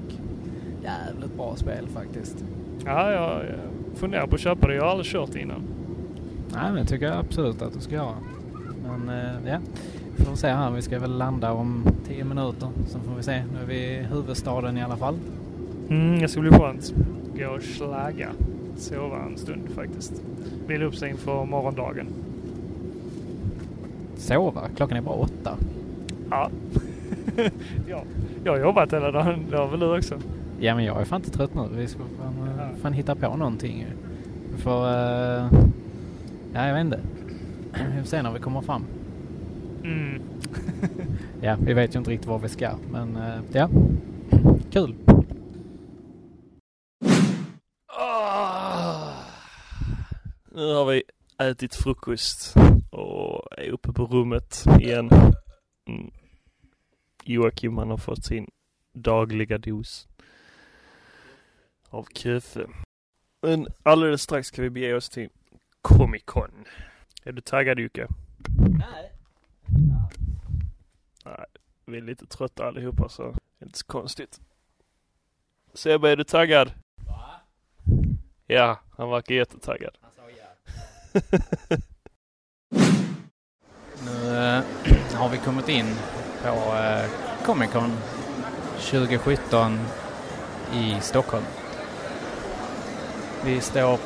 [SPEAKER 8] Jävligt bra spel faktiskt.
[SPEAKER 1] Ja, jag eh, funderar på att köpa det. Jag har aldrig kört det innan.
[SPEAKER 8] Nej, men det tycker jag absolut att du ska göra. Men eh, ja, vi får se här. Vi ska väl landa om 10 minuter. Sen får vi se. Nu är vi i huvudstaden i alla fall.
[SPEAKER 1] Mm, det ska bli skönt. Gå och slagga. Sova en stund faktiskt. Vila upp sig inför morgondagen.
[SPEAKER 8] Sova? Klockan är bara åtta.
[SPEAKER 1] Ja. ja. Jag har jobbat hela dagen. Det har väl du också?
[SPEAKER 8] Ja, men jag är fan inte trött nu. Vi ska fan, eh,
[SPEAKER 1] Ja.
[SPEAKER 8] fan hitta på någonting ju. Vi får... eh, ja, jag vet inte. Vi får se när vi kommer fram.
[SPEAKER 1] Mm.
[SPEAKER 8] Ja, vi vet ju inte riktigt var vi ska, men eh, ja. Kul!
[SPEAKER 9] Ah. Nu har vi ätit frukost och är uppe på rummet igen. Mm. Joakim han har fått sin dagliga dos av kaffe. Men alldeles strax ska vi bege oss till Comic Con. Är du taggad Jocke?
[SPEAKER 2] Nej.
[SPEAKER 9] Vi är lite trötta allihopa så det är inte så konstigt. Sebbe, är du taggad?
[SPEAKER 2] Va?
[SPEAKER 9] Ja, han verkar jättetaggad.
[SPEAKER 2] Han sa ja. Nu eh, har vi kommit in på eh, Comic Con 2017 i Stockholm. Vi står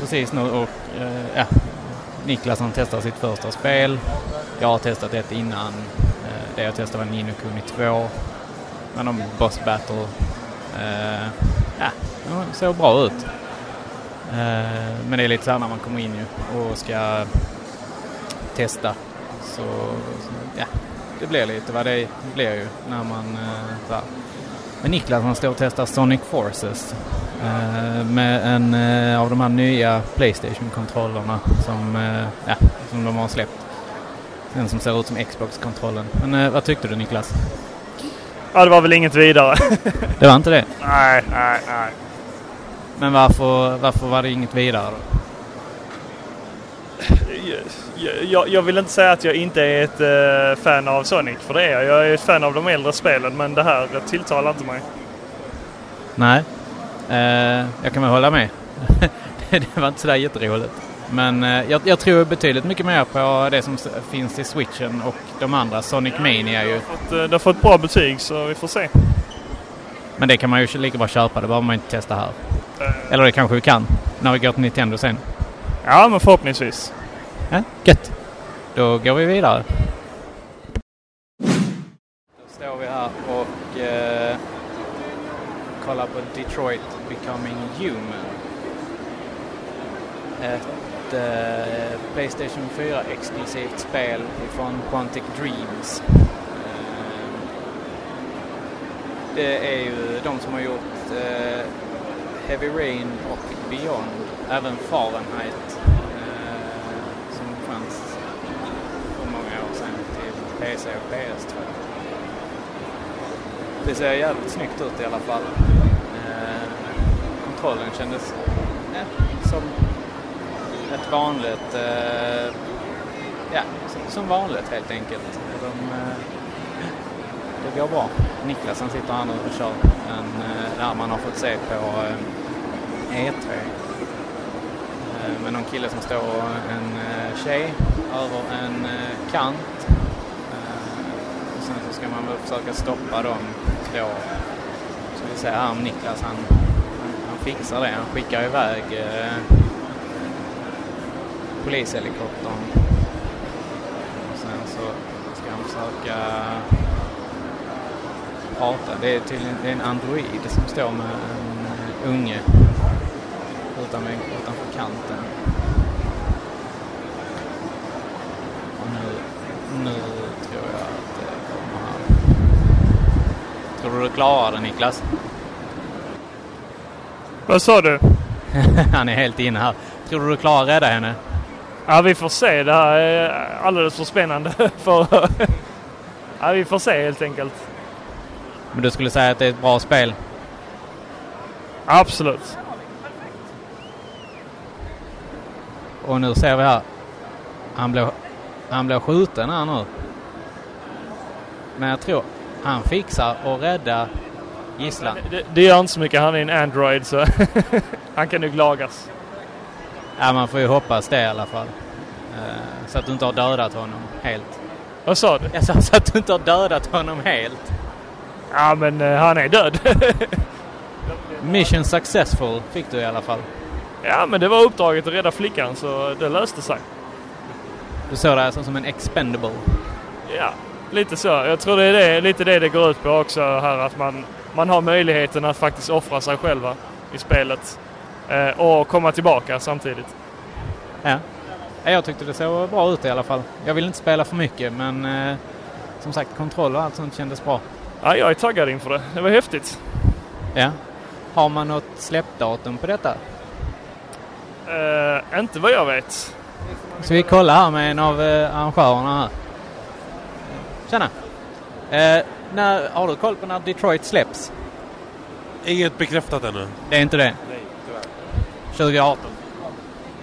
[SPEAKER 2] precis nu och eh, ja, Niklas han testar sitt första spel. Jag har testat ett innan. Eh, det jag testade var Nino Kuni 2. Men de Boss Battle. Eh, ja, de såg bra ut. Eh, Men det är lite så här när man kommer in ju och ska testa. Så ja, det blir lite vad det blir ju när man eh, så här. Men Niklas han står och testar Sonic Forces eh, med en eh, av de här nya Playstation-kontrollerna som, eh, ja, som de har släppt. Den som ser ut som Xbox-kontrollen. Men eh, vad tyckte du Niklas?
[SPEAKER 1] Ja, det var väl inget vidare.
[SPEAKER 2] Det var inte det.
[SPEAKER 1] nej, nej, nej.
[SPEAKER 2] Men varför, varför var det inget vidare då?
[SPEAKER 1] Jag- jag, jag vill inte säga att jag inte är ett eh, fan av Sonic, för det är jag. Jag är ett fan av de äldre spelen, men det här eh, tilltalar inte mig.
[SPEAKER 2] Nej, eh, jag kan väl hålla med. det det var inte sådär jätteroligt. Men eh, jag, jag tror betydligt mycket mer på det som s- finns i switchen och de andra. Sonic Mania ju.
[SPEAKER 1] Att, eh, det har fått bra betyg, så vi får se.
[SPEAKER 2] Men det kan man ju lika bra köpa. Det behöver man inte testa här. Eller det kanske vi kan. När vi går till Nintendo sen.
[SPEAKER 1] Ja, men förhoppningsvis.
[SPEAKER 2] Eh, gött! Då går vi vidare. Då står vi här och eh, kollar på Detroit Becoming Human. Ett eh, Playstation 4-exklusivt spel från Quantic Dreams. Eh, det är ju de som har gjort eh, Heavy Rain och Beyond. Även Fahrenheit eh, som fanns för många år sedan till PC och PS2. Det ser jävligt snyggt ut i alla fall. Eh, kontrollen kändes eh, som ett vanligt, eh, ja, som, som vanligt helt enkelt. De, eh, det går bra. Niklas han sitter här nu och kör en, eh, där man har fått se på eh, E3. Eh, Med någon kille som står och en eh, tjej över en eh, kant. Eh, Och sen så ska man väl försöka stoppa dem då. Så vi ser här om Niklas han, han fixar det. Han skickar iväg eh, polishelikoptern. Och sen så ska han försöka prata. Det är tydligen det är en android som står med en eh, unge utan, utanför kanten. Och nu, nu tror jag att det kommer här. Tror du du klarar det Niklas?
[SPEAKER 1] Vad sa du?
[SPEAKER 2] Han är helt inne här. Tror du du klarar att rädda henne?
[SPEAKER 1] Ja, vi får se. Det här är alldeles för spännande för... Ja, vi får se helt enkelt.
[SPEAKER 2] Men du skulle säga att det är ett bra spel?
[SPEAKER 1] Absolut.
[SPEAKER 2] Och nu ser vi här. Han blev, han blev skjuten här nu. Men jag tror han fixar att rädda gisslan.
[SPEAKER 1] Det, det gör inte så mycket. Han är en Android så han kan nog lagas.
[SPEAKER 2] Ja, man får ju hoppas det i alla fall. Eh, Så att du inte har dödat honom helt.
[SPEAKER 1] Vad sa du?
[SPEAKER 2] Jag sa så att du inte har dödat honom helt.
[SPEAKER 1] Ja, men eh, han är död.
[SPEAKER 2] Mission successful fick du i alla fall.
[SPEAKER 1] ja, men det var uppdraget att rädda flickan så det löste sig.
[SPEAKER 2] Du såg det här som som en expendable.
[SPEAKER 1] Ja, lite så. Jag tror det är det, lite det det går ut på också här. Att man, man har möjligheten att faktiskt offra sig själva i spelet. Eh, och komma tillbaka samtidigt.
[SPEAKER 2] Ja. Ja, Jag tyckte det såg bra ut i alla fall. Jag vill inte spela för mycket men eh, som sagt kontroll och allt sånt kändes bra.
[SPEAKER 1] Ja, jag är taggad inför det. Det var häftigt.
[SPEAKER 2] Ja. Har man något släppdatum på detta?
[SPEAKER 1] Eh, inte vad jag vet.
[SPEAKER 2] Så vi kollar här med en av eh, arrangörerna här. Tjena! Eh, när, har du koll på när Detroit släpps?
[SPEAKER 4] Inget bekräftat ännu.
[SPEAKER 2] Det är inte det? Nej, tyvärr. 2018?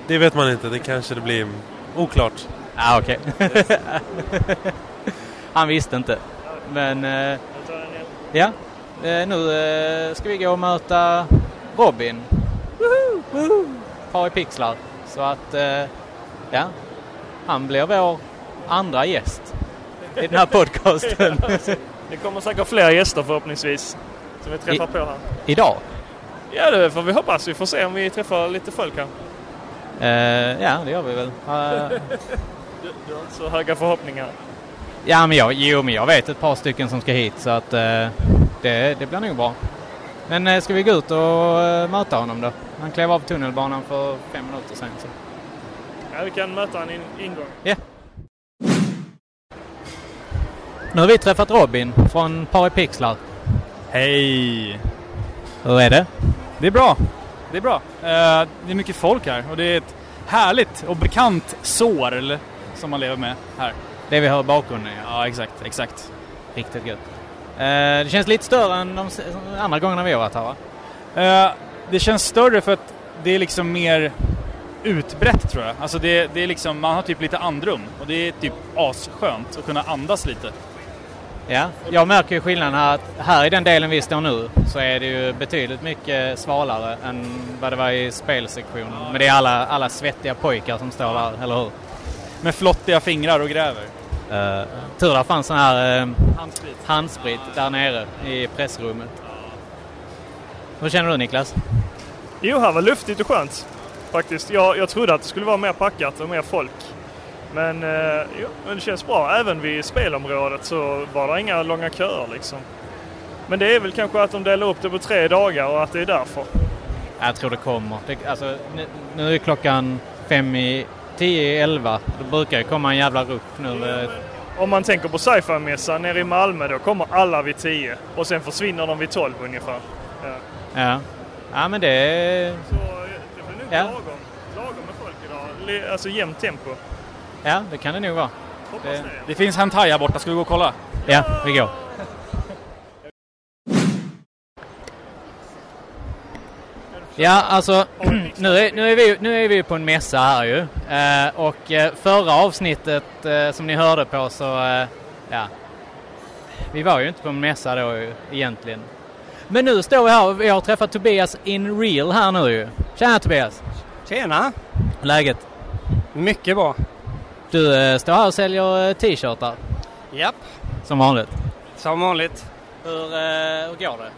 [SPEAKER 4] Det vet man inte. Det kanske det blir oklart.
[SPEAKER 2] Ja, Ah, okej. Han visste inte. Men... Eh, ja. Eh, nu eh, ska vi gå och möta Robin. Woho! Woho! Par i pixlar. Så att... Eh, ja. Han blir vår andra gäst i den här podcasten.
[SPEAKER 1] Det kommer säkert fler gäster förhoppningsvis. Som vi träffar
[SPEAKER 2] I-
[SPEAKER 1] på här.
[SPEAKER 2] Idag.
[SPEAKER 1] Ja, det får vi hoppas. Vi får se om vi träffar lite folk här.
[SPEAKER 2] Eh, ja, det gör vi väl. Eh,
[SPEAKER 1] Du, du har inte så höga förhoppningar.
[SPEAKER 2] ja, men jag, jo, men jag vet ett par stycken som ska hit så att eh, det, det blir nog bra. Men eh, ska vi gå ut och eh, möta honom då? Han klev av tunnelbanan för fem minuter sen. Så.
[SPEAKER 1] Ja, vi kan möta en in, ingång.
[SPEAKER 2] Ja. Nu har vi träffat Robin från Pari Pixlar.
[SPEAKER 10] Hej!
[SPEAKER 2] Hur är det?
[SPEAKER 10] Det är bra. Det är bra. Eh, det är mycket folk här och det är ett härligt och bekant sorl som man lever med här.
[SPEAKER 2] Det vi hör i bakgrunden ja.
[SPEAKER 10] Ja, exakt, exakt.
[SPEAKER 2] Riktigt gött. Eh, det känns lite större än de s- andra gångerna vi har varit här va?
[SPEAKER 10] Eh, det känns större för att det är liksom mer utbrett tror jag. Alltså det, det är liksom, man har typ lite andrum och det är typ asskönt att kunna andas lite.
[SPEAKER 2] Ja, jag märker ju skillnaden här att här i den delen vi står nu så är det ju betydligt mycket svalare än vad det var i spelsektionen. Men det är alla, alla svettiga pojkar som står där, eller hur?
[SPEAKER 10] Med flottiga fingrar och gräver.
[SPEAKER 2] Uh, tur där fanns sån här eh,
[SPEAKER 10] Handsprit.
[SPEAKER 2] handsprit där nere i pressrummet. Hur känner du Niklas?
[SPEAKER 1] Jo, här var luftigt och skönt faktiskt. Jag, jag trodde att det skulle vara mer packat och mer folk. Men, eh, jo, men det känns bra. Även vid spelområdet så var det inga långa köer liksom. Men det är väl kanske att de delar upp det på tre dagar och att det är därför.
[SPEAKER 2] Jag tror det kommer. Det, alltså, nu, nu är klockan fem i tio, i elva. Det brukar ju komma en jävla ruck nu. eh,
[SPEAKER 1] Om man tänker på sci-fi-mässan nere i Malmö, då kommer alla vid 10 och sen försvinner de vid 12 ungefär. Ja.
[SPEAKER 2] Ja, ja men det är...
[SPEAKER 1] Det är lagom, lagom med folk idag. Le- Alltså jämnt tempo.
[SPEAKER 2] Ja, det kan det nog vara.
[SPEAKER 11] Det, det finns Hentai här borta, ska vi gå och kolla?
[SPEAKER 2] Ja, vi går. Ja, alltså nu är, nu, är vi, nu är vi på en mässa här ju. Eh, och eh, förra avsnittet eh, som ni hörde på så, eh, ja. Vi var ju inte på en mässa då ju, egentligen. Men nu står vi här och vi har träffat Tobias in real här nu ju. Tjena Tobias!
[SPEAKER 7] Tjena!
[SPEAKER 2] Läget?
[SPEAKER 7] Mycket bra.
[SPEAKER 2] Du eh, står här och säljer eh, t-shirtar
[SPEAKER 7] Japp,
[SPEAKER 2] som vanligt.
[SPEAKER 7] som vanligt.
[SPEAKER 2] Hur, eh, hur går det?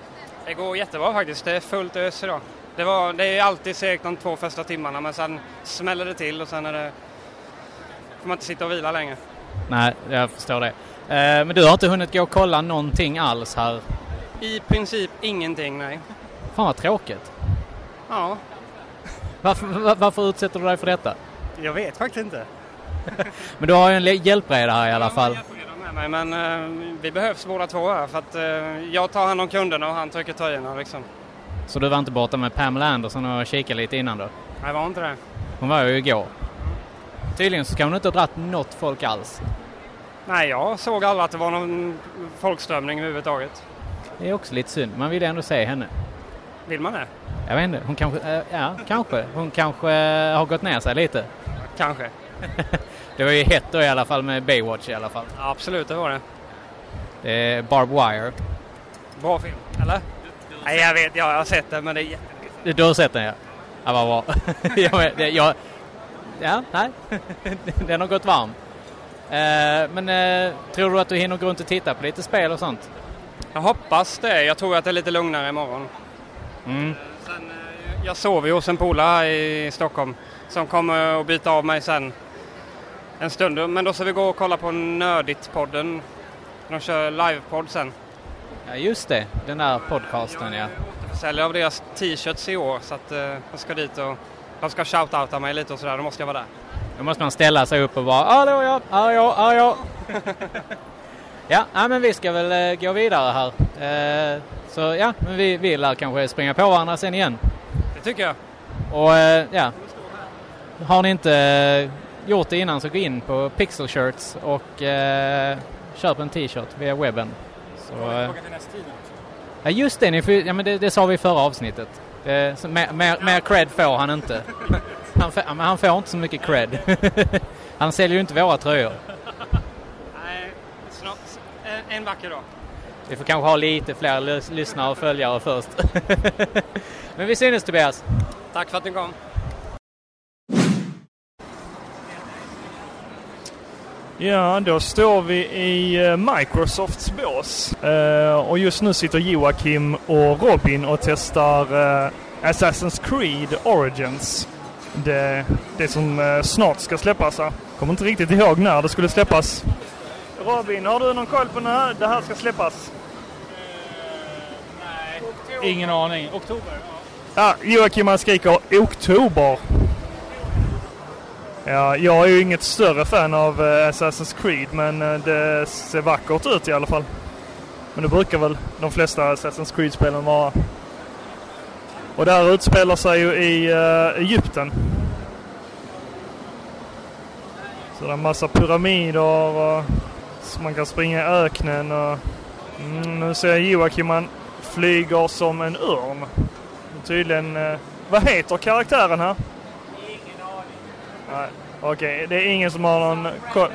[SPEAKER 7] Det går jättebra faktiskt. Det är fullt ös idag. Det, var, det är ju alltid segt de två första timmarna men sen smäller det till och sen är det, får man inte sitta och vila länge.
[SPEAKER 2] Nej, jag förstår det. Eh, men du har inte hunnit gå och kolla någonting alls här.
[SPEAKER 7] I princip ingenting, nej.
[SPEAKER 2] Fan vad tråkigt.
[SPEAKER 7] Ja,
[SPEAKER 2] Varför, var, varför utsätter du dig för detta?
[SPEAKER 7] jag vet faktiskt inte.
[SPEAKER 2] Men du har ju en le- hjälpreda här i alla fall.
[SPEAKER 7] Med mig, men eh, vi behövs båda två här för att eh, jag tar hand om kunderna och han trycker tröjorna liksom.
[SPEAKER 2] Så du var inte borta med Pamela Anderson och kikade lite innan då?
[SPEAKER 7] Nej, var inte det.
[SPEAKER 2] Hon var ju igår. Tydligen så kan hon inte ha dragit något folk alls.
[SPEAKER 7] Nej, jag såg aldrig att det var någon folkströmning överhuvudtaget.
[SPEAKER 2] Det är också lite synd. Man vill ändå se henne.
[SPEAKER 7] Vill man det?
[SPEAKER 2] Jag vet inte, hon kanske, eh, ja, kanske. Hon kanske eh, har gått ner sig lite.
[SPEAKER 7] Kanske.
[SPEAKER 2] Det var ju hett då i alla fall med Baywatch i alla fall.
[SPEAKER 7] Absolut, det var det.
[SPEAKER 2] Det är Barb Wire.
[SPEAKER 7] Bra film, eller? Nej, jag vet, ja, jag har sett den men det är jätte-
[SPEAKER 2] Du, du har sett den ja? Ja, vad bra. jag, vet, det- jag, ja, nej. den har gått varm. Eh, men eh, tror du att du hinner gå runt och titta på lite spel och sånt?
[SPEAKER 7] Jag hoppas det. Jag tror att det är lite lugnare imorgon.
[SPEAKER 2] Mm.
[SPEAKER 7] Sen, eh, jag sover ju hos en polare i Stockholm som kommer att byta av mig sen en stund. Men då ska vi gå och kolla på Nördigt-podden. De kör livepodd sen.
[SPEAKER 2] Ja, just det. Den där podcasten ja.
[SPEAKER 7] Säljer av deras t-shirts i år så att eh, jag ska dit och de ska shoutouta mig lite och sådär. Då måste jag vara där.
[SPEAKER 2] Då måste man ställa sig upp och bara Hallå ja, här är jag, här är jag. ja, nej, men vi ska väl eh, gå vidare här. Eh, så ja, men vi, vi lär kanske springa på varandra sen igen.
[SPEAKER 7] Det tycker jag.
[SPEAKER 2] Och eh, ja, har ni inte eh, gjort det innan så gå in på Pixel Shirts och eh, köp en t-shirt via webben. Så, eh, ja just det, ni får, ju- ja, men det, det sa vi i förra avsnittet. Eh, så mer, mer, mer cred får han inte. Han, får- ja, men han får inte så mycket cred. han säljer ju inte våra tröjor.
[SPEAKER 7] Nej, snart. Eh, En, en vacker dag.
[SPEAKER 2] Vi får kanske ha lite fler lys- lyssnare och följare först. men vi syns Tobias.
[SPEAKER 7] Tack för att ni kom.
[SPEAKER 1] Ja, då står vi i eh, Microsofts bås. Eh, och just nu sitter Joakim och Robin och testar eh, Assassin's Creed Origins. Det, det som eh, snart ska släppas här. Kommer inte riktigt ihåg när det skulle släppas. Robin, har du någon koll på när det här ska släppas?
[SPEAKER 11] Ingen aning. Oktober?
[SPEAKER 1] Ja, Joakim han skriker oktober. Ja, jag är ju inget större fan av eh, Assassin's Creed men eh, det ser vackert ut i alla fall. Men det brukar väl de flesta Assassin's Creed-spelen vara. Och det här utspelar sig ju i eh, Egypten. Så det är en massa pyramider och så man kan springa i öknen och... Mm, nu ser jag Joakim han flyger som en örn. Tydligen... Eh, vad heter karaktären här? Nej, Okej, det är ingen som har någon... ko-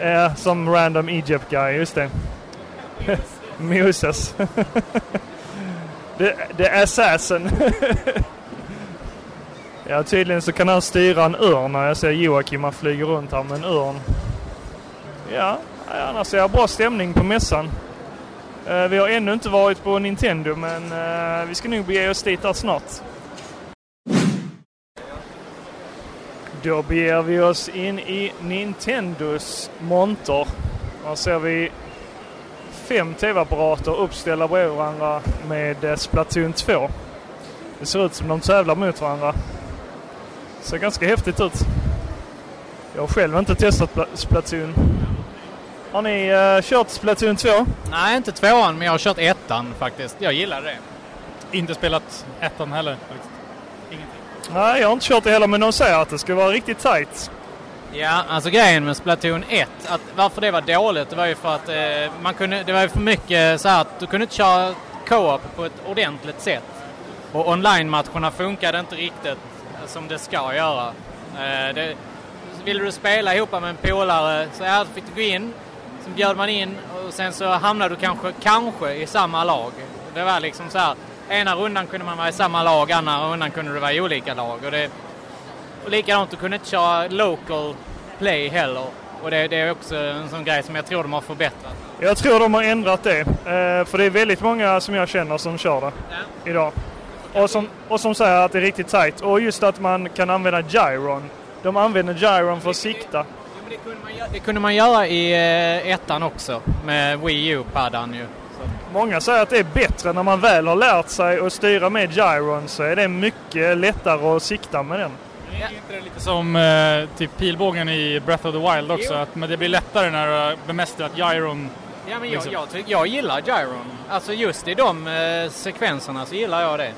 [SPEAKER 1] Eh, som random Egypt guy, just det. Moses. the, the assassin. ja, tydligen så kan han styra en örn. när Jag ser Joakim, han flyger runt här med en örn. Ja, annars är jag bra stämning på mässan. Eh, vi har ännu inte varit på Nintendo, men eh, vi ska nog bege oss dit där snart. Då beger vi oss in i Nintendos monter. Här ser vi fem TV-apparater uppställda bredvid varandra med eh, Splatoon 2. Det ser ut som de tävlar mot varandra. Ser ganska häftigt ut. Jag har själv inte testat Pla- Splatoon. Har ni eh, kört Splatoon 2?
[SPEAKER 12] Nej, inte tvåan, men jag har kört ettan faktiskt. Jag gillar det. Inte spelat ettan heller.
[SPEAKER 1] Nej, jag har inte kört det heller, men de säger att det ska vara riktigt tight.
[SPEAKER 2] Ja, alltså grejen med Splatoon 1, att varför det var dåligt, det var ju för att eh, man kunde, det var ju för mycket så här att du kunde inte köra co-op på ett ordentligt sätt. Och online-matcherna funkade inte riktigt som det ska göra. Eh, det, ville du spela ihop med en polare så här fick du gå in, sen bjöd man in och sen så hamnade du kanske, kanske i samma lag. Det var liksom så här, ena rundan kunde man vara i samma lag, andra rundan kunde du vara i olika lag. Och det, och likadant, du kunde inte köra local play heller. Och det, det är också en sån grej som jag tror de har förbättrat.
[SPEAKER 1] Jag tror de har ändrat det. Eh, för det är väldigt många som jag känner som kör det idag. Och som, och som säger att det är riktigt tight. Och just att man kan använda gyron. De använder gyron för att sikta.
[SPEAKER 2] Det kunde man göra i eh, ettan också, med Wii U-paddan ju.
[SPEAKER 1] Många säger att det är bättre när man väl har lärt sig att styra med gyron så är det mycket lättare att sikta med den.
[SPEAKER 13] Lite som eh, typ pilbågen i Breath of the Wild också, att, men det blir lättare när du har bemästrat gyron.
[SPEAKER 2] Ja, men jag,
[SPEAKER 13] liksom.
[SPEAKER 2] jag, tyck, jag gillar gyron. Alltså just i de eh, sekvenserna så gillar jag det.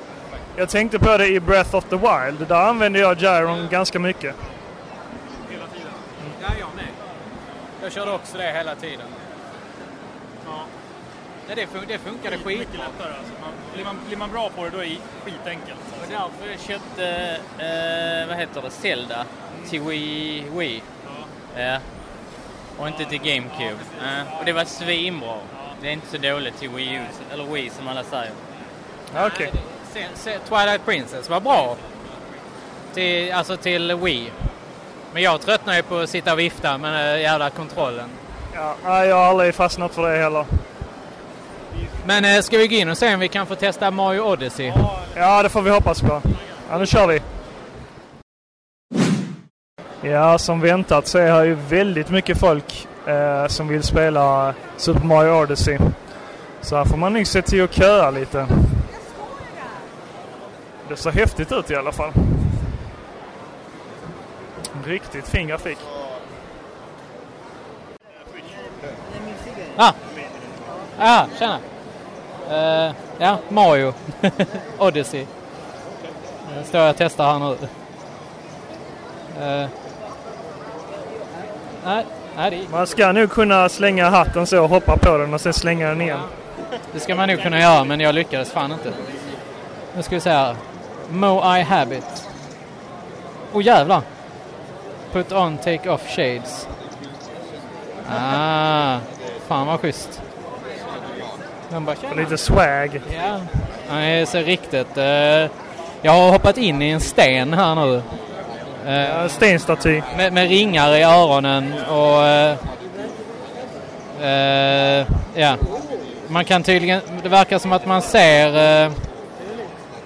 [SPEAKER 1] Jag tänkte på det i Breath of the Wild. Där använder jag gyron ganska mycket.
[SPEAKER 14] Mm.
[SPEAKER 2] Ja, jag med. Jag körde också det hela tiden. Ja. Nej, det, fun- det funkade skit.
[SPEAKER 13] Mycket lättare alltså. man, blir, man, blir man bra på det då är det skitenkelt. alltså.
[SPEAKER 14] Och därför jag köpte, eh, vad heter det, Zelda till Wii. Wii. Ja. Och inte till GameCube. Ja. Och det var svinbra. Det är inte så dåligt till Wii U, eller Wii som alla säger.
[SPEAKER 1] Okej.
[SPEAKER 2] Sen, sen, Twilight Princess var bra. Till, alltså till Wii. Men jag tröttnar ju på att sitta och vifta med den jävla kontrollen.
[SPEAKER 1] Ja, nej, jag har aldrig fastnat för det heller.
[SPEAKER 2] Men eh, ska vi gå in och se om vi kan få testa Mario Odyssey?
[SPEAKER 1] Ja, det får vi hoppas på. Ja, nu kör vi. Ja, som väntat så är här ju väldigt mycket folk eh, som vill spela Super Mario Odyssey. Så här får man nog se till att köa lite. Det ser häftigt ut i alla fall. Riktigt fin grafik.
[SPEAKER 2] Ah! Ah, tjena! Eh, ja, Mario Odyssey. Eh, Står jag och testar här nu. Eh, nej, nej, det
[SPEAKER 1] Man ska nog kunna slänga hatten så och hoppa på den och sen slänga den igen.
[SPEAKER 2] Det ska man nog kunna göra, men jag lyckades fan inte. Nu ska vi se här. Mo I Habit. Åh jävlar! Put on take off shades. Ah, fan vad schysst. Man bara,
[SPEAKER 1] Och lite swag.
[SPEAKER 2] Ja. Nej, så riktigt. eh, Jag har hoppat in i en sten här nu.
[SPEAKER 1] En stenstaty.
[SPEAKER 2] Med, med ringar i öronen och... eh, eh, ja. Man kan tydligen... Det verkar som att man ser... eh,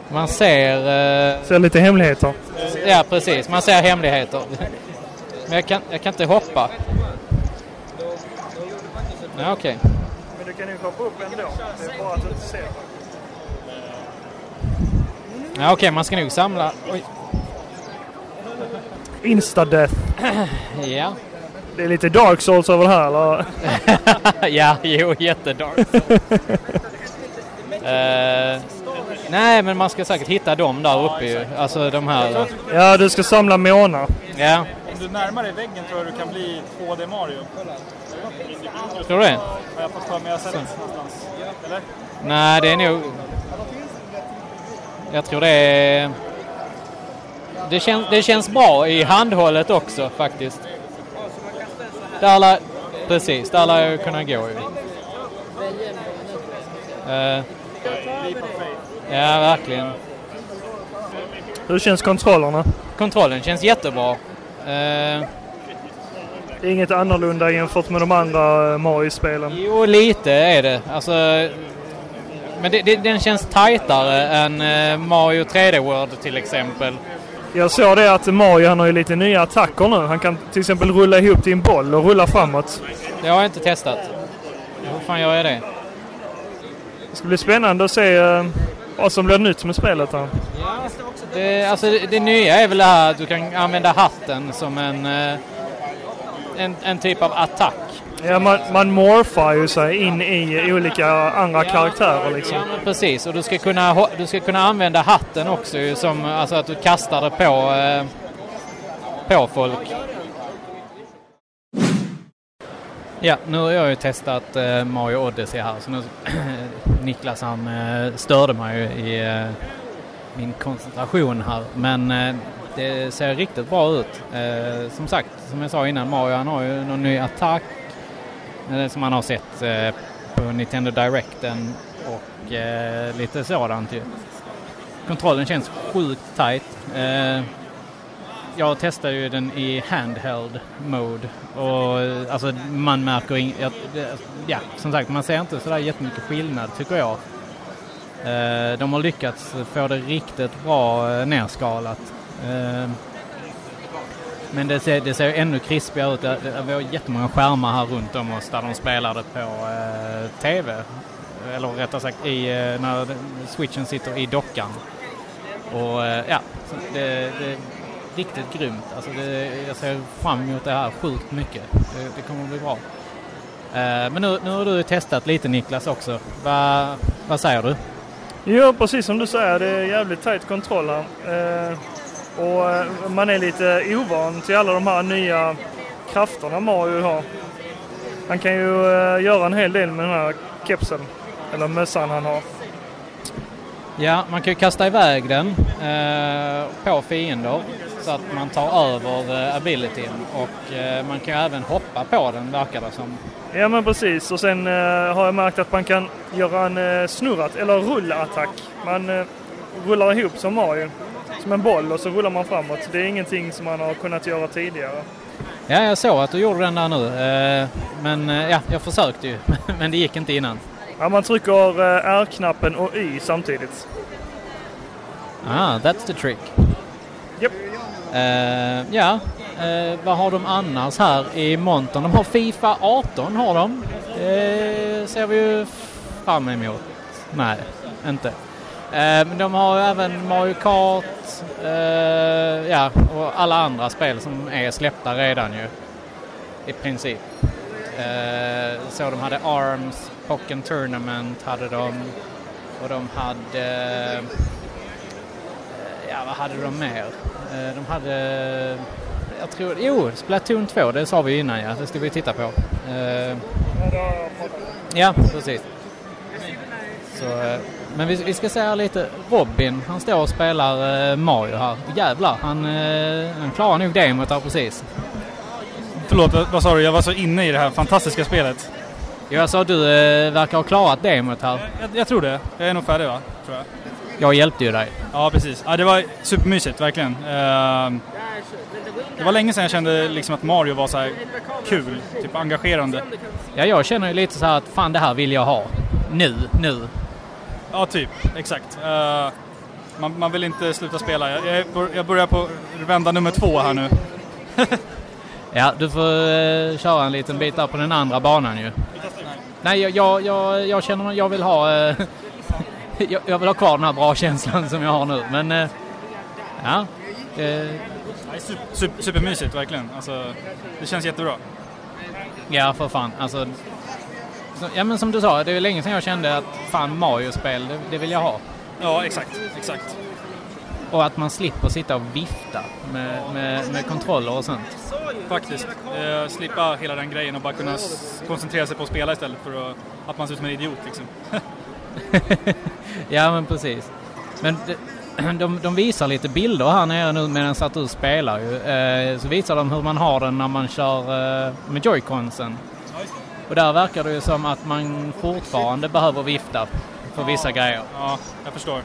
[SPEAKER 2] man ser... eh,
[SPEAKER 1] Ser lite hemligheter.
[SPEAKER 2] ja, precis. Man ser hemligheter. Men jag kan, jag kan inte hoppa. Ja, okej.
[SPEAKER 1] Men du kan ju hoppa upp ändå. Det är bara att du inte ser.
[SPEAKER 2] Ja, okej. man ska nog samla... Oj.
[SPEAKER 1] Instadeath.
[SPEAKER 2] Ja.
[SPEAKER 1] Det är lite Dark Souls över det här eller?
[SPEAKER 2] ja, jo, jättedark. Eh, nej, men man ska säkert hitta dem där uppe ju. Alltså de här.
[SPEAKER 1] ja, du ska samla månar.
[SPEAKER 2] Ja,
[SPEAKER 13] Om du närmar dig väggen tror jag du kan bli 2D Mario.
[SPEAKER 2] Tror du det?
[SPEAKER 13] Har jag fått för mig. Jag har sett det någonstans. Eller?
[SPEAKER 2] nej, det är nog... Jag tror det är... Det, kän, det känns bra i handhållet också faktiskt. Där lär... Precis, där lär jag kunna gå ju. Eh, ja, verkligen.
[SPEAKER 1] Hur känns kontrollerna?
[SPEAKER 2] Kontrollen känns jättebra. Eh,
[SPEAKER 1] Det är inget annorlunda jämfört med de andra eh, Mario-spelen.
[SPEAKER 2] Jo, lite är det. Alltså, men det, det, den känns tajtare än eh, Mario 3D World till exempel.
[SPEAKER 1] Jag såg det att Mario han har ju lite nya attacker nu. Han kan till exempel rulla ihop till en boll och rulla framåt.
[SPEAKER 2] Det har jag inte testat. Hur fan gör jag det?
[SPEAKER 1] Det ska bli spännande att se eh, vad som blir nytt med spelet här.
[SPEAKER 2] Det, alltså, det, det nya är väl det här att du kan använda hatten som en, eh, en, en typ av attack.
[SPEAKER 1] Ja, man, man morfar ju sig in i olika andra karaktärer liksom.
[SPEAKER 2] Precis, och du ska kunna, ho- du ska kunna använda hatten också ju, som alltså att du kastar det på, eh, på folk. Ja, nu har jag ju testat eh, Mario Odyssey här. Så nu, Niklas han eh, störde mig ju i eh, min koncentration här. Men eh, det ser riktigt bra ut. Eh, som sagt, som jag sa innan, Mario han har ju någon ny attack eh, som man har sett eh, på Nintendo Directen och eh, lite sådant ju. Kontrollen känns sjukt tight. Eh, jag testade ju den i handheld mode och eh, alltså man märker in, ja, det- ja, som sagt man ser inte sådär jättemycket skillnad tycker jag. Eh, de har lyckats få det riktigt bra eh, nerskalat. Eh, men det ser, det ser ju ännu krispigare ut. Det, det, vi har jättemånga skärmar här runt om oss där de spelar det på eh, TV. Eller rättare sagt i, eh, när den- switchen sitter i dockan. Och eh, ja, så det, det är riktigt grymt. Alltså det, jag ser fram emot det här sjukt mycket. Det, det kommer bli bra. Eh, men nu, nu har du testat lite Niklas också. Va, vad säger du?
[SPEAKER 1] Ja, precis som du säger, det är jävligt tajt kontroll här. Eh, och eh, man är lite ovan till alla de här nya krafterna Mario har. Han kan ju eh, göra en hel del med den här kepsen, eller mössan han har.
[SPEAKER 2] Ja, man kan ju kasta iväg den eh, på fiender så att man tar över eh, abilityn och eh, man kan ju även hoppa på den verkar det som.
[SPEAKER 1] Ja, men precis. Och sen eh, har jag märkt att man kan göra en eh, snurrat, eller rullattack. Man eh, rullar ihop som Mario, som en boll, och så rullar man framåt. Det är ingenting som man har kunnat göra tidigare.
[SPEAKER 2] Ja, jag såg att du gjorde den där nu. Eh, men eh, ja, jag försökte ju, men det gick inte innan.
[SPEAKER 1] Ja, man trycker eh, R-knappen och Y samtidigt.
[SPEAKER 2] Ah, that's the trick.
[SPEAKER 1] Japp.
[SPEAKER 2] Eh, ja, eh, vad har de annars här i montern? De har Fifa 18 har de. Det ser vi ju fram emot. Nej, inte. Eh, men de har ju även Mario Kart eh, ja, och alla andra spel som är släppta redan ju. I princip. Eh, så de hade Arms, Pocken Tournament hade de. Och de hade... eh, ja, vad hade de mer? Eh, de hade... eh, jag tror... Jo, Splatoon 2, det sa vi ju innan ja. Det ska vi titta på. Eh, ja, precis. Så, eh, men vi, vi ska säga lite. Robin, han står och spelar eh, Mario här. Jävlar, han, eh, han klarar nog demot där precis.
[SPEAKER 10] Förlåt, vad, vad sa du? Jag var så inne i det här fantastiska spelet.
[SPEAKER 2] Jag sa du eh, verkar ha klarat demot här.
[SPEAKER 10] Jag, jag tror det. Jag är nog färdig va? Tror jag.
[SPEAKER 2] Jag hjälpte ju dig.
[SPEAKER 10] Ja, precis. Ja, det var supermysigt, verkligen. Ehm, det var länge sedan jag kände liksom att Mario var så här kul, typ engagerande.
[SPEAKER 2] Ja, jag känner ju lite så här att fan det här vill jag ha. Nu, nu.
[SPEAKER 10] Ja, typ. Exakt. Eh, man, man vill inte sluta spela. Jag, jag, är på- jag börjar på vända nummer två här nu.
[SPEAKER 2] Ja, du får eh, köra en liten bit där på den andra banan ju. Nej, jag, jag, jag, jag känner att jag vill ha... Eh, jag, jag vill ha kvar den här bra känslan som jag har nu, men... Eh, ja. Eh,
[SPEAKER 10] Ja, super, super, supermysigt, verkligen. Alltså, det känns jättebra.
[SPEAKER 2] ja, för fan. Alltså... Så, ja, men som du sa, det är länge sedan jag kände att fan Mario-spel, det, det vill jag ha.
[SPEAKER 10] Ja, exakt. exakt.
[SPEAKER 2] Och att man slipper sitta och vifta med, med, med kontroller och sånt.
[SPEAKER 10] Faktiskt. Eh, slippa hela den grejen och bara kunna s- koncentrera sig på att spela istället för att, att man ser ut som en idiot liksom.
[SPEAKER 2] Ja, men precis. Men de, de, de visar lite bilder här nere nu medan att du spelar ju. Eh, så visar de hur man har den när man kör eh, med joyconsen. Och där verkar det ju som att man fortfarande behöver vifta för vissa grejer.
[SPEAKER 10] Ja, jag förstår.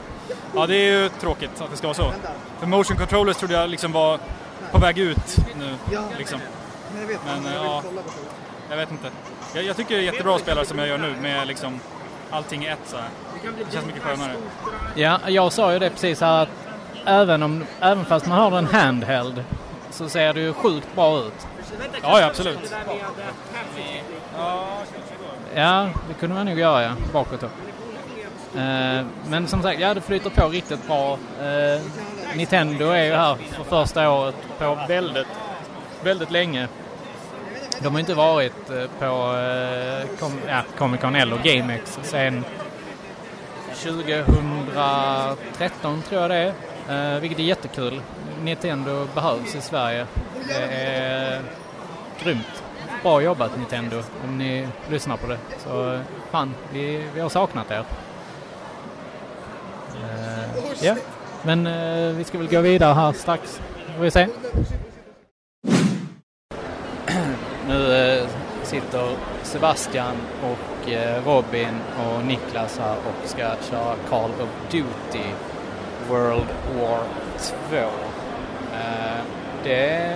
[SPEAKER 10] Ja, det är ju tråkigt att det ska vara så. För motion controllers trodde jag liksom var på väg ut nu. Liksom. Men eh, ja, jag vet inte. Jag, jag tycker det är jättebra att spela som jag gör nu med liksom allting i ett så här. Det känns mycket skönare.
[SPEAKER 2] Ja, jag sa ju det precis här att även, om, även fast man har den handheld så ser det ju sjukt bra ut.
[SPEAKER 10] Ja, ja, absolut.
[SPEAKER 2] Ja, det kunde man nog göra, ja. Bakåt då. Eh, men som sagt, ja, det flyter på riktigt bra. Eh, Nintendo är ju här för första året på väldigt, väldigt länge. De har inte varit eh, på eh, com- ja, Comic Con eller GameX sen 2013 tror jag det är. Eh, vilket är jättekul. Nintendo behövs i Sverige. Det är grymt. Bra jobbat Nintendo, om ni lyssnar på det. Så eh, fan, vi, vi har saknat er. Eh, Ja, men eh, vi ska väl gå vidare här strax. Får vi se. Nu eh, sitter Sebastian och eh, Robin och Niklas här och ska köra Call of Duty World War 2. Eh, det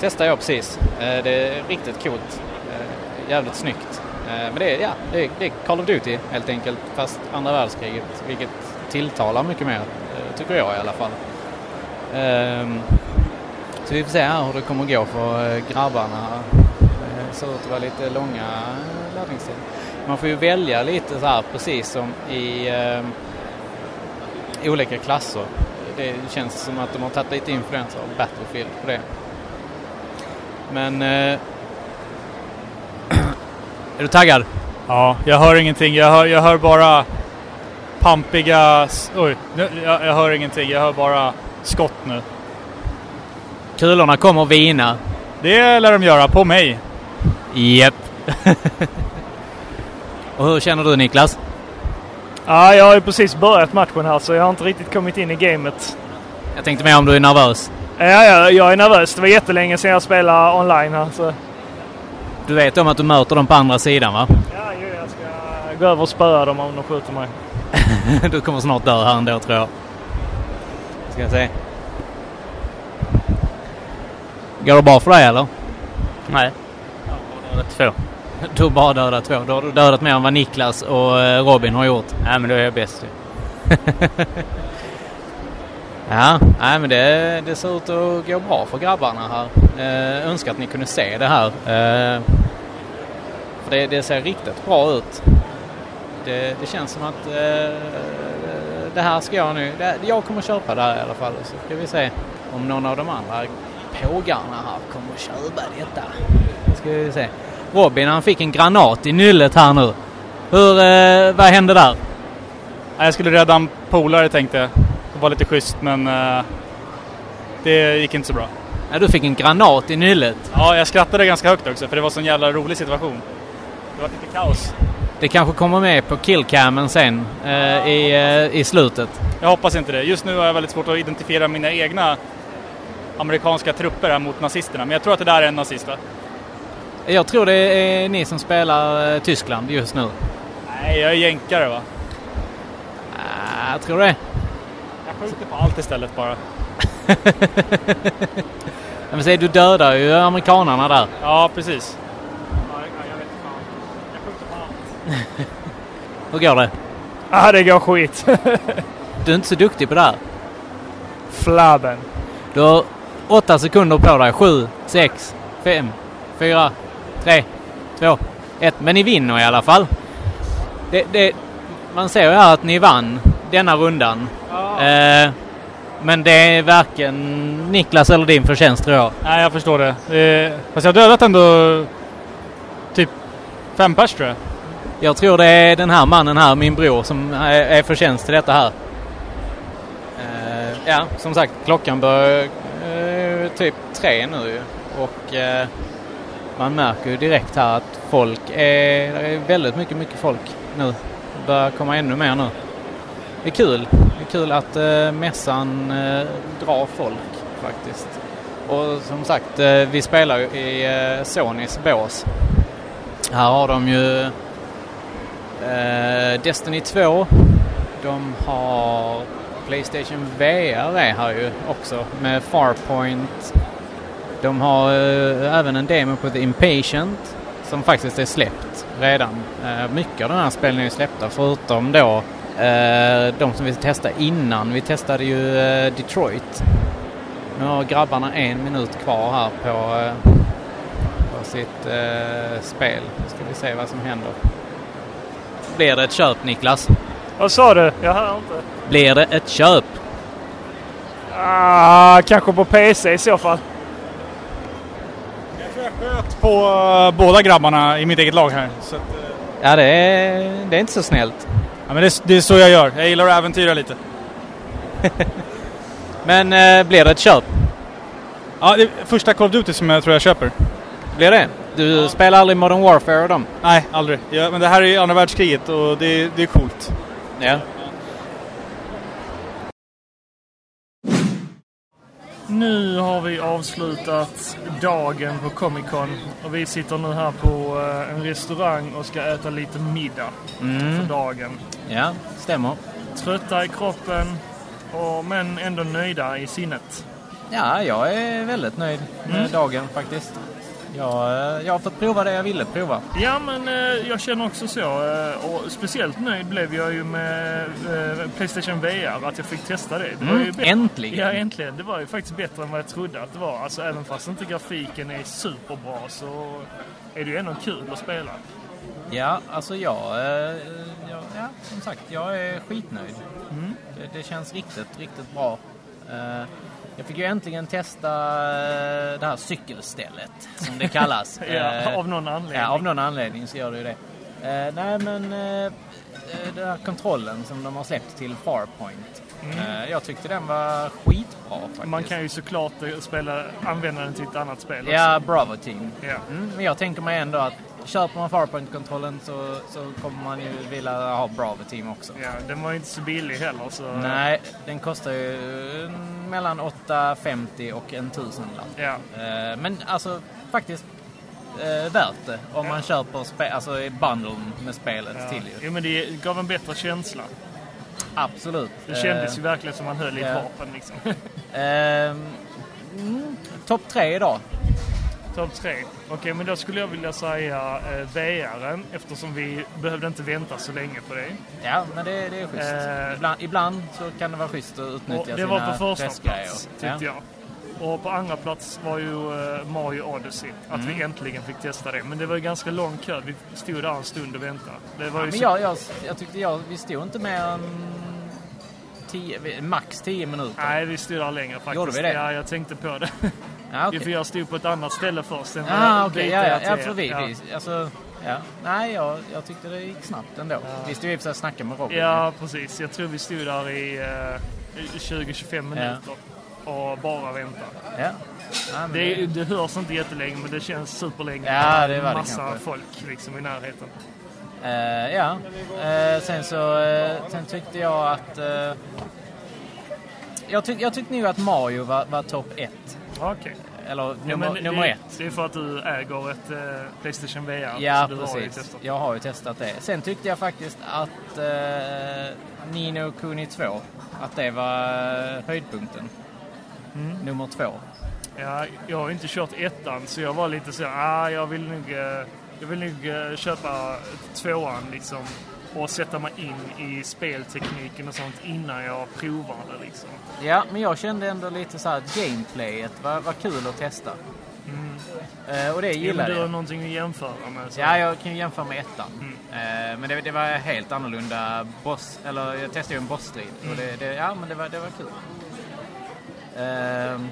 [SPEAKER 2] testade jag precis. Eh, det är riktigt coolt. Eh, jävligt snyggt. Eh, men det är, ja, det, är, det är Call of Duty helt enkelt, fast andra världskriget, vilket tilltalar mycket mer, eh, tycker jag i alla fall. Ehm, så vi får se här hur det kommer gå för eh, grabbarna. Det ser ut att vara lite långa eh, laddningstider. Man får ju välja lite så här precis som i ehm, olika klasser. Det känns som att de har tagit lite influenser av Battlefield på det. Men... Eh, är du taggad?
[SPEAKER 1] Ja, jag hör ingenting. Jag hör, jag hör bara pampiga... s- Oj, nu, jag, jag hör ingenting. Jag hör bara skott nu.
[SPEAKER 2] kulorna kommer vina.
[SPEAKER 1] Det lär de göra, på mig.
[SPEAKER 2] Japp. och hur känner du Niklas?
[SPEAKER 15] Ja, jag har ju precis börjat matchen här så jag har inte riktigt kommit in i gamet.
[SPEAKER 2] Jag tänkte mer om du är nervös.
[SPEAKER 15] Ja, ja, jag är nervös. Det var jättelänge sedan jag spelade online här så
[SPEAKER 2] Du vet om att du möter dem på andra sidan va?
[SPEAKER 15] jag går över och spöar dem om de skjuter mig.
[SPEAKER 2] du kommer snart dö här ändå tror jag. Ska jag se. Går det bra för dig eller? Nej. Jag har dödat två. Du har bara dödat två. Då har du dödat mer än vad Niklas och eh, Robin har gjort. Nej men då är jag bäst Ja, nej, men det, det ser ut att gå bra för grabbarna här. Eh, önskar att ni kunde se det här. Eh, för det, det ser riktigt bra ut. Det, det känns som att eh, det här ska jag nu... Det, jag kommer köpa det här i alla fall. Så ska vi se om någon av de andra pågarna här kommer att köpa detta. Ska vi se. Robin han fick en granat i nyllet här nu. Hur, eh, vad hände där?
[SPEAKER 1] Nej, Jag skulle rädda en polare tänkte jag. Det var lite schysst men eh, det gick inte så bra.
[SPEAKER 2] Ja, du fick en granat i nyllet.
[SPEAKER 1] Ja, jag skrattade ganska högt också för det var en sån jävla rolig situation. Det var lite kaos.
[SPEAKER 2] Det kanske kommer med på killcamen sen eh, i, eh, i slutet.
[SPEAKER 1] Jag hoppas inte det. Just nu har jag väldigt svårt att identifiera mina egna amerikanska trupper här mot nazisterna. Men jag tror att det där är en nazist va?
[SPEAKER 2] Jag tror det är ni som spelar eh, Tyskland just nu.
[SPEAKER 1] Nej, jag är jänkare va?
[SPEAKER 2] Ah, jag tror det.
[SPEAKER 1] Jag skjuter på allt istället bara.
[SPEAKER 2] Ja, Men säg, du dödar ju amerikanarna där.
[SPEAKER 1] Ja, precis.
[SPEAKER 2] Hur går det?
[SPEAKER 15] Ah, det går skit.
[SPEAKER 2] Du är inte så duktig på det här.
[SPEAKER 15] Flabben.
[SPEAKER 2] Du har åtta sekunder på dig. Sju, sex, fem, fyra, tre, två, ett. Men ni vinner i alla fall. Det, det, man ser ju här att ni vann denna rundan. Eh, men det är varken Niklas eller din förtjänst tror jag.
[SPEAKER 1] Nej, jag förstår det. Eh, fast jag har dödat ändå typ fem pers tror jag.
[SPEAKER 2] Jag tror det är den här mannen här, min bror, som är- är förtjänst till detta här. Eh, ja, som sagt, klockan börjar eh, typ tre nu ju. och eh, man märker ju direkt här att folk är, det är väldigt mycket, mycket folk nu. Det börjar komma ännu mer nu. Det är kul. Det är kul att eh, mässan eh, drar folk faktiskt. Och som sagt, eh, vi spelar ju i eh, Sonys bås. Här har de ju Eh, Destiny 2. De har Playstation VR är här ju också med Farpoint. De har eh, även en demo på The Impatient som faktiskt är släppt redan. Eh, mycket av den här spelen är ju släppta förutom då eh, de som vi testade innan. Vi testade ju eh, Detroit. Nu har grabbarna en minut kvar här på, eh, på sitt eh, spel. Nu ska vi se vad som händer. Blir det ett köp Niklas?
[SPEAKER 15] Vad sa du? Jag hör inte.
[SPEAKER 2] Blir det ett köp?
[SPEAKER 15] Ah, kanske på PC i så fall.
[SPEAKER 1] På eh, båda grabbarna i mitt eget lag här. Så att, eh,
[SPEAKER 2] Ja, det är, det är inte så snällt.
[SPEAKER 1] Ja, men det, det är så jag gör. Jag gillar att äventyra lite.
[SPEAKER 2] men eh, blir det ett köp?
[SPEAKER 1] Ja, det är första Call of Duty som jag tror jag köper.
[SPEAKER 2] Blir det? Du spelar aldrig Modern Warfare och dem?
[SPEAKER 9] Nej, aldrig. Ja, men det här är ju andra världskriget och det, det är coolt.
[SPEAKER 2] Ja.
[SPEAKER 1] Nu har vi avslutat dagen på Comic Con och vi sitter nu här på eh, en restaurang och ska äta lite middag
[SPEAKER 2] Mm.
[SPEAKER 1] för dagen.
[SPEAKER 2] Ja, stämmer.
[SPEAKER 1] Trötta i kroppen och, men ändå nöjda i sinnet.
[SPEAKER 2] Ja, jag är väldigt nöjd med
[SPEAKER 1] Mm.
[SPEAKER 2] dagen faktiskt. Jag, eh, jag har fått prova det jag ville prova.
[SPEAKER 1] Ja, men eh, jag känner också så. Eh, och speciellt nöjd blev jag ju med eh, Playstation VR, att jag fick testa det. det var
[SPEAKER 2] Mm,
[SPEAKER 1] ju bättre-
[SPEAKER 2] äntligen.
[SPEAKER 1] Ja, äntligen. Det var ju faktiskt bättre än vad jag trodde att det var. Alltså, även fast inte grafiken är superbra så är det ju ändå kul att spela.
[SPEAKER 2] Ja, alltså jag, eh, jag ja, som sagt, jag är skitnöjd.
[SPEAKER 1] Mm.
[SPEAKER 2] Det, det känns riktigt, riktigt bra. Eh, Jag fick ju äntligen testa eh, det här cykelstället, som det kallas.
[SPEAKER 1] Ja,
[SPEAKER 2] Eh,
[SPEAKER 1] av någon anledning.
[SPEAKER 2] Ja, av någon anledning så gör det ju det. Eh, Nej, men eh, eh, den här kontrollen som de har släppt till Farpoint.
[SPEAKER 1] Mm.
[SPEAKER 2] eh, Jag tyckte den var skitbra faktiskt.
[SPEAKER 1] Man kan ju såklart eh, spela, använda den till ett annat spel
[SPEAKER 2] Ja,
[SPEAKER 1] också.
[SPEAKER 2] Bravo Team.
[SPEAKER 1] Ja.
[SPEAKER 2] Mm, men jag tänker mig ändå att köper man Farpoint-kontrollen så, så kommer man ju vilja ha Bravo Team också.
[SPEAKER 1] Ja, den var ju inte så billig heller. Så...
[SPEAKER 2] Nej, den kostar ju mm, mellan 850 och en tusenlapp.
[SPEAKER 1] Ja.
[SPEAKER 2] Eh, Men alltså faktiskt eh, värt det om man köper spe- alltså i bundlen med spelet
[SPEAKER 1] Ja.
[SPEAKER 2] till ju.
[SPEAKER 1] Jo, men det gav en bättre känsla.
[SPEAKER 2] Absolut.
[SPEAKER 1] Det kändes
[SPEAKER 2] Eh,
[SPEAKER 1] ju verkligen som man höll i ett
[SPEAKER 2] ja.
[SPEAKER 1] vapen liksom.
[SPEAKER 2] Ehm, mm, Topp tre idag.
[SPEAKER 1] Topp tre. Okej, men då skulle jag vilja säga eh, VR eftersom vi behövde inte vänta så länge på det.
[SPEAKER 2] Ja, men det, det är schysst.
[SPEAKER 1] Eh,
[SPEAKER 2] ibland, ibland så kan det vara schysst att
[SPEAKER 1] Och
[SPEAKER 2] utnyttja
[SPEAKER 1] det var
[SPEAKER 2] sina
[SPEAKER 1] på första
[SPEAKER 2] pressgrejer.
[SPEAKER 1] plats, tyckte
[SPEAKER 2] Ja.
[SPEAKER 1] jag. Och på andra plats var ju eh, Mario Odyssey. Att
[SPEAKER 2] Mm.
[SPEAKER 1] vi äntligen fick testa det. Men det var ju ganska lång kö. Vi stod där en stund och väntade. Det var
[SPEAKER 2] Ja,
[SPEAKER 1] ju
[SPEAKER 2] men
[SPEAKER 1] så-
[SPEAKER 2] jag, jag, jag tyckte jag, vi stod inte mer än 10, max 10 minuter.
[SPEAKER 1] Nej, vi stod där längre faktiskt.
[SPEAKER 2] Gjorde vi det?
[SPEAKER 1] Ja, jag tänkte på det.
[SPEAKER 2] Ja,
[SPEAKER 1] För jag stod på ett annat ställe först. än vad
[SPEAKER 2] Ah,
[SPEAKER 1] jag
[SPEAKER 2] okej,
[SPEAKER 1] ritade
[SPEAKER 2] ja, ja,
[SPEAKER 1] till
[SPEAKER 2] ja,
[SPEAKER 1] er.
[SPEAKER 2] för vi,
[SPEAKER 1] Ja.
[SPEAKER 2] vi, alltså, ja. Nej, jag, jag tyckte det gick snabbt ändå. Vi stod ju i och för sig och snackade med Robin.
[SPEAKER 1] Ja, precis. Jag tror vi stod där i eh, i 20-25 minuter och bara väntade.
[SPEAKER 2] Ja. Ja, men
[SPEAKER 1] det,
[SPEAKER 2] det-
[SPEAKER 1] det... hörs inte jättelänge, men det känns superlänge.
[SPEAKER 2] Ja, det var det
[SPEAKER 1] Massa
[SPEAKER 2] kanske.
[SPEAKER 1] folk liksom i närheten.
[SPEAKER 2] Eh, ja. Eh, sen så eh, sen tyckte jag att... eh, jag, tyck, jag tyckte nog att Mario var, var topp ett.
[SPEAKER 1] Okej.
[SPEAKER 2] Eller
[SPEAKER 1] Ja,
[SPEAKER 2] nummer,
[SPEAKER 1] men
[SPEAKER 2] nummer
[SPEAKER 1] det,
[SPEAKER 2] ett.
[SPEAKER 1] Det är för att du äger ett eh, Playstation VR.
[SPEAKER 2] Ja,
[SPEAKER 1] så du Har ju
[SPEAKER 2] precis.
[SPEAKER 1] testat.
[SPEAKER 2] Jag har ju testat det. Sen tyckte jag faktiskt att eh, Nino Kuni 2, att det var eh, höjdpunkten.
[SPEAKER 1] Mm.
[SPEAKER 2] Nummer två.
[SPEAKER 1] ja, jag har ju inte kört ettan, så jag var lite så här, ah, jag vill nog, eh, jag vill nog eh, köpa tvåan liksom. Och sätta mig in i speltekniken och sånt innan jag provar det liksom.
[SPEAKER 2] Ja, men jag kände ändå lite så här att gameplayet var, var kul att testa.
[SPEAKER 1] Mm.
[SPEAKER 2] Eh, och det
[SPEAKER 1] Ja, men
[SPEAKER 2] gillar
[SPEAKER 1] Du har
[SPEAKER 2] jag.
[SPEAKER 1] någonting att jämföra med. så.
[SPEAKER 2] Ja, jag kan ju jämföra med ettan.
[SPEAKER 1] Mm.
[SPEAKER 2] Eh, men det, det var helt annorlunda boss, eller jag testade ju en bossstrid. Och
[SPEAKER 1] Mm.
[SPEAKER 2] det, det, ja, men det var, det var kul. Ehm,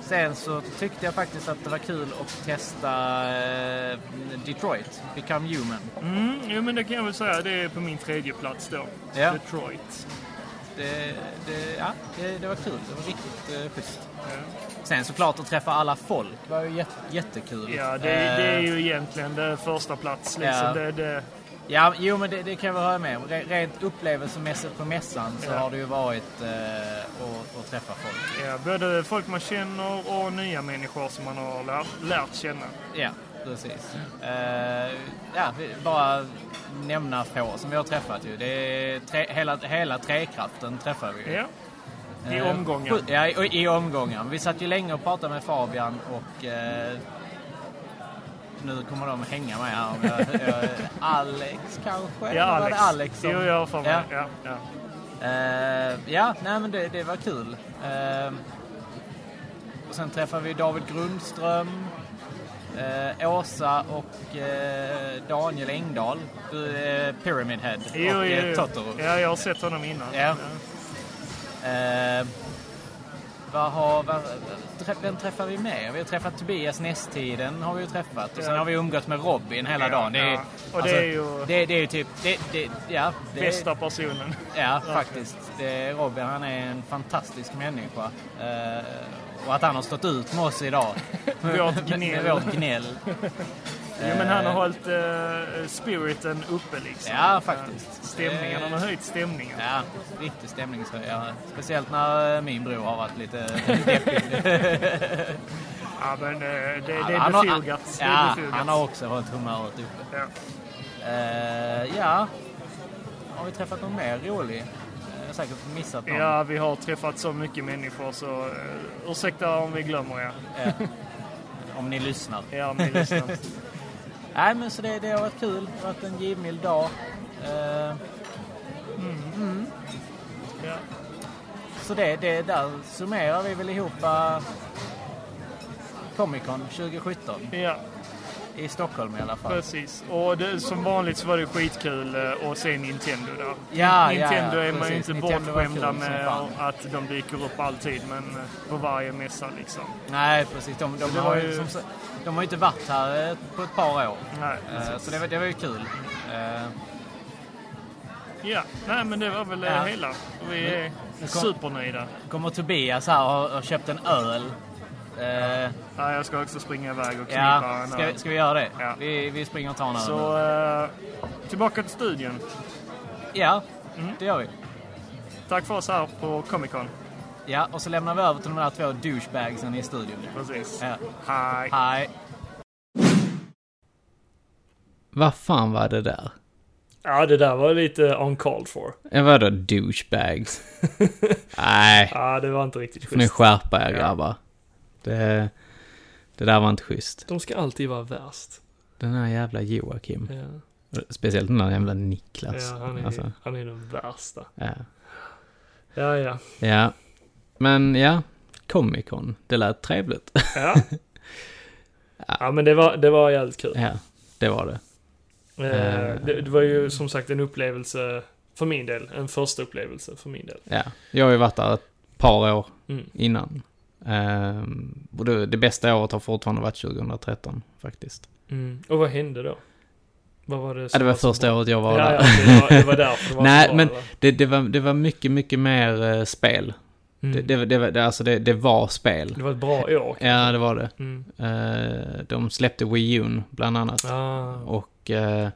[SPEAKER 2] sen så tyckte jag faktiskt att det var kul att testa eh, Detroit, Become Human.
[SPEAKER 1] Mm, jo, men det kan jag väl säga. Det är på min tredje plats då.
[SPEAKER 2] Ja.
[SPEAKER 1] Detroit.
[SPEAKER 2] Det, det, ja, det, det var kul. Det var riktigt eh, schysst. Sen såklart att träffa alla folk var ju jätte, jättekul.
[SPEAKER 1] Ja, det, det är ju egentligen det första plats liksom.
[SPEAKER 2] Ja.
[SPEAKER 1] Det, det,
[SPEAKER 2] Ja, jo men det, det kan jag väl höra med om. Re- Rent upplevelsemässigt på mässan så
[SPEAKER 1] Ja.
[SPEAKER 2] har det ju varit eh, att, att träffa folk.
[SPEAKER 1] ja, både folk man känner och nya människor som man har lär, lärt känna.
[SPEAKER 2] Ja, precis. Eh, ja, vi- bara nämna få som vi har träffat ju. Det är tre, hela, hela trekraften träffar vi ju.
[SPEAKER 1] Ja. I
[SPEAKER 2] Eh,
[SPEAKER 1] omgångar.
[SPEAKER 2] sju- Ja, i, i omgångar. Vi satt ju länge och pratade med Fabian och eh, nu kommer de hänga med här. Om jag, jag, Alex kanske?
[SPEAKER 1] Ja,
[SPEAKER 2] Var det
[SPEAKER 1] Alex.
[SPEAKER 2] Alex som-
[SPEAKER 1] Jo, jag har för mig.
[SPEAKER 2] Ja.
[SPEAKER 1] Ja, ja.
[SPEAKER 2] Eh, ja, nej men det, det var kul. Eh, och sen träffade vi David Grundström, eh, Åsa och eh, Daniel Engdahl, du, eh, Pyramid Head
[SPEAKER 1] Jo,
[SPEAKER 2] och
[SPEAKER 1] jo,
[SPEAKER 2] eh,
[SPEAKER 1] jo.
[SPEAKER 2] Totoro.
[SPEAKER 1] Ja, jag har sett honom innan.
[SPEAKER 2] Ja. Eh, vad har, vad, träff, vem träffar vi mer? Vi har träffat Tobias Nästiden har vi ju träffat. Och sen
[SPEAKER 1] Ja.
[SPEAKER 2] har vi umgåtts med Robin hela
[SPEAKER 1] Ja,
[SPEAKER 2] dagen. Det är, alltså,
[SPEAKER 1] ja. Och det är ju-
[SPEAKER 2] Det, det är ju typ... Det, det, ja, det är-
[SPEAKER 1] Bästa personen.
[SPEAKER 2] Ja, faktiskt. Det, Robin han är en fantastisk människa. Eh, Och att han har stått ut med oss idag.
[SPEAKER 16] Vårt
[SPEAKER 2] Med-
[SPEAKER 16] gnäll.
[SPEAKER 2] Med vårt gnäll.
[SPEAKER 16] Jo, men han har
[SPEAKER 2] Eh,
[SPEAKER 16] hållit eh, spiriten uppe liksom.
[SPEAKER 2] Ja, faktiskt.
[SPEAKER 16] Stämningen. Han har höjt stämningen.
[SPEAKER 2] Ja, riktig stämningshöjare. Speciellt när eh, min bror har varit lite deppig.
[SPEAKER 16] Ja, men eh, det, det
[SPEAKER 2] Ja,
[SPEAKER 16] är
[SPEAKER 2] han har-
[SPEAKER 16] befogat. Det är
[SPEAKER 2] Ja,
[SPEAKER 16] befogat.
[SPEAKER 2] han har också hållit humöret uppe. Eh,
[SPEAKER 16] Ja.
[SPEAKER 2] ja. Har vi träffat någon mer rolig? Eh, Jag har säkert missat någon.
[SPEAKER 16] Ja, vi har träffat så mycket människor så uh, ursäkta om vi glömmer er.
[SPEAKER 2] Ja. Om ni lyssnar.
[SPEAKER 16] Ja, om ni lyssnar.
[SPEAKER 2] Nej, men så det, det har varit kul. Det har varit en givmild dag. Eh, mm. Så det, det, där summerar vi väl ihop eh, Comic Con 2017.
[SPEAKER 16] Ja.
[SPEAKER 2] I Stockholm i alla fall.
[SPEAKER 16] Precis. Och det, som vanligt så var det skitkul eh, att se Nintendo där.
[SPEAKER 2] ja,
[SPEAKER 16] Nintendo
[SPEAKER 2] ja,
[SPEAKER 16] är man ju
[SPEAKER 2] precis.
[SPEAKER 16] inte
[SPEAKER 2] Nintendo var
[SPEAKER 16] bortskämda
[SPEAKER 2] kul som
[SPEAKER 16] med
[SPEAKER 2] fan.
[SPEAKER 16] att de dyker upp alltid, men eh, på varje mässa liksom.
[SPEAKER 2] Nej, precis. De,
[SPEAKER 16] Så
[SPEAKER 2] de,
[SPEAKER 16] det
[SPEAKER 2] har,
[SPEAKER 16] var
[SPEAKER 2] ju...
[SPEAKER 16] ju-
[SPEAKER 2] som, sagt- de har ju inte varit här eh, på ett par år.
[SPEAKER 16] Nej,
[SPEAKER 2] Eh,
[SPEAKER 16] precis.
[SPEAKER 2] så det, var- det var ju kul. Eh,
[SPEAKER 16] Ja, nej men det var väl eh,
[SPEAKER 2] Ja.
[SPEAKER 16] hela. Vi
[SPEAKER 2] Nu-
[SPEAKER 16] är
[SPEAKER 2] nu kom-
[SPEAKER 16] supernöjda.
[SPEAKER 2] kommer Tobias här och har, har köpt en öl. Eh,
[SPEAKER 16] Ja, jag ska också springa iväg och knippa
[SPEAKER 2] ja,
[SPEAKER 16] en
[SPEAKER 2] ska,
[SPEAKER 16] öl.
[SPEAKER 2] vi- ska vi göra det? Vi, vi springer och tar en öl nu.
[SPEAKER 16] Så eh, tillbaka till studion.
[SPEAKER 2] Ja,
[SPEAKER 16] Mm.
[SPEAKER 2] det gör vi.
[SPEAKER 16] Tack för oss här på Comic Con.
[SPEAKER 2] Ja, och så lämnar vi över till de där två douchebagsen i studion.
[SPEAKER 16] Precis.
[SPEAKER 2] Ja.
[SPEAKER 16] Hej.
[SPEAKER 2] Hej. Vad fan var det där?
[SPEAKER 1] Ja, det där var lite uncalled for.
[SPEAKER 2] Vadå douchebags? Nej.
[SPEAKER 1] Ja, det var inte riktigt
[SPEAKER 2] Får ni
[SPEAKER 1] schysst.
[SPEAKER 2] skärpa er grabbar. Det, det där var inte schysst.
[SPEAKER 1] De ska alltid vara värst.
[SPEAKER 2] Den här jävla Joakim.
[SPEAKER 1] Ja.
[SPEAKER 2] Speciellt den där jävla Niklas.
[SPEAKER 1] Ja, han är,
[SPEAKER 2] Alltså,
[SPEAKER 1] han är den värsta.
[SPEAKER 2] ja.
[SPEAKER 1] Ja, ja.
[SPEAKER 2] ja. Men ja, Comic Con. Det lät trevligt.
[SPEAKER 1] Ja, ja men det var, det var jävligt kul.
[SPEAKER 2] ja, det var det.
[SPEAKER 1] Eh,
[SPEAKER 2] Eh.
[SPEAKER 1] det, det var ju som sagt en upplevelse för min del. En första upplevelse för min del.
[SPEAKER 2] Ja, jag har ju varit där ett par år
[SPEAKER 1] Mm.
[SPEAKER 2] innan. Ehm, och det, det bästa året har fortfarande varit 2013 faktiskt.
[SPEAKER 1] Mm. Och vad hände då? Vad var det
[SPEAKER 2] Ja,
[SPEAKER 1] som
[SPEAKER 2] det var
[SPEAKER 1] så
[SPEAKER 2] första
[SPEAKER 1] bra?
[SPEAKER 2] året jag var
[SPEAKER 1] ja,
[SPEAKER 2] där.
[SPEAKER 1] Ja, det var, det var därför det var
[SPEAKER 2] Nej,
[SPEAKER 1] så bra,
[SPEAKER 2] men
[SPEAKER 1] eller?
[SPEAKER 2] det, det, var, det var mycket, mycket mer eh, spel.
[SPEAKER 1] Mm.
[SPEAKER 2] Det, det, det, var- det, alltså det, det var spel.
[SPEAKER 1] Det var ett bra år.
[SPEAKER 2] Ja, det var det.
[SPEAKER 1] Mm.
[SPEAKER 2] Eh, de släppte Wii U bland annat.
[SPEAKER 1] Ah.
[SPEAKER 2] Och eh,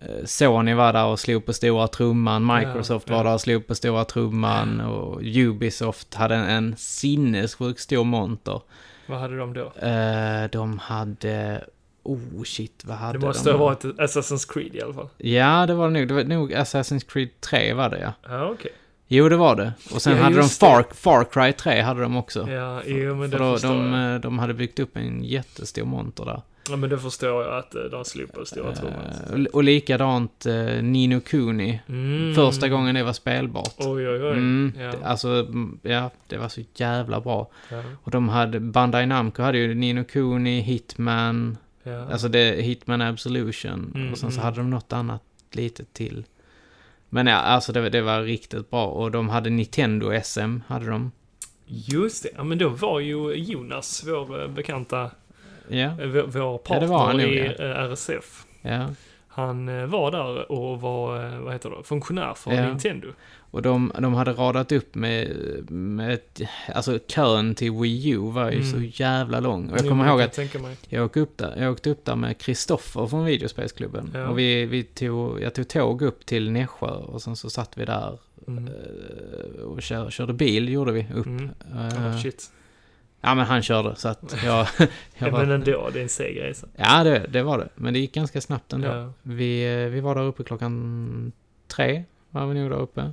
[SPEAKER 2] eh, Sony var där och slog på stora trumman. Microsoft
[SPEAKER 1] Ja,
[SPEAKER 2] var
[SPEAKER 1] ja.
[SPEAKER 2] där och slog på stora trumman. Och Ubisoft hade en, en sinnessjukt stor monter.
[SPEAKER 1] Vad hade de då?
[SPEAKER 2] Eh, de hade... Oh shit, vad hade
[SPEAKER 1] Det
[SPEAKER 2] de?
[SPEAKER 1] måste ha varit ett Assassin's Creed i alla fall.
[SPEAKER 2] Ja, det var det nog. Det var nog Assassin's Creed 3 var det ja.
[SPEAKER 1] Ja, okej.
[SPEAKER 2] Jo, det var det. Och sen
[SPEAKER 1] Ja,
[SPEAKER 2] hade de
[SPEAKER 1] just
[SPEAKER 2] Far, Far Cry 3 hade de också.
[SPEAKER 1] Ja, jo, men
[SPEAKER 2] För
[SPEAKER 1] det
[SPEAKER 2] då,
[SPEAKER 1] förstår
[SPEAKER 2] de, eh, de hade byggt upp en jättestor monter där.
[SPEAKER 1] Ja, men då förstår jag att eh, de slipper stora trumman.
[SPEAKER 2] Eh, och- Och likadant eh, Nino Kuni.
[SPEAKER 1] Mm.
[SPEAKER 2] Första gången det var spelbart.
[SPEAKER 1] Oj, oj, oj.
[SPEAKER 2] Mm.
[SPEAKER 1] Ja.
[SPEAKER 2] Det- Alltså, mm, ja, det var så jävla bra.
[SPEAKER 1] Ja.
[SPEAKER 2] Och de hade, Bandai Namco hade ju Nino Kuni, Hitman,
[SPEAKER 1] Ja.
[SPEAKER 2] alltså det, Hitman Absolution.
[SPEAKER 1] Mm,
[SPEAKER 2] och sen så
[SPEAKER 1] mm.
[SPEAKER 2] hade de något annat lite till. Men ja, alltså det, det var riktigt bra. Och de hade Nintendo SM, hade de.
[SPEAKER 1] Just det, ja, men då var ju Jonas, vår eh, bekanta,
[SPEAKER 2] Ja.
[SPEAKER 1] eh, vår, vår
[SPEAKER 2] Ja,
[SPEAKER 1] partner
[SPEAKER 2] det var han nog,
[SPEAKER 1] i
[SPEAKER 2] ja.
[SPEAKER 1] eh, RSF.
[SPEAKER 2] Ja.
[SPEAKER 1] Han eh, var där och var, eh, vad heter det, funktionär för
[SPEAKER 2] Ja.
[SPEAKER 1] Nintendo.
[SPEAKER 2] Och de, de hade radat upp med, med ett, alltså kön till Wii U var ju
[SPEAKER 1] Mm.
[SPEAKER 2] så jävla lång. Och jag
[SPEAKER 1] Jo,
[SPEAKER 2] kommer
[SPEAKER 1] men
[SPEAKER 2] ihåg
[SPEAKER 1] jag
[SPEAKER 2] att
[SPEAKER 1] kan tänka mig.
[SPEAKER 2] jag åkte upp där, jag åkte upp där med Kristoffer från videospelsklubben.
[SPEAKER 1] Ja.
[SPEAKER 2] Och vi, vi tog, jag tog tåg upp till Nässjö och sen så satt vi där
[SPEAKER 1] Mm.
[SPEAKER 2] eh, och kör, körde bil gjorde vi upp.
[SPEAKER 1] Mm.
[SPEAKER 2] Eh,
[SPEAKER 1] Ja, shit.
[SPEAKER 2] Ja men han körde så att jag... jag
[SPEAKER 1] Ja,
[SPEAKER 2] var-
[SPEAKER 1] men ändå, det är en seg resa.
[SPEAKER 2] Ja, det, det var det. Men det gick ganska snabbt ändå.
[SPEAKER 1] Ja.
[SPEAKER 2] Vi, eh, vi var där uppe klockan tre, var vi nog där uppe.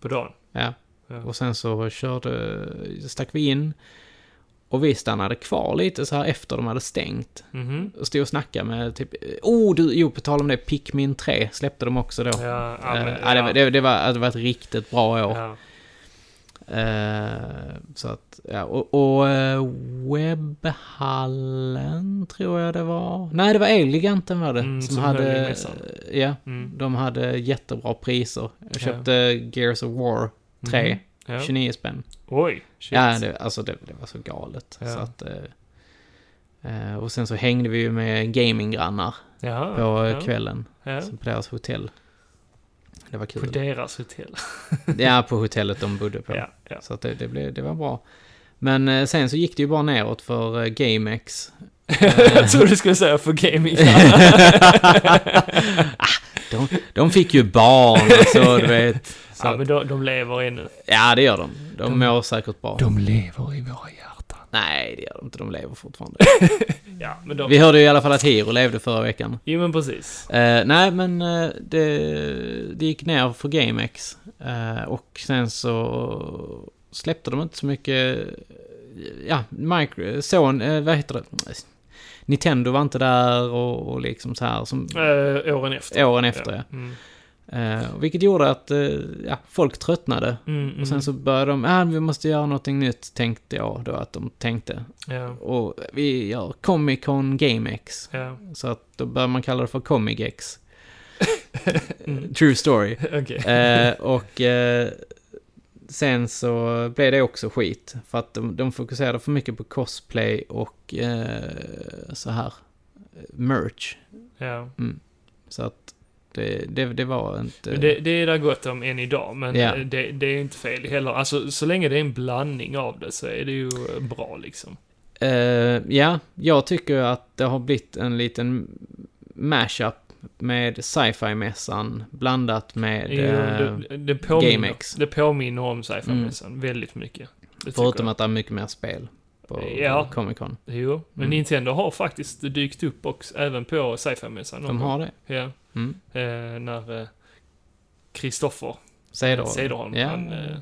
[SPEAKER 1] På dagen?
[SPEAKER 2] Ja.
[SPEAKER 1] Ja.
[SPEAKER 2] Och sen så körde, stack vi in. Och vi stannade kvar lite så här efter de hade stängt.
[SPEAKER 1] Mhm.
[SPEAKER 2] Och stod och snackade med typ... Oh, du, jo, på tal om det, Pikmin 3 släppte de också då.
[SPEAKER 1] Ja, ja,
[SPEAKER 2] Eh,
[SPEAKER 1] men-
[SPEAKER 2] det, var-
[SPEAKER 1] ja.
[SPEAKER 2] det, det, var, det var ett riktigt bra år.
[SPEAKER 1] Ja.
[SPEAKER 2] Eh, så att, ja, och, och eh, webbhallen tror jag det var. Nej, det var Eleganten var det.
[SPEAKER 1] Mm,
[SPEAKER 2] som,
[SPEAKER 1] som höll i
[SPEAKER 2] hade...
[SPEAKER 1] mässan.
[SPEAKER 2] Ja,
[SPEAKER 1] Mm.
[SPEAKER 2] de hade jättebra priser.
[SPEAKER 1] Ja.
[SPEAKER 2] Jag köpte Gears of War 3,
[SPEAKER 1] Mhm. Ja.
[SPEAKER 2] 29 spänn.
[SPEAKER 1] Oj, shit.
[SPEAKER 2] Ja, det, alltså det, det var så galet.
[SPEAKER 1] Ja.
[SPEAKER 2] Så att, eh, eh, och sen så hängde vi ju med gaminggrannar
[SPEAKER 1] Jaha,
[SPEAKER 2] på
[SPEAKER 1] ja.
[SPEAKER 2] eh, kvällen.
[SPEAKER 1] Ja.
[SPEAKER 2] Så på deras hotell. Det var kul.
[SPEAKER 1] På deras hotell.
[SPEAKER 2] Ja, på hotellet de bodde på.
[SPEAKER 1] Ja, ja.
[SPEAKER 2] Så att det, det, blev, det var bra. Men eh, sen så gick det ju bara neråt för eh, GameX.
[SPEAKER 1] Jag trodde du skulle säga för gaming.
[SPEAKER 2] ah, de, de fick ju barn och så, du vet. Så.
[SPEAKER 1] Ja, men de, de lever ännu.
[SPEAKER 2] Ja, det gör de. De,
[SPEAKER 1] De-
[SPEAKER 2] mår säkert bra.
[SPEAKER 1] de
[SPEAKER 2] lever i våra hjärtan. Nej, det gör de inte. De lever fortfarande.
[SPEAKER 1] Ja, men de...
[SPEAKER 2] Vi hörde ju i alla fall att Hiro levde förra veckan.
[SPEAKER 1] Jo, men precis.
[SPEAKER 2] Eh, nej, men eh, det, det gick ner för GameX. Eh, och sen så släppte de inte så mycket... eh, Ja, Micro... Son, eh, vad heter det? Nintendo var inte där och, och liksom så här som...
[SPEAKER 1] Eh, åren efter.
[SPEAKER 2] Åren efter, ja.
[SPEAKER 1] Ja, mm.
[SPEAKER 2] Eh, vilket gjorde att eh, ja, folk tröttnade.
[SPEAKER 1] Mm, mm.
[SPEAKER 2] Och sen så började de, ah, vi måste göra någonting nytt, tänkte jag då att de tänkte.
[SPEAKER 1] Ja.
[SPEAKER 2] Och vi gör Comic Con GameX.
[SPEAKER 1] Ja.
[SPEAKER 2] Så att då började man kalla det för Comigex. True story.
[SPEAKER 1] Mm. Okej.
[SPEAKER 2] Eh, och eh, sen så blev det också skit. För att de, de fokuserade för mycket på cosplay och eh, så här eh, merch.
[SPEAKER 1] Ja.
[SPEAKER 2] Mm. Så att det, det, det var inte...
[SPEAKER 1] Men Det, det är det gott om än idag, men eh,
[SPEAKER 2] Ja.
[SPEAKER 1] det, det är inte fel heller. Alltså, så länge det är en blandning av det så är det ju eh, bra liksom.
[SPEAKER 2] Eh, ja, jag tycker att det har blivit en liten mashup med sci-fi-mässan blandat med
[SPEAKER 1] Jo,
[SPEAKER 2] eh,
[SPEAKER 1] det, det, påminner,
[SPEAKER 2] GameX.
[SPEAKER 1] det påminner om sci-fi-mässan väldigt mycket. Det tycker
[SPEAKER 2] Mm. Förutom
[SPEAKER 1] jag.
[SPEAKER 2] att det är mycket mer spel på
[SPEAKER 1] Ja.
[SPEAKER 2] på Comic Con.
[SPEAKER 1] Jo, men
[SPEAKER 2] Mm.
[SPEAKER 1] Nintendo har faktiskt dykt upp också, även på sci-fi-mässan. någon
[SPEAKER 2] De
[SPEAKER 1] gång.
[SPEAKER 2] har det?
[SPEAKER 1] Ja.
[SPEAKER 2] Mm.
[SPEAKER 1] Eh, när Kristoffer
[SPEAKER 2] Cederholm.
[SPEAKER 1] Cederholm
[SPEAKER 2] Ja.
[SPEAKER 1] han, eh,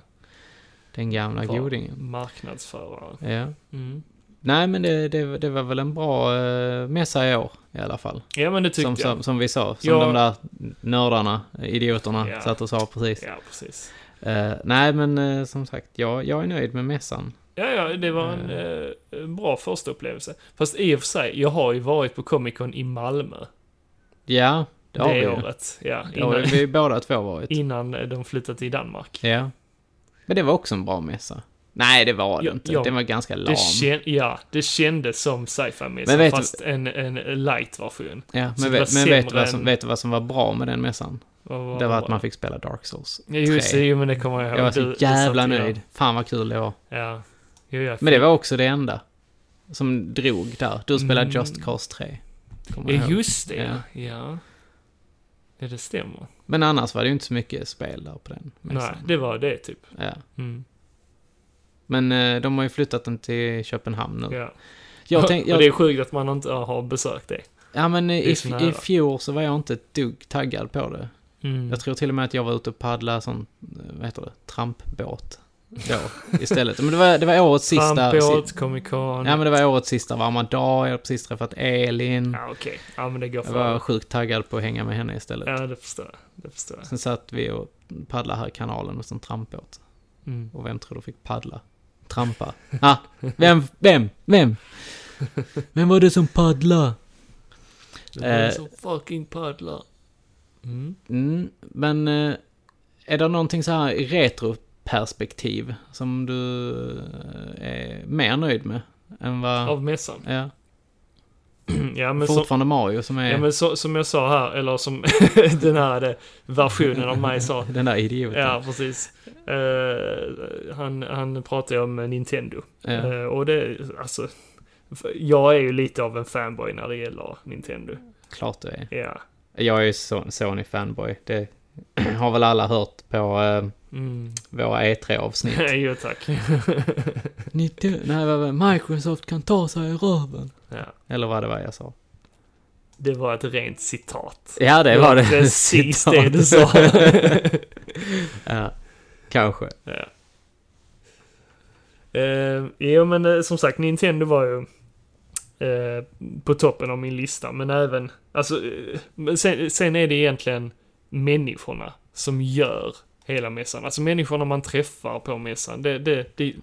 [SPEAKER 2] Den gamla
[SPEAKER 1] var
[SPEAKER 2] godingen.
[SPEAKER 1] marknadsförare.
[SPEAKER 2] Ja.
[SPEAKER 1] Mm.
[SPEAKER 2] Nej, men det, det, det var väl en bra uh, mässa i år i alla fall.
[SPEAKER 1] Ja, men det tyckte
[SPEAKER 2] som,
[SPEAKER 1] jag.
[SPEAKER 2] Som, som vi sa, som
[SPEAKER 1] Ja.
[SPEAKER 2] de där nördarna, idioterna,
[SPEAKER 1] Ja.
[SPEAKER 2] satt och sa precis.
[SPEAKER 1] Ja, precis.
[SPEAKER 2] Eh, nej, men eh, som sagt, jag, jag är nöjd med mässan.
[SPEAKER 1] Ja, ja, det var en eh, bra första upplevelse. Fast i och för sig, jag har ju varit på Comic Con i Malmö.
[SPEAKER 2] Ja, det har
[SPEAKER 1] det
[SPEAKER 2] vi ju.
[SPEAKER 1] året. Ja,
[SPEAKER 2] Det har vi båda två varit.
[SPEAKER 1] Innan eh, de flyttade till Danmark.
[SPEAKER 2] Ja. Men det var också en bra mässa. Nej, det var det
[SPEAKER 1] Ja,
[SPEAKER 2] inte.
[SPEAKER 1] ja.
[SPEAKER 2] Den var ganska lam.
[SPEAKER 1] Det kän, ja, det kändes som
[SPEAKER 2] Men
[SPEAKER 1] sci-fi-mässan,
[SPEAKER 2] vet-
[SPEAKER 1] fast en, en light-version.
[SPEAKER 2] Ja,
[SPEAKER 1] Så
[SPEAKER 2] men,
[SPEAKER 1] det
[SPEAKER 2] vet,
[SPEAKER 1] var
[SPEAKER 2] men vet, du
[SPEAKER 1] sämre
[SPEAKER 2] vad som,
[SPEAKER 1] än-
[SPEAKER 2] vet du vad som var bra med den mässan?
[SPEAKER 1] Vad var
[SPEAKER 2] det var att
[SPEAKER 1] bra?
[SPEAKER 2] man fick spela Dark Souls
[SPEAKER 1] Ja, just
[SPEAKER 2] 3.
[SPEAKER 1] det, jo, men det kommer jag ihåg.
[SPEAKER 2] Jag var så
[SPEAKER 1] Du- du
[SPEAKER 2] jävla
[SPEAKER 1] satt i den.
[SPEAKER 2] nöjd. Fan vad kul det var.
[SPEAKER 1] Ja. Jo, jag
[SPEAKER 2] Men det var också det enda som drog där. Du spelade
[SPEAKER 1] Mm.
[SPEAKER 2] Just Cause 3. Kommer jag
[SPEAKER 1] Ja,
[SPEAKER 2] ihåg.
[SPEAKER 1] just det. Ja. ja. Ja, det stämmer.
[SPEAKER 2] Men annars var det ju inte så mycket spel där på den
[SPEAKER 1] Nej,
[SPEAKER 2] mässan.
[SPEAKER 1] det var det typ.
[SPEAKER 2] Ja.
[SPEAKER 1] Mm.
[SPEAKER 2] Men eh, de har ju flyttat den till Köpenhamn nu.
[SPEAKER 1] Ja.
[SPEAKER 2] Jag tänk,
[SPEAKER 1] Och
[SPEAKER 2] jag,
[SPEAKER 1] det är sjukt att man inte har besökt det.
[SPEAKER 2] Ja men
[SPEAKER 1] Det är
[SPEAKER 2] i,
[SPEAKER 1] så
[SPEAKER 2] i
[SPEAKER 1] nära.
[SPEAKER 2] fjol så var jag inte ett dugg taggad på det.
[SPEAKER 1] Mm.
[SPEAKER 2] Jag tror till och med att jag var ute och paddlade sån, eh, vad heter det, trampbåt. Då, istället. Men det var, det var årets sista...
[SPEAKER 1] Trampbåt,
[SPEAKER 2] si-
[SPEAKER 1] Comic Con.
[SPEAKER 2] Ja men det var årets sista varma dag, jag hade precis träffat Elin.
[SPEAKER 1] Ja, okej. Ja, men det går
[SPEAKER 2] Jag
[SPEAKER 1] för.
[SPEAKER 2] var sjukt taggad på att hänga med henne istället.
[SPEAKER 1] Ja, det förstår jag. Det förstår jag.
[SPEAKER 2] Sen satt vi och paddlade här i kanalen och sen trampbåt.
[SPEAKER 1] Mm.
[SPEAKER 2] Och vem tror du fick paddla? Trampa. Ah, vem, vem, vem? Vem var det som paddla?
[SPEAKER 1] Det är
[SPEAKER 2] Eh,
[SPEAKER 1] som fucking paddlar. Mm.
[SPEAKER 2] Mm, men eh, är det någonting så här i retroperspektiv som du eh, är mer nöjd med? Än vad...
[SPEAKER 1] Av mässan? Mm,
[SPEAKER 2] Ja.
[SPEAKER 1] Ja, men som,
[SPEAKER 2] Fortfarande Mario som är
[SPEAKER 1] ja, men så, som jag sa här, eller som den här eh, versionen av mig sa.
[SPEAKER 2] den där idioten.
[SPEAKER 1] Ja, precis. Eh, han, han pratade ju om Nintendo.
[SPEAKER 2] Ja.
[SPEAKER 1] Eh, och det, alltså, för- jag är ju lite av en fanboy när det gäller Nintendo.
[SPEAKER 2] Klart du är.
[SPEAKER 1] Ja.
[SPEAKER 2] Jag är ju Son- Sony-fanboy. Det har väl alla hört på eh,
[SPEAKER 1] Mm.
[SPEAKER 2] våra E E3-avsnitt.
[SPEAKER 1] jo, tack.
[SPEAKER 2] Nitto- Nej, vad var det? Microsoft kan ta sig i röven.
[SPEAKER 1] Ja.
[SPEAKER 2] Eller vad det var jag sa.
[SPEAKER 1] Det var ett rent citat.
[SPEAKER 2] Ja, det var det.
[SPEAKER 1] Precis
[SPEAKER 2] Citat.
[SPEAKER 1] det du sa.
[SPEAKER 2] ja, kanske.
[SPEAKER 1] ja. Eh, jo, men eh, som sagt, Nintendo var ju eh, på toppen av min lista, men även... Alltså, eh, men sen, sen är det egentligen människorna som gör hela mässan. Alltså människorna man träffar på mässan. Det, det, det,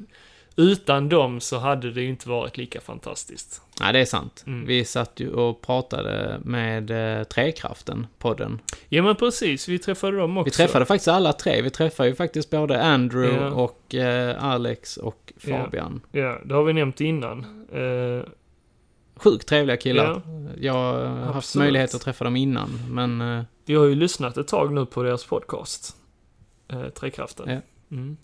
[SPEAKER 1] utan dem så hade det ju inte varit lika fantastiskt.
[SPEAKER 2] Nej, det är sant.
[SPEAKER 1] Mm.
[SPEAKER 2] Vi satt ju och pratade med eh, Träkraften, podden.
[SPEAKER 1] Ja, men precis. Vi träffade dem också.
[SPEAKER 2] Vi träffade faktiskt alla tre. Vi träffade ju faktiskt både Andrew
[SPEAKER 1] Ja.
[SPEAKER 2] och eh, Alex och
[SPEAKER 1] Ja.
[SPEAKER 2] Fabian.
[SPEAKER 1] Ja, det har vi nämnt innan. Eh,
[SPEAKER 2] Sjukt trevliga killar.
[SPEAKER 1] Ja.
[SPEAKER 2] Jag har haft
[SPEAKER 1] Absolut.
[SPEAKER 2] möjlighet att träffa dem innan, men... eh,
[SPEAKER 1] Vi har ju lyssnat ett tag nu på deras podcast. Eh, Trekraften.
[SPEAKER 2] Ja.
[SPEAKER 1] Mm.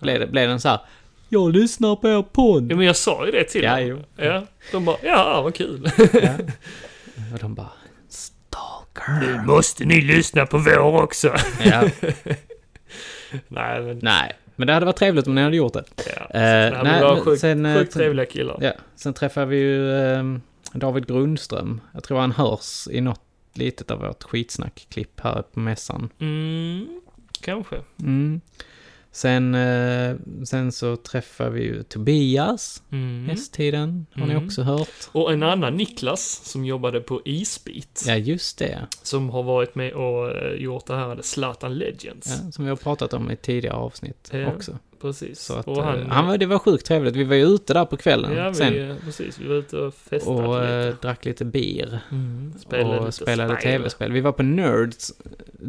[SPEAKER 2] Blev, det, blev den så här Jag lyssnar på er podd.
[SPEAKER 1] Ja, men jag sa ju det till
[SPEAKER 2] Ja,
[SPEAKER 1] dem.
[SPEAKER 2] jo.
[SPEAKER 1] Ja, de bara, ja, vad kul.
[SPEAKER 2] Och de bara...
[SPEAKER 1] Nu måste ni lyssna på vår också.
[SPEAKER 2] Ja.
[SPEAKER 1] nej, men...
[SPEAKER 2] Nej, men det hade varit trevligt om ni hade gjort det. Eh,
[SPEAKER 1] det hade varit sjukt- sjukt trevliga killar.
[SPEAKER 2] Ja, sen träffade vi ju eh, David Grundström. Jag tror han hörs i något litet av vårt skitsnack-klipp här på mässan.
[SPEAKER 1] Mm, kanske.
[SPEAKER 2] Mm. Sen, eh, sen så träffar vi ju Tobias,
[SPEAKER 1] Mm.
[SPEAKER 2] hästtiden, har ni
[SPEAKER 1] Mm.
[SPEAKER 2] också hört.
[SPEAKER 1] Och en annan Niklas som jobbade på Isbit.
[SPEAKER 2] Ja, just det.
[SPEAKER 1] Som har varit med och eh, gjort det här Zlatan Legends.
[SPEAKER 2] Ja, som vi har pratat om i tidigare avsnitt
[SPEAKER 1] Ja,
[SPEAKER 2] också.
[SPEAKER 1] Precis.
[SPEAKER 2] Så att,
[SPEAKER 1] Och
[SPEAKER 2] eh,
[SPEAKER 1] han-
[SPEAKER 2] han, var, det var sjukt trevligt. Vi var ju ute där på kvällen
[SPEAKER 1] Ja, vi,
[SPEAKER 2] sen.
[SPEAKER 1] eh, precis. Vi var ute och festade.
[SPEAKER 2] och eh, drack lite bier.
[SPEAKER 1] Mm. Spelade
[SPEAKER 2] och
[SPEAKER 1] lite
[SPEAKER 2] spelade
[SPEAKER 1] spel.
[SPEAKER 2] tv-spel. Vi var på Nerds,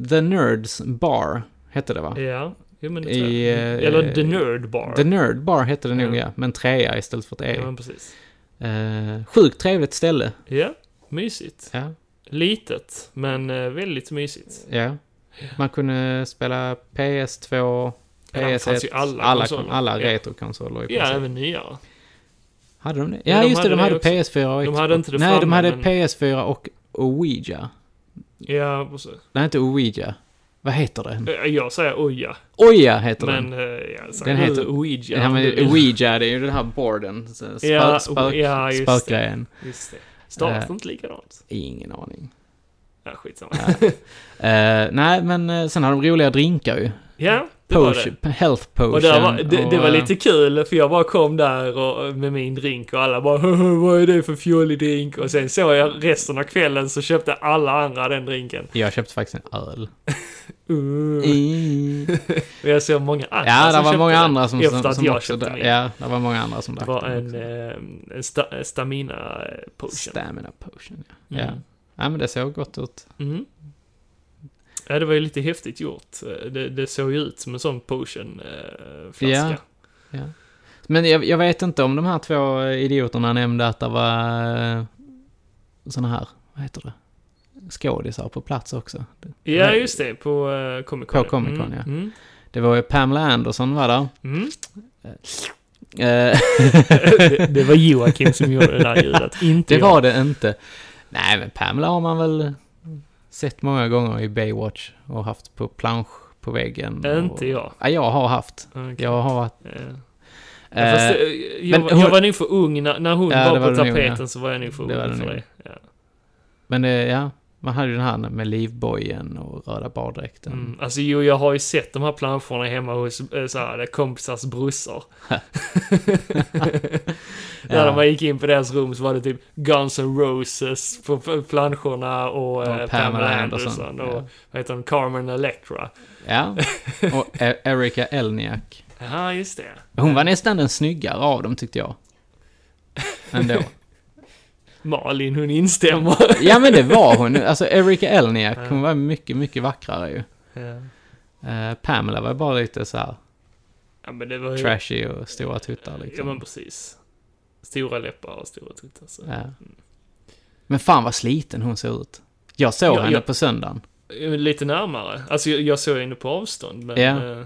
[SPEAKER 2] The Nerds Bar, hette det va?
[SPEAKER 1] Ja, jo, men det tror
[SPEAKER 2] I,
[SPEAKER 1] jag.
[SPEAKER 2] eh,
[SPEAKER 1] Eller The Nerd Bar.
[SPEAKER 2] The Nerd Bar hette det nog ja, men trea istället för ett E.
[SPEAKER 1] Ja, men precis.
[SPEAKER 2] Eh, sjukt trevligt ställe.
[SPEAKER 1] Ja, mysigt.
[SPEAKER 2] Ja.
[SPEAKER 1] Litet, men eh, väldigt mysigt.
[SPEAKER 2] Ja. Man kunde spela PS2,
[SPEAKER 1] Ja, det
[SPEAKER 2] PS1,
[SPEAKER 1] fanns ju alla
[SPEAKER 2] alla,
[SPEAKER 1] konsoler.
[SPEAKER 2] alla
[SPEAKER 1] Ja.
[SPEAKER 2] retrokonsoler i
[SPEAKER 1] Ja,
[SPEAKER 2] princip.
[SPEAKER 1] även nyare.
[SPEAKER 2] Hade de det?
[SPEAKER 1] Ja,
[SPEAKER 2] Ja,
[SPEAKER 1] de
[SPEAKER 2] just
[SPEAKER 1] hade
[SPEAKER 2] det, de
[SPEAKER 1] det
[SPEAKER 2] hade
[SPEAKER 1] också.
[SPEAKER 2] PS4 och
[SPEAKER 1] De
[SPEAKER 2] Xbox.
[SPEAKER 1] hade inte det
[SPEAKER 2] Nej, de
[SPEAKER 1] framme,
[SPEAKER 2] hade
[SPEAKER 1] men-
[SPEAKER 2] PS4 och Ouija.
[SPEAKER 1] Ja, precis.
[SPEAKER 2] Nej, inte Ouija. Vad heter den?
[SPEAKER 1] Eh, Jag säger Oja.
[SPEAKER 2] Oja heter
[SPEAKER 1] men,
[SPEAKER 2] den.
[SPEAKER 1] eh, ja, så-
[SPEAKER 2] den heter...
[SPEAKER 1] Ouija.
[SPEAKER 2] Ja, men
[SPEAKER 1] Du vill-
[SPEAKER 2] Ouija, det är ju den här boarden. så Spök,
[SPEAKER 1] Ja,
[SPEAKER 2] spök,
[SPEAKER 1] ja, just det.
[SPEAKER 2] spökgrejen.
[SPEAKER 1] Just det. Stavas
[SPEAKER 2] Eh,
[SPEAKER 1] det inte likadant?
[SPEAKER 2] Ingen aning.
[SPEAKER 1] Ja, skitsamma.
[SPEAKER 2] Nej. Eh, nej, men eh, sen har de roliga drinkar ju.
[SPEAKER 1] Ja, det var
[SPEAKER 2] Potion- Health potion.
[SPEAKER 1] Och där var, det, det
[SPEAKER 2] och,
[SPEAKER 1] var
[SPEAKER 2] eh,
[SPEAKER 1] lite kul för jag bara kom där och, med min drink och alla bara "Haha, vad är det för fjollig drink? Och sen såg jag resten av kvällen så köpte alla andra den drinken.
[SPEAKER 2] Jag köpte faktiskt en öl.
[SPEAKER 1] Uh.
[SPEAKER 2] Mm.
[SPEAKER 1] och jag såg många andra
[SPEAKER 2] Ja, det
[SPEAKER 1] som
[SPEAKER 2] var
[SPEAKER 1] köpte
[SPEAKER 2] många
[SPEAKER 1] den
[SPEAKER 2] andra som,
[SPEAKER 1] efter
[SPEAKER 2] som,
[SPEAKER 1] att
[SPEAKER 2] som
[SPEAKER 1] jag
[SPEAKER 2] också
[SPEAKER 1] köpte
[SPEAKER 2] drack.
[SPEAKER 1] min.
[SPEAKER 2] Ja, det var många andra som
[SPEAKER 1] Det
[SPEAKER 2] drack.
[SPEAKER 1] var
[SPEAKER 2] den.
[SPEAKER 1] en, eh, en sta, stamina eh, potion.
[SPEAKER 2] Stamina potion, ja.
[SPEAKER 1] Mm.
[SPEAKER 2] Ja. ja, men det såg gott ut.
[SPEAKER 1] Mm. Ja, det var ju lite häftigt gjort. Eh, Det, det såg ju ut som en sån potion eh, flaska.
[SPEAKER 2] Ja. ja. Men jag, jag vet inte om de här två idioterna nämnde att det var eh, såna här, vad heter det, skådisar på plats också.
[SPEAKER 1] Ja, just det. På uh, Comic Con.
[SPEAKER 2] På Comic Con,
[SPEAKER 1] Mm,
[SPEAKER 2] ja.
[SPEAKER 1] mm.
[SPEAKER 2] Det var ju Pamela Anderson var där.
[SPEAKER 1] Mm.
[SPEAKER 2] Eh,
[SPEAKER 1] det, det var Joakim som gjorde det där ljudet, inte
[SPEAKER 2] Det
[SPEAKER 1] jag.
[SPEAKER 2] var det inte. Nej, men Pamela har man väl sett många gånger i Baywatch och haft på plansch på väggen.
[SPEAKER 1] Inte
[SPEAKER 2] och,
[SPEAKER 1] jag.
[SPEAKER 2] Ja, jag har haft.
[SPEAKER 1] Okej.
[SPEAKER 2] Jag har varit...
[SPEAKER 1] Ja, fast, eh, jag, var- jag var nog för ung när, när hon
[SPEAKER 2] Ja,
[SPEAKER 1] var
[SPEAKER 2] det var
[SPEAKER 1] på
[SPEAKER 2] du nog, ja.
[SPEAKER 1] tapeten så var jag nog för
[SPEAKER 2] Det var
[SPEAKER 1] ung
[SPEAKER 2] du
[SPEAKER 1] för
[SPEAKER 2] nog.
[SPEAKER 1] det. Ja.
[SPEAKER 2] Men eh, ja, man hade ju den här med livbojen och röda baddräkten.
[SPEAKER 1] Mm. Alltså jo, jag har ju sett de här planscherna hemma hos eh, så här, kompisars brorsor.
[SPEAKER 2] Ja.
[SPEAKER 1] När man gick in på deras rum så var det typ Guns N' Roses på p- planscherna och, eh, Pamela, Anderson, och vad heter hon, Carmen Electra.
[SPEAKER 2] Ja, och E- Erika Elniak.
[SPEAKER 1] Ja, just det.
[SPEAKER 2] Hon var nästan den snyggare av dem tyckte jag. Ändå.
[SPEAKER 1] Malin, hon instämmer.
[SPEAKER 2] Ja men det var hon. Alltså Erika Elniak, hon var mycket, mycket vackrare ju.
[SPEAKER 1] Ja.
[SPEAKER 2] Eh, Pamela var bara lite så här
[SPEAKER 1] Ja, men det var ju...
[SPEAKER 2] trashy och stora tuttar
[SPEAKER 1] Ja,
[SPEAKER 2] liksom.
[SPEAKER 1] men precis. Stora läppar och stora tuttar. Så.
[SPEAKER 2] Ja. Men fan vad sliten hon såg ut. Jag såg
[SPEAKER 1] Ja,
[SPEAKER 2] henne
[SPEAKER 1] ja.
[SPEAKER 2] på söndagen.
[SPEAKER 1] Eh, Lite närmare. Alltså, jag, jag såg henne på avstånd, men...
[SPEAKER 2] Ja.
[SPEAKER 1] eh,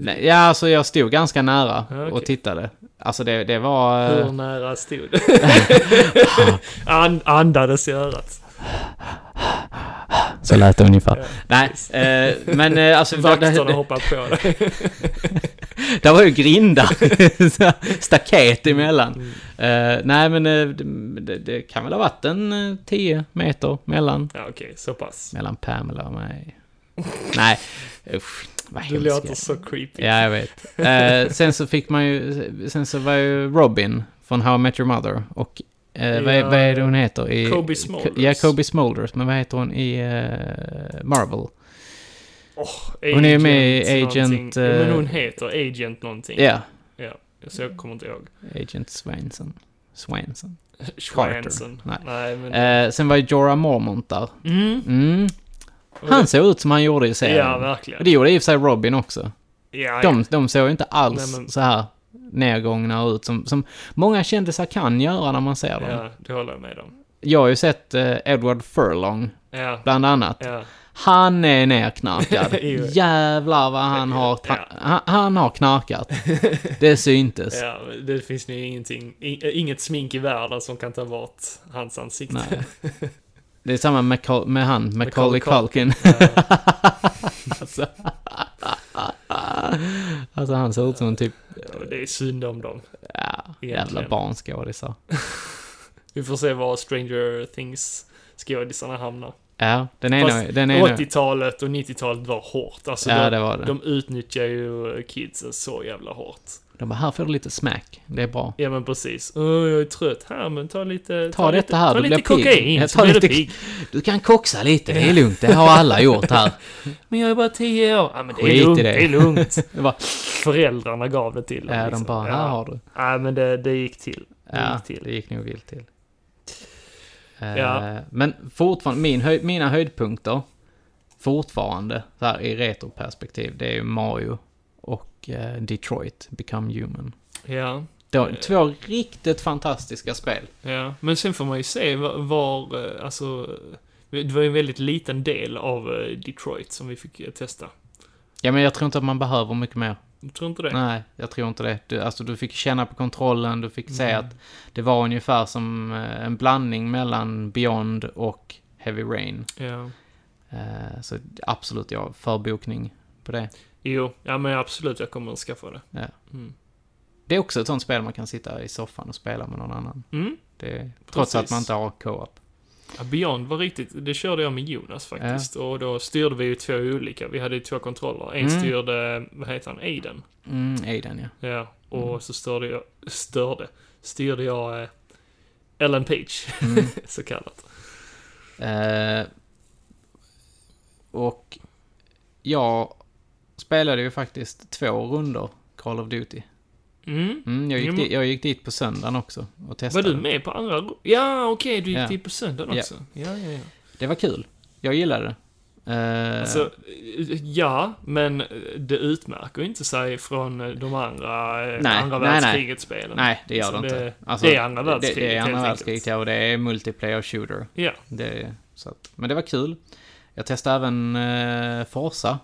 [SPEAKER 2] Nej, ja, alltså jag stod ganska nära
[SPEAKER 1] Ja, okej.
[SPEAKER 2] och tittade. Alltså det, det var... eh,
[SPEAKER 1] Hur nära stod du? An, andades i örat.
[SPEAKER 2] Så lät det ungefär.
[SPEAKER 1] Ja,
[SPEAKER 2] Nej, eh, men eh, alltså...
[SPEAKER 1] Vakterna hoppar på dig.
[SPEAKER 2] det var ju grindar. Staket
[SPEAKER 1] Mm.
[SPEAKER 2] emellan. Eh, nej, men eh, det- det, det kan väl ha varit en eh, 10 meter mellan,
[SPEAKER 1] Ja, okej, så pass.
[SPEAKER 2] mellan Pamela och mig. nej, usch. Vad
[SPEAKER 1] Du
[SPEAKER 2] hemskt.
[SPEAKER 1] låter så creepy.
[SPEAKER 2] Ja, jag vet. Eh, sen så fick man ju, sen så var ju Robin från How I Met Your Mother och eh, vad, är,
[SPEAKER 1] Ja,
[SPEAKER 2] vad är det hon heter? I,
[SPEAKER 1] Kobe Smulders.
[SPEAKER 2] Ja, Kobe Smulders, men vad heter hon i eh, Marvel?
[SPEAKER 1] Åh,
[SPEAKER 2] Hon är ju med i
[SPEAKER 1] någonting.
[SPEAKER 2] Agent,
[SPEAKER 1] Ja, Men
[SPEAKER 2] eh,
[SPEAKER 1] hon heter Agent någonting.
[SPEAKER 2] Ja.
[SPEAKER 1] Ja, så jag kommer inte ihåg.
[SPEAKER 2] Agent Swanson. Swanson.
[SPEAKER 1] Swanson.
[SPEAKER 2] Carter.
[SPEAKER 1] Nej,
[SPEAKER 2] Nej.
[SPEAKER 1] men-
[SPEAKER 2] Eh, sen var ju Jorah Mormont där.
[SPEAKER 1] Mm.
[SPEAKER 2] Han såg ut som han gjorde i serien.
[SPEAKER 1] Ja, verkligen.
[SPEAKER 2] Eh, Och det gjorde i och för sig Robin också.
[SPEAKER 1] Ja,
[SPEAKER 2] de,
[SPEAKER 1] ja.
[SPEAKER 2] de såg ju inte alls
[SPEAKER 1] Nej, men-
[SPEAKER 2] så här nedgångna ut som, som många kändisar kan göra när man ser dem.
[SPEAKER 1] Ja, det håller jag med om.
[SPEAKER 2] Jag har ju sett eh, Edward Furlong,
[SPEAKER 1] Ja.
[SPEAKER 2] bland annat.
[SPEAKER 1] Ja.
[SPEAKER 2] Han är nerknarkad.
[SPEAKER 17] Jo.
[SPEAKER 2] Jävlar vad han har, tra- han, han har knarkat. Det syntes.
[SPEAKER 1] Ja, det finns nu ingenting, i- äh, inget smink i världen som kan ta bort hans ansikte.
[SPEAKER 2] Nej. Det är samma med, Col- med han, Macaulay Culkin. alltså. alltså han ser ut som en typ...
[SPEAKER 1] Ja, Det är synd om dem.
[SPEAKER 2] Ja, jävla
[SPEAKER 1] Egentligen.
[SPEAKER 2] barnskådisar.
[SPEAKER 1] Vi får se var Stranger Things skådisarna hamnar.
[SPEAKER 2] Ja, den ena-
[SPEAKER 1] Fast
[SPEAKER 2] den ena-
[SPEAKER 1] 80-talet och 90-talet var hårt. Alltså
[SPEAKER 2] Ja,
[SPEAKER 1] de,
[SPEAKER 2] det var det.
[SPEAKER 1] de utnyttjar ju kidsen så jävla hårt.
[SPEAKER 2] De bara, här får du lite smack. Det är bra.
[SPEAKER 1] Ja men precis. Åh, jag är trött. Här men ta lite...
[SPEAKER 2] Ta, detta
[SPEAKER 1] lite,
[SPEAKER 2] här,
[SPEAKER 1] ta
[SPEAKER 2] du
[SPEAKER 1] lite
[SPEAKER 2] blir pigg.
[SPEAKER 1] kokain,
[SPEAKER 2] Ja,
[SPEAKER 1] så blir du pigg.
[SPEAKER 2] Du kan koxa lite, det är lugnt. Det har alla gjort här.
[SPEAKER 1] Men jag är bara 10 år. Ja men det
[SPEAKER 2] Skit i
[SPEAKER 1] är lugnt,
[SPEAKER 2] det.
[SPEAKER 1] det. är lugnt.
[SPEAKER 2] Det var-
[SPEAKER 1] Föräldrarna gav det till dem, liksom.
[SPEAKER 2] Ja, de bara, här har du.
[SPEAKER 1] Ja men det, det gick till. Det
[SPEAKER 2] Ja,
[SPEAKER 1] gick till.
[SPEAKER 2] det gick nog vilt till. Eh,
[SPEAKER 1] Ja.
[SPEAKER 2] Men fortfarande, min höj, mina höjdpunkter fortfarande så här, i retroperspektiv, det är ju Mario och eh, Detroit, Become Human.
[SPEAKER 1] Ja.
[SPEAKER 2] Då, två riktigt fantastiska spel.
[SPEAKER 1] Ja, men sen får man ju se var, var eh, alltså... Det var ju en väldigt liten del av eh, Detroit som vi fick eh, testa.
[SPEAKER 2] Ja, men jag tror inte att man behöver mycket mer.
[SPEAKER 1] Du tror inte det?
[SPEAKER 2] Nej, jag tror inte det. Du, alltså, du fick känna på kontrollen, du fick se
[SPEAKER 1] Mm.
[SPEAKER 2] att det var ungefär som eh, en blandning mellan Beyond och Heavy Rain.
[SPEAKER 1] Ja.
[SPEAKER 2] Eh, så absolut, ja, förbokning på det.
[SPEAKER 1] Jo, ja men absolut, jag kommer att skaffa det.
[SPEAKER 2] Ja.
[SPEAKER 1] Mm.
[SPEAKER 2] Det är också ett sånt spel man kan sitta i soffan och spela med någon annan.
[SPEAKER 1] Mm.
[SPEAKER 2] Det, är- trots
[SPEAKER 1] Precis.
[SPEAKER 2] att man inte har co-op.
[SPEAKER 1] Ja, Beyond var riktigt, det körde jag med Jonas faktiskt. Och då styrde vi ju två olika, vi hade ju två kontroller. En
[SPEAKER 2] Mm.
[SPEAKER 1] styrde, vad heter han, Aiden?
[SPEAKER 2] Mm, Aiden, ja.
[SPEAKER 1] Ja, och
[SPEAKER 2] Mm.
[SPEAKER 1] så störde jag, störde, styrde jag eh, Ellen Page,
[SPEAKER 2] Mm.
[SPEAKER 1] så kallat.
[SPEAKER 2] Eh, och jag spelade ju faktiskt två runder Call of Duty.
[SPEAKER 1] Mm.
[SPEAKER 2] jag,
[SPEAKER 1] Jo,
[SPEAKER 2] gick
[SPEAKER 1] men-
[SPEAKER 2] di- jag gick dit på söndagen också och
[SPEAKER 1] Var
[SPEAKER 2] testade.
[SPEAKER 1] du med på andra? ro- Ja, okej, du gick
[SPEAKER 2] Ja.
[SPEAKER 1] dit på söndagen
[SPEAKER 2] Ja.
[SPEAKER 1] också. Ja, ja, ja.
[SPEAKER 2] Det var kul. Jag gillade det. Eh,
[SPEAKER 1] Alltså, ja, men det utmärker ju inte sig från de andra, eh, andra världskriget-spelen.
[SPEAKER 2] Nej, det gör det
[SPEAKER 1] Alltså,
[SPEAKER 2] inte. Alltså,
[SPEAKER 1] det är andra
[SPEAKER 2] det-
[SPEAKER 1] världskriget,
[SPEAKER 2] Det är
[SPEAKER 1] helt
[SPEAKER 2] andra
[SPEAKER 1] enkelt.
[SPEAKER 2] världskriget, ja, och det är multiplayer shooter.
[SPEAKER 1] Ja.
[SPEAKER 2] Det, är- så att, men det var kul. Jag testade även eh, Forza.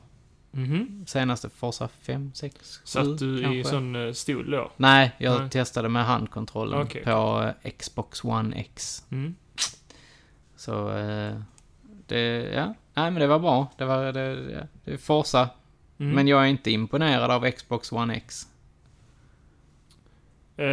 [SPEAKER 1] Mhm.
[SPEAKER 2] Senaste Forza 5, 6, 7
[SPEAKER 1] Satt du
[SPEAKER 2] Mm, kanske.
[SPEAKER 1] i sån eh, stol då?
[SPEAKER 2] Nej, jag
[SPEAKER 1] Nej.
[SPEAKER 2] testade med handkontrollen
[SPEAKER 1] Okej, okej.
[SPEAKER 2] på eh, Xbox One X.
[SPEAKER 1] Mm.
[SPEAKER 2] Så, eh, det, ja. Nej, men det var bra. Det var, det, det, det är Forza.
[SPEAKER 1] Mm.
[SPEAKER 2] Men jag är inte imponerad av Xbox One X.
[SPEAKER 1] Eh,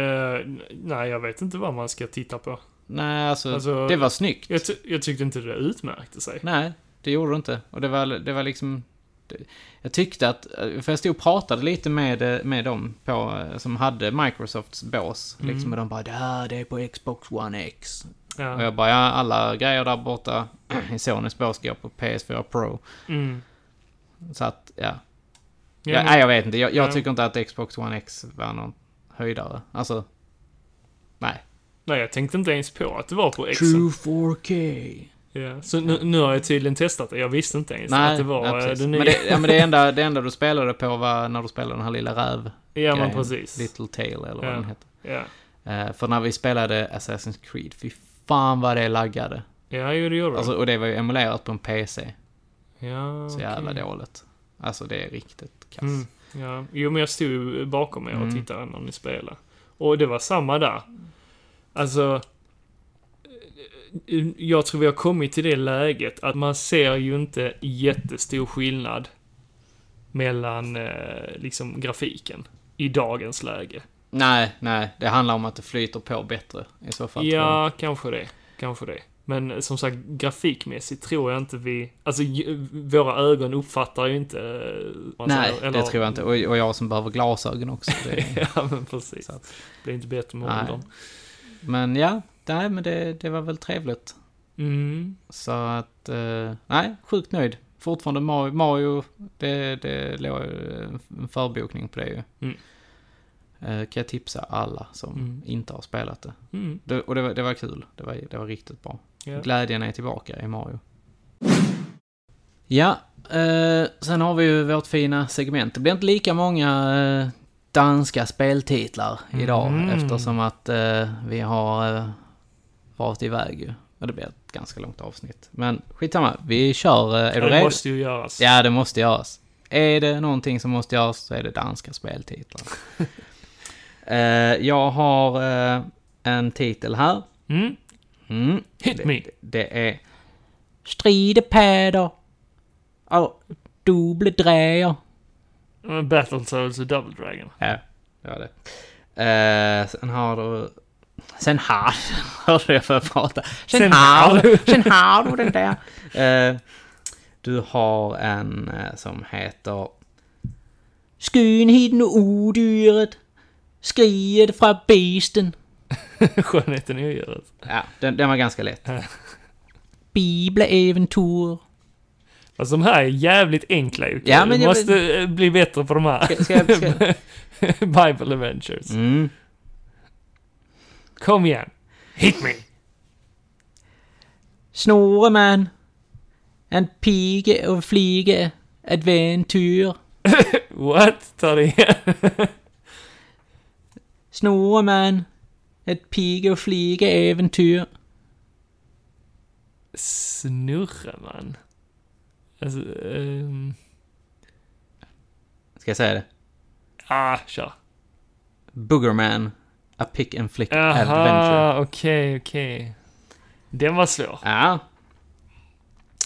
[SPEAKER 1] n- nej, jag vet inte vad man ska titta på.
[SPEAKER 2] Nej, alltså, det var snyggt.
[SPEAKER 1] Jag, ty- jag tyckte inte det utmärkte sig.
[SPEAKER 2] Nej, det gjorde du inte. Och det var, det var liksom... Det, jag tyckte att... För jag stod och pratade lite med, eh, med dem på, eh, som hade Microsofts bås.
[SPEAKER 17] Mm.
[SPEAKER 2] Liksom, och de bara "Ja, det är på Xbox One X.
[SPEAKER 17] Ja.
[SPEAKER 2] Och jag bara, ja, alla grejer där borta i Sonys bås går på PS4 Pro.
[SPEAKER 1] Mm.
[SPEAKER 2] Så att, ja.
[SPEAKER 17] Ja,
[SPEAKER 2] ja,
[SPEAKER 17] men-
[SPEAKER 2] nej, jag vet inte. Jag, jag
[SPEAKER 17] Ja.
[SPEAKER 2] tycker inte att Xbox One X var någon höjdare. Alltså, nej.
[SPEAKER 1] Nej, jag tänkte inte ens på att det var på X.
[SPEAKER 2] True 4K.
[SPEAKER 1] Ja, så nu, nu har jag tydligen testat det. Jag visste inte ens
[SPEAKER 2] Nej,
[SPEAKER 1] att det var
[SPEAKER 2] ja,
[SPEAKER 1] eh,
[SPEAKER 2] precis.
[SPEAKER 1] det nya.
[SPEAKER 2] men, det, ja, men det, enda, det enda du spelade på var när du spelade den här lilla räv
[SPEAKER 1] Ja, men precis.
[SPEAKER 2] Little Tail eller vad
[SPEAKER 1] Ja,
[SPEAKER 2] den hette.
[SPEAKER 1] ja.
[SPEAKER 2] Eh, för när vi spelade Assassin's Creed, fy fan vad det laggade.
[SPEAKER 1] Ja, jo, det gjorde det.
[SPEAKER 2] alltså, Och det var ju emulerat på en PC.
[SPEAKER 1] Ja,
[SPEAKER 2] Så jävla
[SPEAKER 1] okej.
[SPEAKER 2] dåligt. Alltså det är riktigt kass.
[SPEAKER 1] Mm, ja. Jo, men jag stod ju bakom er och
[SPEAKER 2] Mm.
[SPEAKER 1] tittade när ni spelade. Och det var samma där. Alltså... eh, Jag tror vi har kommit till det läget att man ser ju inte jättestor skillnad mellan eh, liksom grafiken i dagens läge.
[SPEAKER 2] Nej, nej. Det handlar om att det flyter på bättre i så fall. tror jag.
[SPEAKER 1] Ja, kanske det. Kanske det. Men eh, som sagt, grafikmässigt tror jag inte vi... Alltså, ju- våra ögon uppfattar ju inte... eh, vad man
[SPEAKER 2] Nej,
[SPEAKER 1] säger,
[SPEAKER 2] det tror jag inte. Och, och jag som behöver glasögon också. Det,
[SPEAKER 1] ja, men precis. Blir inte bättre med
[SPEAKER 2] Nej.
[SPEAKER 1] åldern.
[SPEAKER 2] Men ja, nej, men det, det var väl trevligt.
[SPEAKER 1] Mm.
[SPEAKER 2] Så att, eh, nej, sjukt nöjd. Fortfarande Mario, Mario det, det låg ju en förbokning på det ju.
[SPEAKER 1] Mm.
[SPEAKER 2] Eh, Kan jag tipsa alla som
[SPEAKER 1] Mm.
[SPEAKER 2] inte har spelat det.
[SPEAKER 1] Mm.
[SPEAKER 2] det och det var, det var kul, det var, det var riktigt bra.
[SPEAKER 1] Ja.
[SPEAKER 2] Glädjen är tillbaka i Mario. Ja, eh, sen har vi ju vårt fina segment. Det blir inte lika många eh, danska speltitlar idag
[SPEAKER 17] Mm.
[SPEAKER 2] eftersom att eh, vi har eh, varit iväg ju. Ja, det blir ett ganska långt avsnitt. Men skitsamma, vi kör. eh, Är
[SPEAKER 1] Ja,
[SPEAKER 2] du
[SPEAKER 1] det
[SPEAKER 2] redo?
[SPEAKER 1] måste ju göras.
[SPEAKER 2] Ja, det måste göras. Är det någonting som måste göras så är det danska speltitlar. Eh, jag har eh, en titel här.
[SPEAKER 1] Mm.
[SPEAKER 2] Hit det, me! Det är... Stridepäder och dubbledräger.
[SPEAKER 1] Men Battle Souls och Double Dragon.
[SPEAKER 2] Ja, det var det. Eh, sen har du... Sen har... Hörde jag för att prata. Sen,
[SPEAKER 5] Sen
[SPEAKER 2] har
[SPEAKER 5] har
[SPEAKER 2] du...
[SPEAKER 5] du.
[SPEAKER 2] Sen har du den där. Eh, du har en eh, som heter... Skönheten och odyret. Skriet från besten.
[SPEAKER 1] Skönheten i odjuret.
[SPEAKER 2] Ja, den, den var ganska lätt. Bibeläventyr.
[SPEAKER 1] Fast Alltså, de här är jävligt enkla ju.
[SPEAKER 2] Ja,
[SPEAKER 1] Ja,
[SPEAKER 2] men
[SPEAKER 1] men
[SPEAKER 2] jag-
[SPEAKER 1] måste eh, bli bättre på de här.
[SPEAKER 2] Ska- ska jag- ska-
[SPEAKER 1] Bible Adventures.
[SPEAKER 2] Mm.
[SPEAKER 1] Kom igen. Hit me!
[SPEAKER 2] Snoreman. En pige och flige. Adventyr.
[SPEAKER 1] What? Ta det igen.
[SPEAKER 2] Snoreman. Ett pige och flige äventyr.
[SPEAKER 1] Snurreman. Alltså, ehm...
[SPEAKER 2] Ska jag säga det?
[SPEAKER 1] Ah, kör.
[SPEAKER 2] Boogerman. A pick and flick adventure.
[SPEAKER 1] Aha, Ah, okej, okej. Den var svår.
[SPEAKER 2] Ja.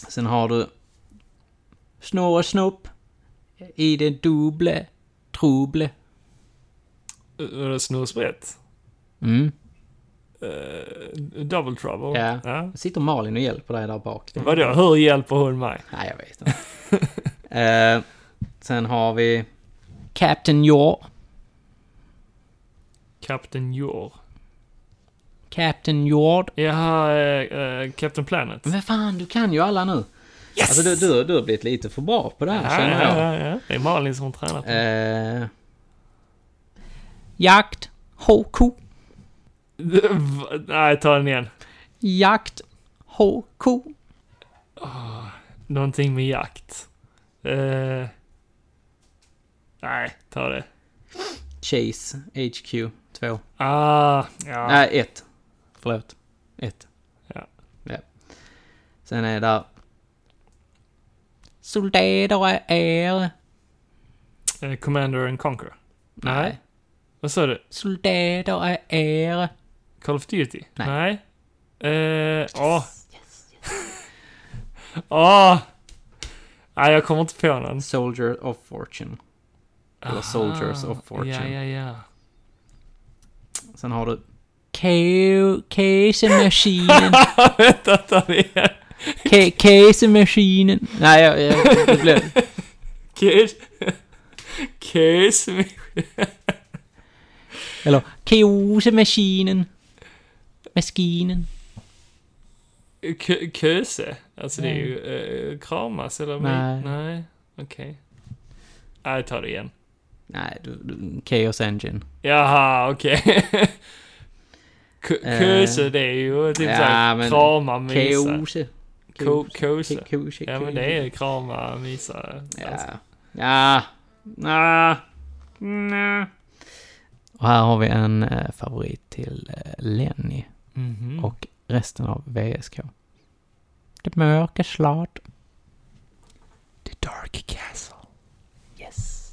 [SPEAKER 2] Sen har du Snorre Snopp. I det dubbla truble.
[SPEAKER 1] Var det snorsbrett?
[SPEAKER 2] Mm.
[SPEAKER 1] Eh, double trouble?
[SPEAKER 2] Ja. Sitter Malin och hjälper dig där bak.
[SPEAKER 1] Vadå, hur hjälper hon mig?
[SPEAKER 2] Nej, jag vet inte. Eh, sen har vi Captain Yaw.
[SPEAKER 1] Captain Jor.
[SPEAKER 2] Captain Yard.
[SPEAKER 1] Jaha, eh, eh, Captain Planet.
[SPEAKER 2] Men fan, du kan ju alla nu. Yes! Alltså, du, du, du har blivit lite för bra på det här,
[SPEAKER 1] Ja,
[SPEAKER 2] känner jag.
[SPEAKER 1] ja, ja, ja. Det är Malin som tränar på
[SPEAKER 2] Eh, jakt. HK.
[SPEAKER 1] Va- Nej, ta den igen.
[SPEAKER 2] Jakt. HK.
[SPEAKER 1] Ah, någonting med jakt. Eh, nej, ta det.
[SPEAKER 2] Chase. HQ 2.
[SPEAKER 1] Ah, ja.
[SPEAKER 2] Nej, 1. Förlåt. 1.
[SPEAKER 1] Ja.
[SPEAKER 2] ja. Sen är det där... Soldater är er.
[SPEAKER 1] Eh, Commander and Conquer.
[SPEAKER 2] Nej.
[SPEAKER 1] Vad sa du?
[SPEAKER 2] Soldater är er.
[SPEAKER 1] Call of Duty? Nej. Eh, åh. Åh! Nej, jag kommer inte på någon.
[SPEAKER 2] Soldier of Fortune. Eller
[SPEAKER 1] Aha,
[SPEAKER 2] Ah, Soldiers of Fortune.
[SPEAKER 1] Ja, ja, ja.
[SPEAKER 2] Sen har du... Casemaskinen.
[SPEAKER 1] Vänta, ta det igen.
[SPEAKER 2] Casemaskinen. Nej, jag... jag det blev...
[SPEAKER 1] Kiss. Kiss me.
[SPEAKER 2] Eller Casemaskinen. Maskinen.
[SPEAKER 1] Kö- Köse? Alltså det är
[SPEAKER 2] Nej.
[SPEAKER 1] ju eh, kramas eller?
[SPEAKER 2] Nej.
[SPEAKER 1] Nej, okej. Nej, ta det igen.
[SPEAKER 2] Nej, du, du, Chaos Engine.
[SPEAKER 1] Jaha, okej. K-
[SPEAKER 2] Eh,
[SPEAKER 1] Köse, det är ju typ
[SPEAKER 2] ja,
[SPEAKER 1] såhär
[SPEAKER 2] men-
[SPEAKER 1] krama, mysa.
[SPEAKER 2] Kose.
[SPEAKER 1] Ko- Kose.
[SPEAKER 2] Kose,
[SPEAKER 1] Ja, men
[SPEAKER 2] kose.
[SPEAKER 1] det är ju krama, mysa. dansa.
[SPEAKER 2] Alltså. Ja. Nja. Nja. Och här har vi en eh, favorit till eh, Lenny.
[SPEAKER 1] Mhm.
[SPEAKER 2] Och resten av VSK. Det mörka slad.
[SPEAKER 5] The Dark Castle. Yes.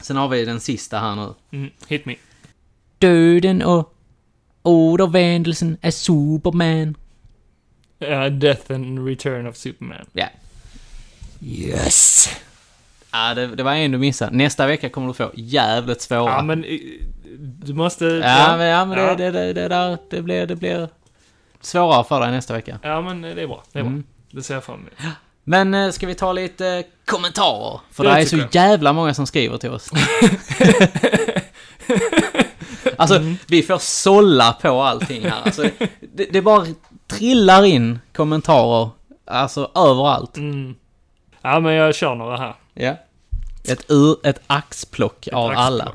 [SPEAKER 2] Sen har vi den sista här nu.
[SPEAKER 1] Mm, hit me.
[SPEAKER 2] Döden och återvändelsen är Superman.
[SPEAKER 1] Ja, Death and Return of Superman.
[SPEAKER 2] Ja. Yes! Ja, det, det var en du missade. Nästa vecka kommer du få jävligt svåra.
[SPEAKER 1] Ja, men eh, du måste...
[SPEAKER 2] Ja, men, ja, men Det, det, det, det, där, det, blir, det blir svårare för dig nästa vecka.
[SPEAKER 1] Ja, men eh, det är bra. Det är
[SPEAKER 2] Mm.
[SPEAKER 1] bra. Det ser jag fram emot.
[SPEAKER 2] Men eh, ska vi ta lite eh, kommentarer? För det,
[SPEAKER 1] Det
[SPEAKER 2] är så
[SPEAKER 1] tycker jag.
[SPEAKER 2] jävla många som skriver till oss. alltså, vi får sålla på allting här. Alltså, det, det bara trillar in kommentarer, alltså överallt.
[SPEAKER 1] Mm. Ja, men jag kör några här.
[SPEAKER 2] Ja. Ett, ur, ett axplock av alla.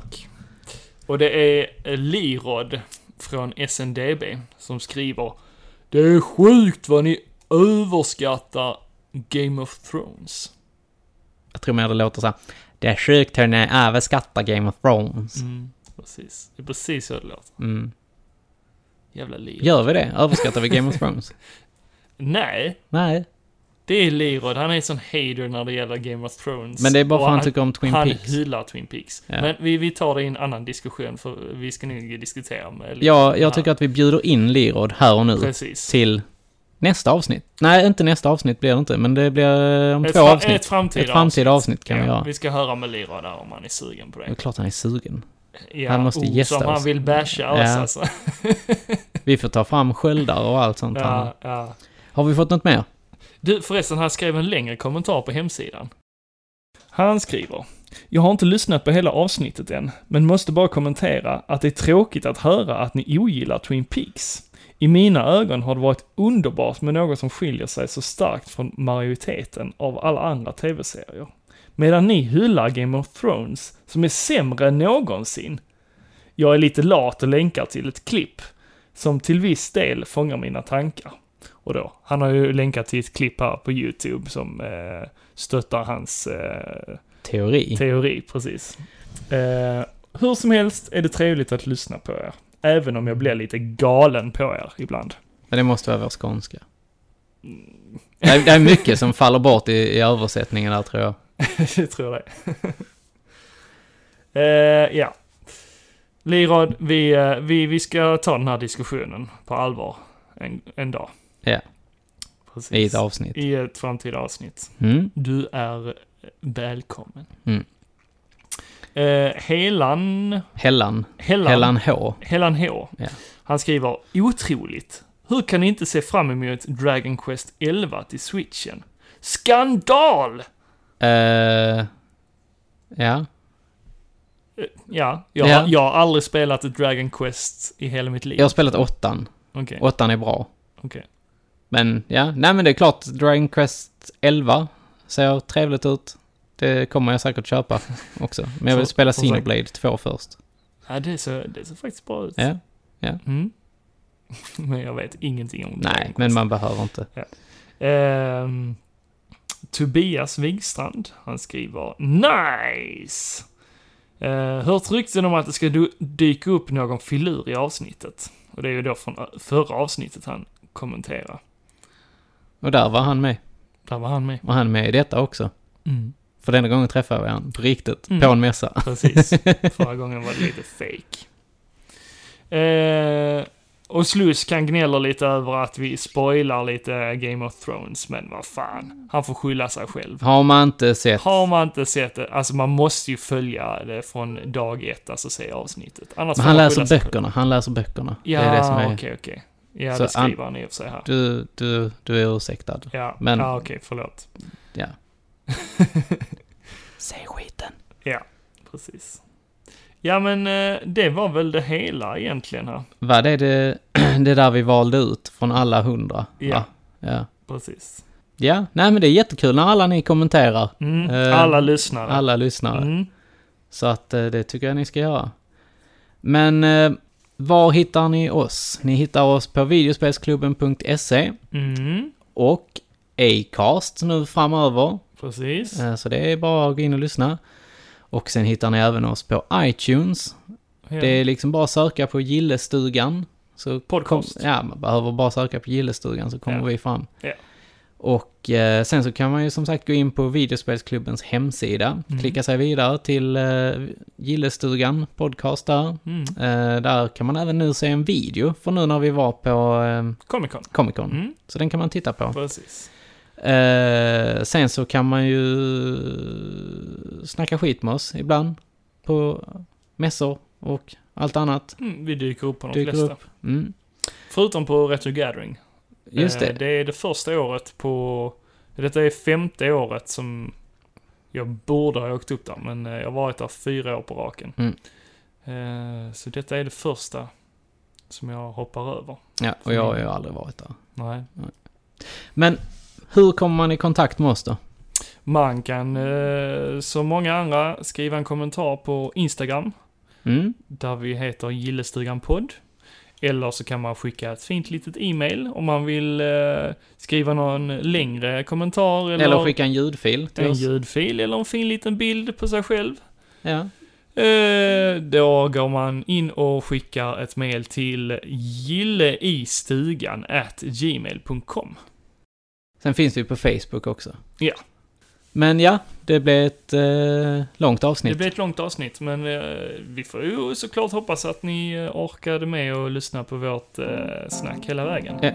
[SPEAKER 1] Och det är Lirod från SNDB som skriver Det är sjukt vad ni överskattar Game of Thrones.
[SPEAKER 2] Jag tror mer det låter så här. Det är sjukt hur ni överskattar Game of Thrones.
[SPEAKER 1] Mm, precis. Det är precis så det låter.
[SPEAKER 2] Mm.
[SPEAKER 1] Jävla Lerod.
[SPEAKER 2] Gör vi det? Överskattar vi Game of Thrones?
[SPEAKER 1] Nej.
[SPEAKER 2] Nej.
[SPEAKER 1] Det är Lerod. Han är sån hater när det gäller Game of Thrones.
[SPEAKER 2] Men det är bara för
[SPEAKER 1] Och
[SPEAKER 2] han tycker om Twin
[SPEAKER 1] han
[SPEAKER 2] Peaks.
[SPEAKER 1] Han hyllar Twin Peaks.
[SPEAKER 2] Ja.
[SPEAKER 1] Men vi, vi tar det i en annan diskussion, för vi ska nog diskutera med...
[SPEAKER 2] Ja, jag tycker att vi bjuder in Lirod här och nu.
[SPEAKER 1] Precis.
[SPEAKER 2] Till nästa avsnitt. Nej, inte nästa avsnitt blir det inte, men det blir eh, om
[SPEAKER 1] Ett
[SPEAKER 2] två
[SPEAKER 1] fra-
[SPEAKER 2] avsnitt.
[SPEAKER 1] Ett framtida,
[SPEAKER 2] ett framtida avsnitt. kan
[SPEAKER 1] ja,
[SPEAKER 2] vi göra.
[SPEAKER 1] Vi ska höra med Lirod där om han är sugen på
[SPEAKER 2] Det är
[SPEAKER 1] det.
[SPEAKER 2] klart han är sugen.
[SPEAKER 1] Ja,
[SPEAKER 2] han måste
[SPEAKER 1] oh,
[SPEAKER 2] gästa
[SPEAKER 1] som han
[SPEAKER 2] oss.
[SPEAKER 1] vill basha oss, alltså.
[SPEAKER 2] Vi får ta fram sköldar och allt sånt.
[SPEAKER 1] Ja,
[SPEAKER 2] här.
[SPEAKER 1] ja.
[SPEAKER 2] Har vi fått något mer?
[SPEAKER 1] Du, förresten, han skrev en längre kommentar på hemsidan. Han skriver. Jag har inte lyssnat på hela avsnittet än, men måste bara kommentera att det är tråkigt att höra att ni ogillar Twin Peaks. I mina ögon har det varit underbart med något som skiljer sig så starkt från majoriteten av alla andra tv-serier. Medan ni hyllar Game of Thrones, som är sämre än någonsin. Jag är lite lat och länkar till ett klipp, som till viss del fångar mina tankar. Och då, han har ju länkat till ett klipp här på YouTube som eh, stöttar hans eh,
[SPEAKER 2] Teori.
[SPEAKER 1] Teori, precis. Eh, hur som helst är det trevligt att lyssna på er. Även om jag blir lite galen på er ibland.
[SPEAKER 2] Men det måste vara vår skånska. Det är, det är mycket som faller bort i, i översättningen där tror jag.
[SPEAKER 1] det tror jag det. eh, ja. Lirad, vi, eh, vi, vi ska ta den här diskussionen på allvar en, en dag.
[SPEAKER 2] Ja.
[SPEAKER 1] Precis.
[SPEAKER 2] I ett avsnitt.
[SPEAKER 1] I ett framtida avsnitt.
[SPEAKER 2] Mm.
[SPEAKER 1] Du är eh, välkommen.
[SPEAKER 2] Mm.
[SPEAKER 1] Eh, Helan...
[SPEAKER 2] Hellan.
[SPEAKER 1] Hellan.
[SPEAKER 2] Hellan H.
[SPEAKER 1] Hellan H.
[SPEAKER 2] Ja.
[SPEAKER 1] Han skriver otroligt. Hur kan ni inte se fram emot Dragon Quest 11 till switchen? Skandal!
[SPEAKER 2] Eh, ja.
[SPEAKER 1] Eh, Ja, jag,
[SPEAKER 2] Ja.
[SPEAKER 1] Har, jag har aldrig spelat ett Dragon Quest i hela mitt liv.
[SPEAKER 2] Jag har spelat åttan.
[SPEAKER 1] Okej.
[SPEAKER 2] Åttan är bra.
[SPEAKER 1] Okej.
[SPEAKER 2] Men ja, nej men det är klart, Dragon Quest 11 ser trevligt ut. Det kommer jag säkert köpa också. Men jag vill
[SPEAKER 1] Så-
[SPEAKER 2] spela
[SPEAKER 1] som sagt-
[SPEAKER 2] Xenoblade 2 först.
[SPEAKER 1] Ja, det ser, det ser faktiskt bra ut.
[SPEAKER 2] Ja, ja.
[SPEAKER 1] Mm. men jag vet ingenting om Dragon
[SPEAKER 2] Nej,
[SPEAKER 1] Quest.
[SPEAKER 2] men man behöver inte.
[SPEAKER 1] Ja. Ehm, Tobias Wigstrand, han skriver “Nice!” uh, Hört rykten om att det ska du- dyka upp någon filur i avsnittet. Och det är ju då från ö- förra avsnittet han kommenterar.
[SPEAKER 2] Och där var han med.
[SPEAKER 1] Där var han med.
[SPEAKER 2] Och han är med i detta också.
[SPEAKER 1] Mm.
[SPEAKER 2] För denna gången träffade jag honom på riktigt,
[SPEAKER 1] Mm.
[SPEAKER 2] på en mässa.
[SPEAKER 1] Precis. Förra gången var det lite fake. Eh, och Slusk han gnäller lite över att vi spoilar lite Game of Thrones, men vad fan. Han får skylla sig själv.
[SPEAKER 2] Har man inte sett...
[SPEAKER 1] Har man inte sett det, alltså man måste ju följa det från dag ett, alltså se avsnittet. Annars
[SPEAKER 2] Men
[SPEAKER 1] får
[SPEAKER 2] han
[SPEAKER 1] man
[SPEAKER 2] läser
[SPEAKER 1] skylla sig
[SPEAKER 2] böckerna, han läser böckerna.
[SPEAKER 1] Ja,
[SPEAKER 2] det är det som är...
[SPEAKER 1] okej, okej. Ja,
[SPEAKER 2] Så
[SPEAKER 1] det skriver han i och för sig här.
[SPEAKER 2] Du, du, du är ursäktad.
[SPEAKER 1] Ja,
[SPEAKER 2] Men,
[SPEAKER 1] ja okej, förlåt.
[SPEAKER 2] ja.
[SPEAKER 5] Säg skiten.
[SPEAKER 1] Ja, precis. Ja, men eh, det var väl det hela egentligen här.
[SPEAKER 2] Vad är det, det där vi valde ut från alla hundra?
[SPEAKER 1] Ja.
[SPEAKER 2] va? Ja.
[SPEAKER 1] Precis.
[SPEAKER 2] Ja, nej men det är jättekul när alla ni kommenterar.
[SPEAKER 1] Mm,
[SPEAKER 2] Eh,
[SPEAKER 1] alla lyssnare.
[SPEAKER 2] Alla lyssnare.
[SPEAKER 1] Mm.
[SPEAKER 2] Så att eh, det tycker jag ni ska göra. Men eh, var hittar ni oss? Ni hittar oss på videospelsklubben.se
[SPEAKER 1] Mm,
[SPEAKER 2] E. och Acast nu framöver.
[SPEAKER 1] precis.
[SPEAKER 2] Eh, Så det är bara att gå in och lyssna. Och sen hittar ni även oss på iTunes.
[SPEAKER 1] Ja.
[SPEAKER 2] Det är liksom bara att söka på Gillestugan. Så
[SPEAKER 1] Podcast.
[SPEAKER 2] Kom, ja, man behöver bara söka på Gillestugan så kommer
[SPEAKER 1] Ja.
[SPEAKER 2] vi fram.
[SPEAKER 1] Ja.
[SPEAKER 2] Och eh, sen så kan man ju som sagt gå in på videospelsklubbens hemsida.
[SPEAKER 1] Mm.
[SPEAKER 2] Klicka sig vidare till eh, Gillestugan podcast där.
[SPEAKER 1] Mm.
[SPEAKER 2] Eh, där kan man även nu se en video för nu när vi var på eh,
[SPEAKER 1] Comic Con.
[SPEAKER 2] Comic Con.
[SPEAKER 1] Mm.
[SPEAKER 2] Så den kan man titta på.
[SPEAKER 1] Precis.
[SPEAKER 2] Eh, sen så kan man ju snacka skit med oss ibland på mässor och allt annat.
[SPEAKER 1] Mm, vi dyker upp på de
[SPEAKER 2] Dyker
[SPEAKER 1] flesta.
[SPEAKER 2] upp. Mm.
[SPEAKER 1] Förutom på Retro Gathering.
[SPEAKER 2] Just
[SPEAKER 1] Eh,
[SPEAKER 2] det.
[SPEAKER 1] Det är det första året på... Detta är femte året som jag borde ha åkt upp där, men eh, jag har varit där fyra år på raken.
[SPEAKER 2] Mm.
[SPEAKER 1] Eh, Så detta är det första som jag hoppar över.
[SPEAKER 2] Ja, och jag har ju aldrig varit där.
[SPEAKER 1] Nej.
[SPEAKER 2] Men hur kommer man i kontakt med oss då?
[SPEAKER 1] Man kan, eh, som många andra, skriva en kommentar på Instagram.
[SPEAKER 2] Mm.
[SPEAKER 1] Där vi heter Gillestugan podd. Eller så kan man skicka ett fint litet e-mail om man vill eh, skriva någon längre kommentar. Eller,
[SPEAKER 2] Eller, skicka en ljudfil till
[SPEAKER 1] en
[SPEAKER 2] oss.
[SPEAKER 1] ljudfil eller en fin liten bild på sig själv.
[SPEAKER 2] Ja.
[SPEAKER 1] Eh, Då går man in och skickar ett mail till gilleistugan at gmail.com.
[SPEAKER 2] Sen finns vi på Facebook också.
[SPEAKER 1] Ja.
[SPEAKER 2] Men ja, det blev ett eh, långt avsnitt.
[SPEAKER 1] Det blir ett långt avsnitt, men eh, vi får ju såklart hoppas att ni eh, orkade med och lyssna på vårt eh, snack hela vägen.
[SPEAKER 2] Ja.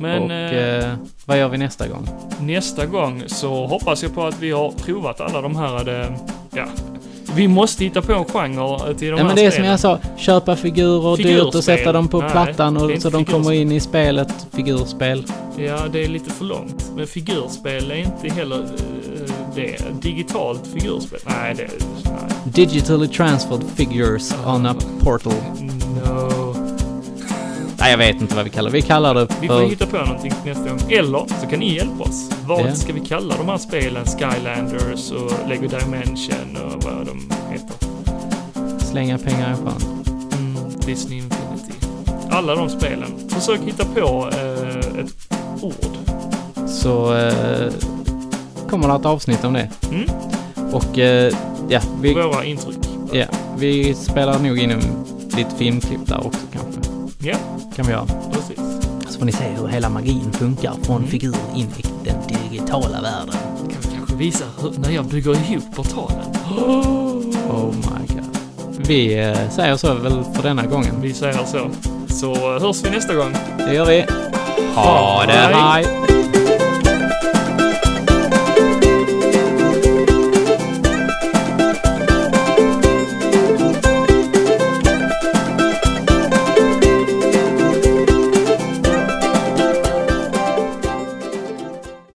[SPEAKER 1] Men
[SPEAKER 2] och
[SPEAKER 1] eh,
[SPEAKER 2] eh, vad gör vi nästa gång?
[SPEAKER 1] nästa gång så hoppas jag på att vi har provat alla de här, eh, ja. Vi måste hitta på en genre till de
[SPEAKER 2] Nej,
[SPEAKER 1] här
[SPEAKER 2] men det är som
[SPEAKER 1] spelen.
[SPEAKER 2] jag sa, köpa figurer dyrt
[SPEAKER 1] Figurspel.
[SPEAKER 2] och sätta dem på
[SPEAKER 1] Nej,
[SPEAKER 2] plattan
[SPEAKER 1] det är
[SPEAKER 2] och,
[SPEAKER 1] inte
[SPEAKER 2] så de kommer
[SPEAKER 1] figurspel.
[SPEAKER 2] in i spelet. Figurspel.
[SPEAKER 1] Ja, det är lite för långt. Men figurspel är inte heller eh, det. Digitalt figurspel? Nej, det... Nej.
[SPEAKER 2] Digitally transferred figures on a portal.
[SPEAKER 1] No.
[SPEAKER 2] Nej, jag vet inte vad vi kallar det. Vi kallar det
[SPEAKER 1] Vi får
[SPEAKER 2] för...
[SPEAKER 1] hitta på någonting nästa gång. Eller så kan ni hjälpa oss. Vad
[SPEAKER 2] Ja.
[SPEAKER 1] ska vi kalla de här spelen? Skylanders och Lego Dimension och vad de heter.
[SPEAKER 2] Slänga pengar i sjön.
[SPEAKER 1] Disney Infinity. Alla de spelen. Försök hitta på eh, ett ord.
[SPEAKER 2] Så eh, kommer det ett avsnitt om det.
[SPEAKER 1] Mm.
[SPEAKER 2] Och eh, ja, vi...
[SPEAKER 1] Våra intryck.
[SPEAKER 2] Ja, vi spelar nog in en, lite filmklipp där också kanske.
[SPEAKER 1] Ja,
[SPEAKER 2] Kan vi göra.
[SPEAKER 1] precis.
[SPEAKER 5] Så får ni se hur hela magin funkar från figur in i den digitala världen.
[SPEAKER 1] Mm. Kan vi kanske visa hur, när jag bygger ihop portalen?
[SPEAKER 2] Oh my god. Vi eh, säger så väl för denna gången.
[SPEAKER 1] eh, Vi säger så. Så hörs vi nästa gång.
[SPEAKER 2] Det gör vi. Ha det!
[SPEAKER 1] Hej.
[SPEAKER 2] Hej.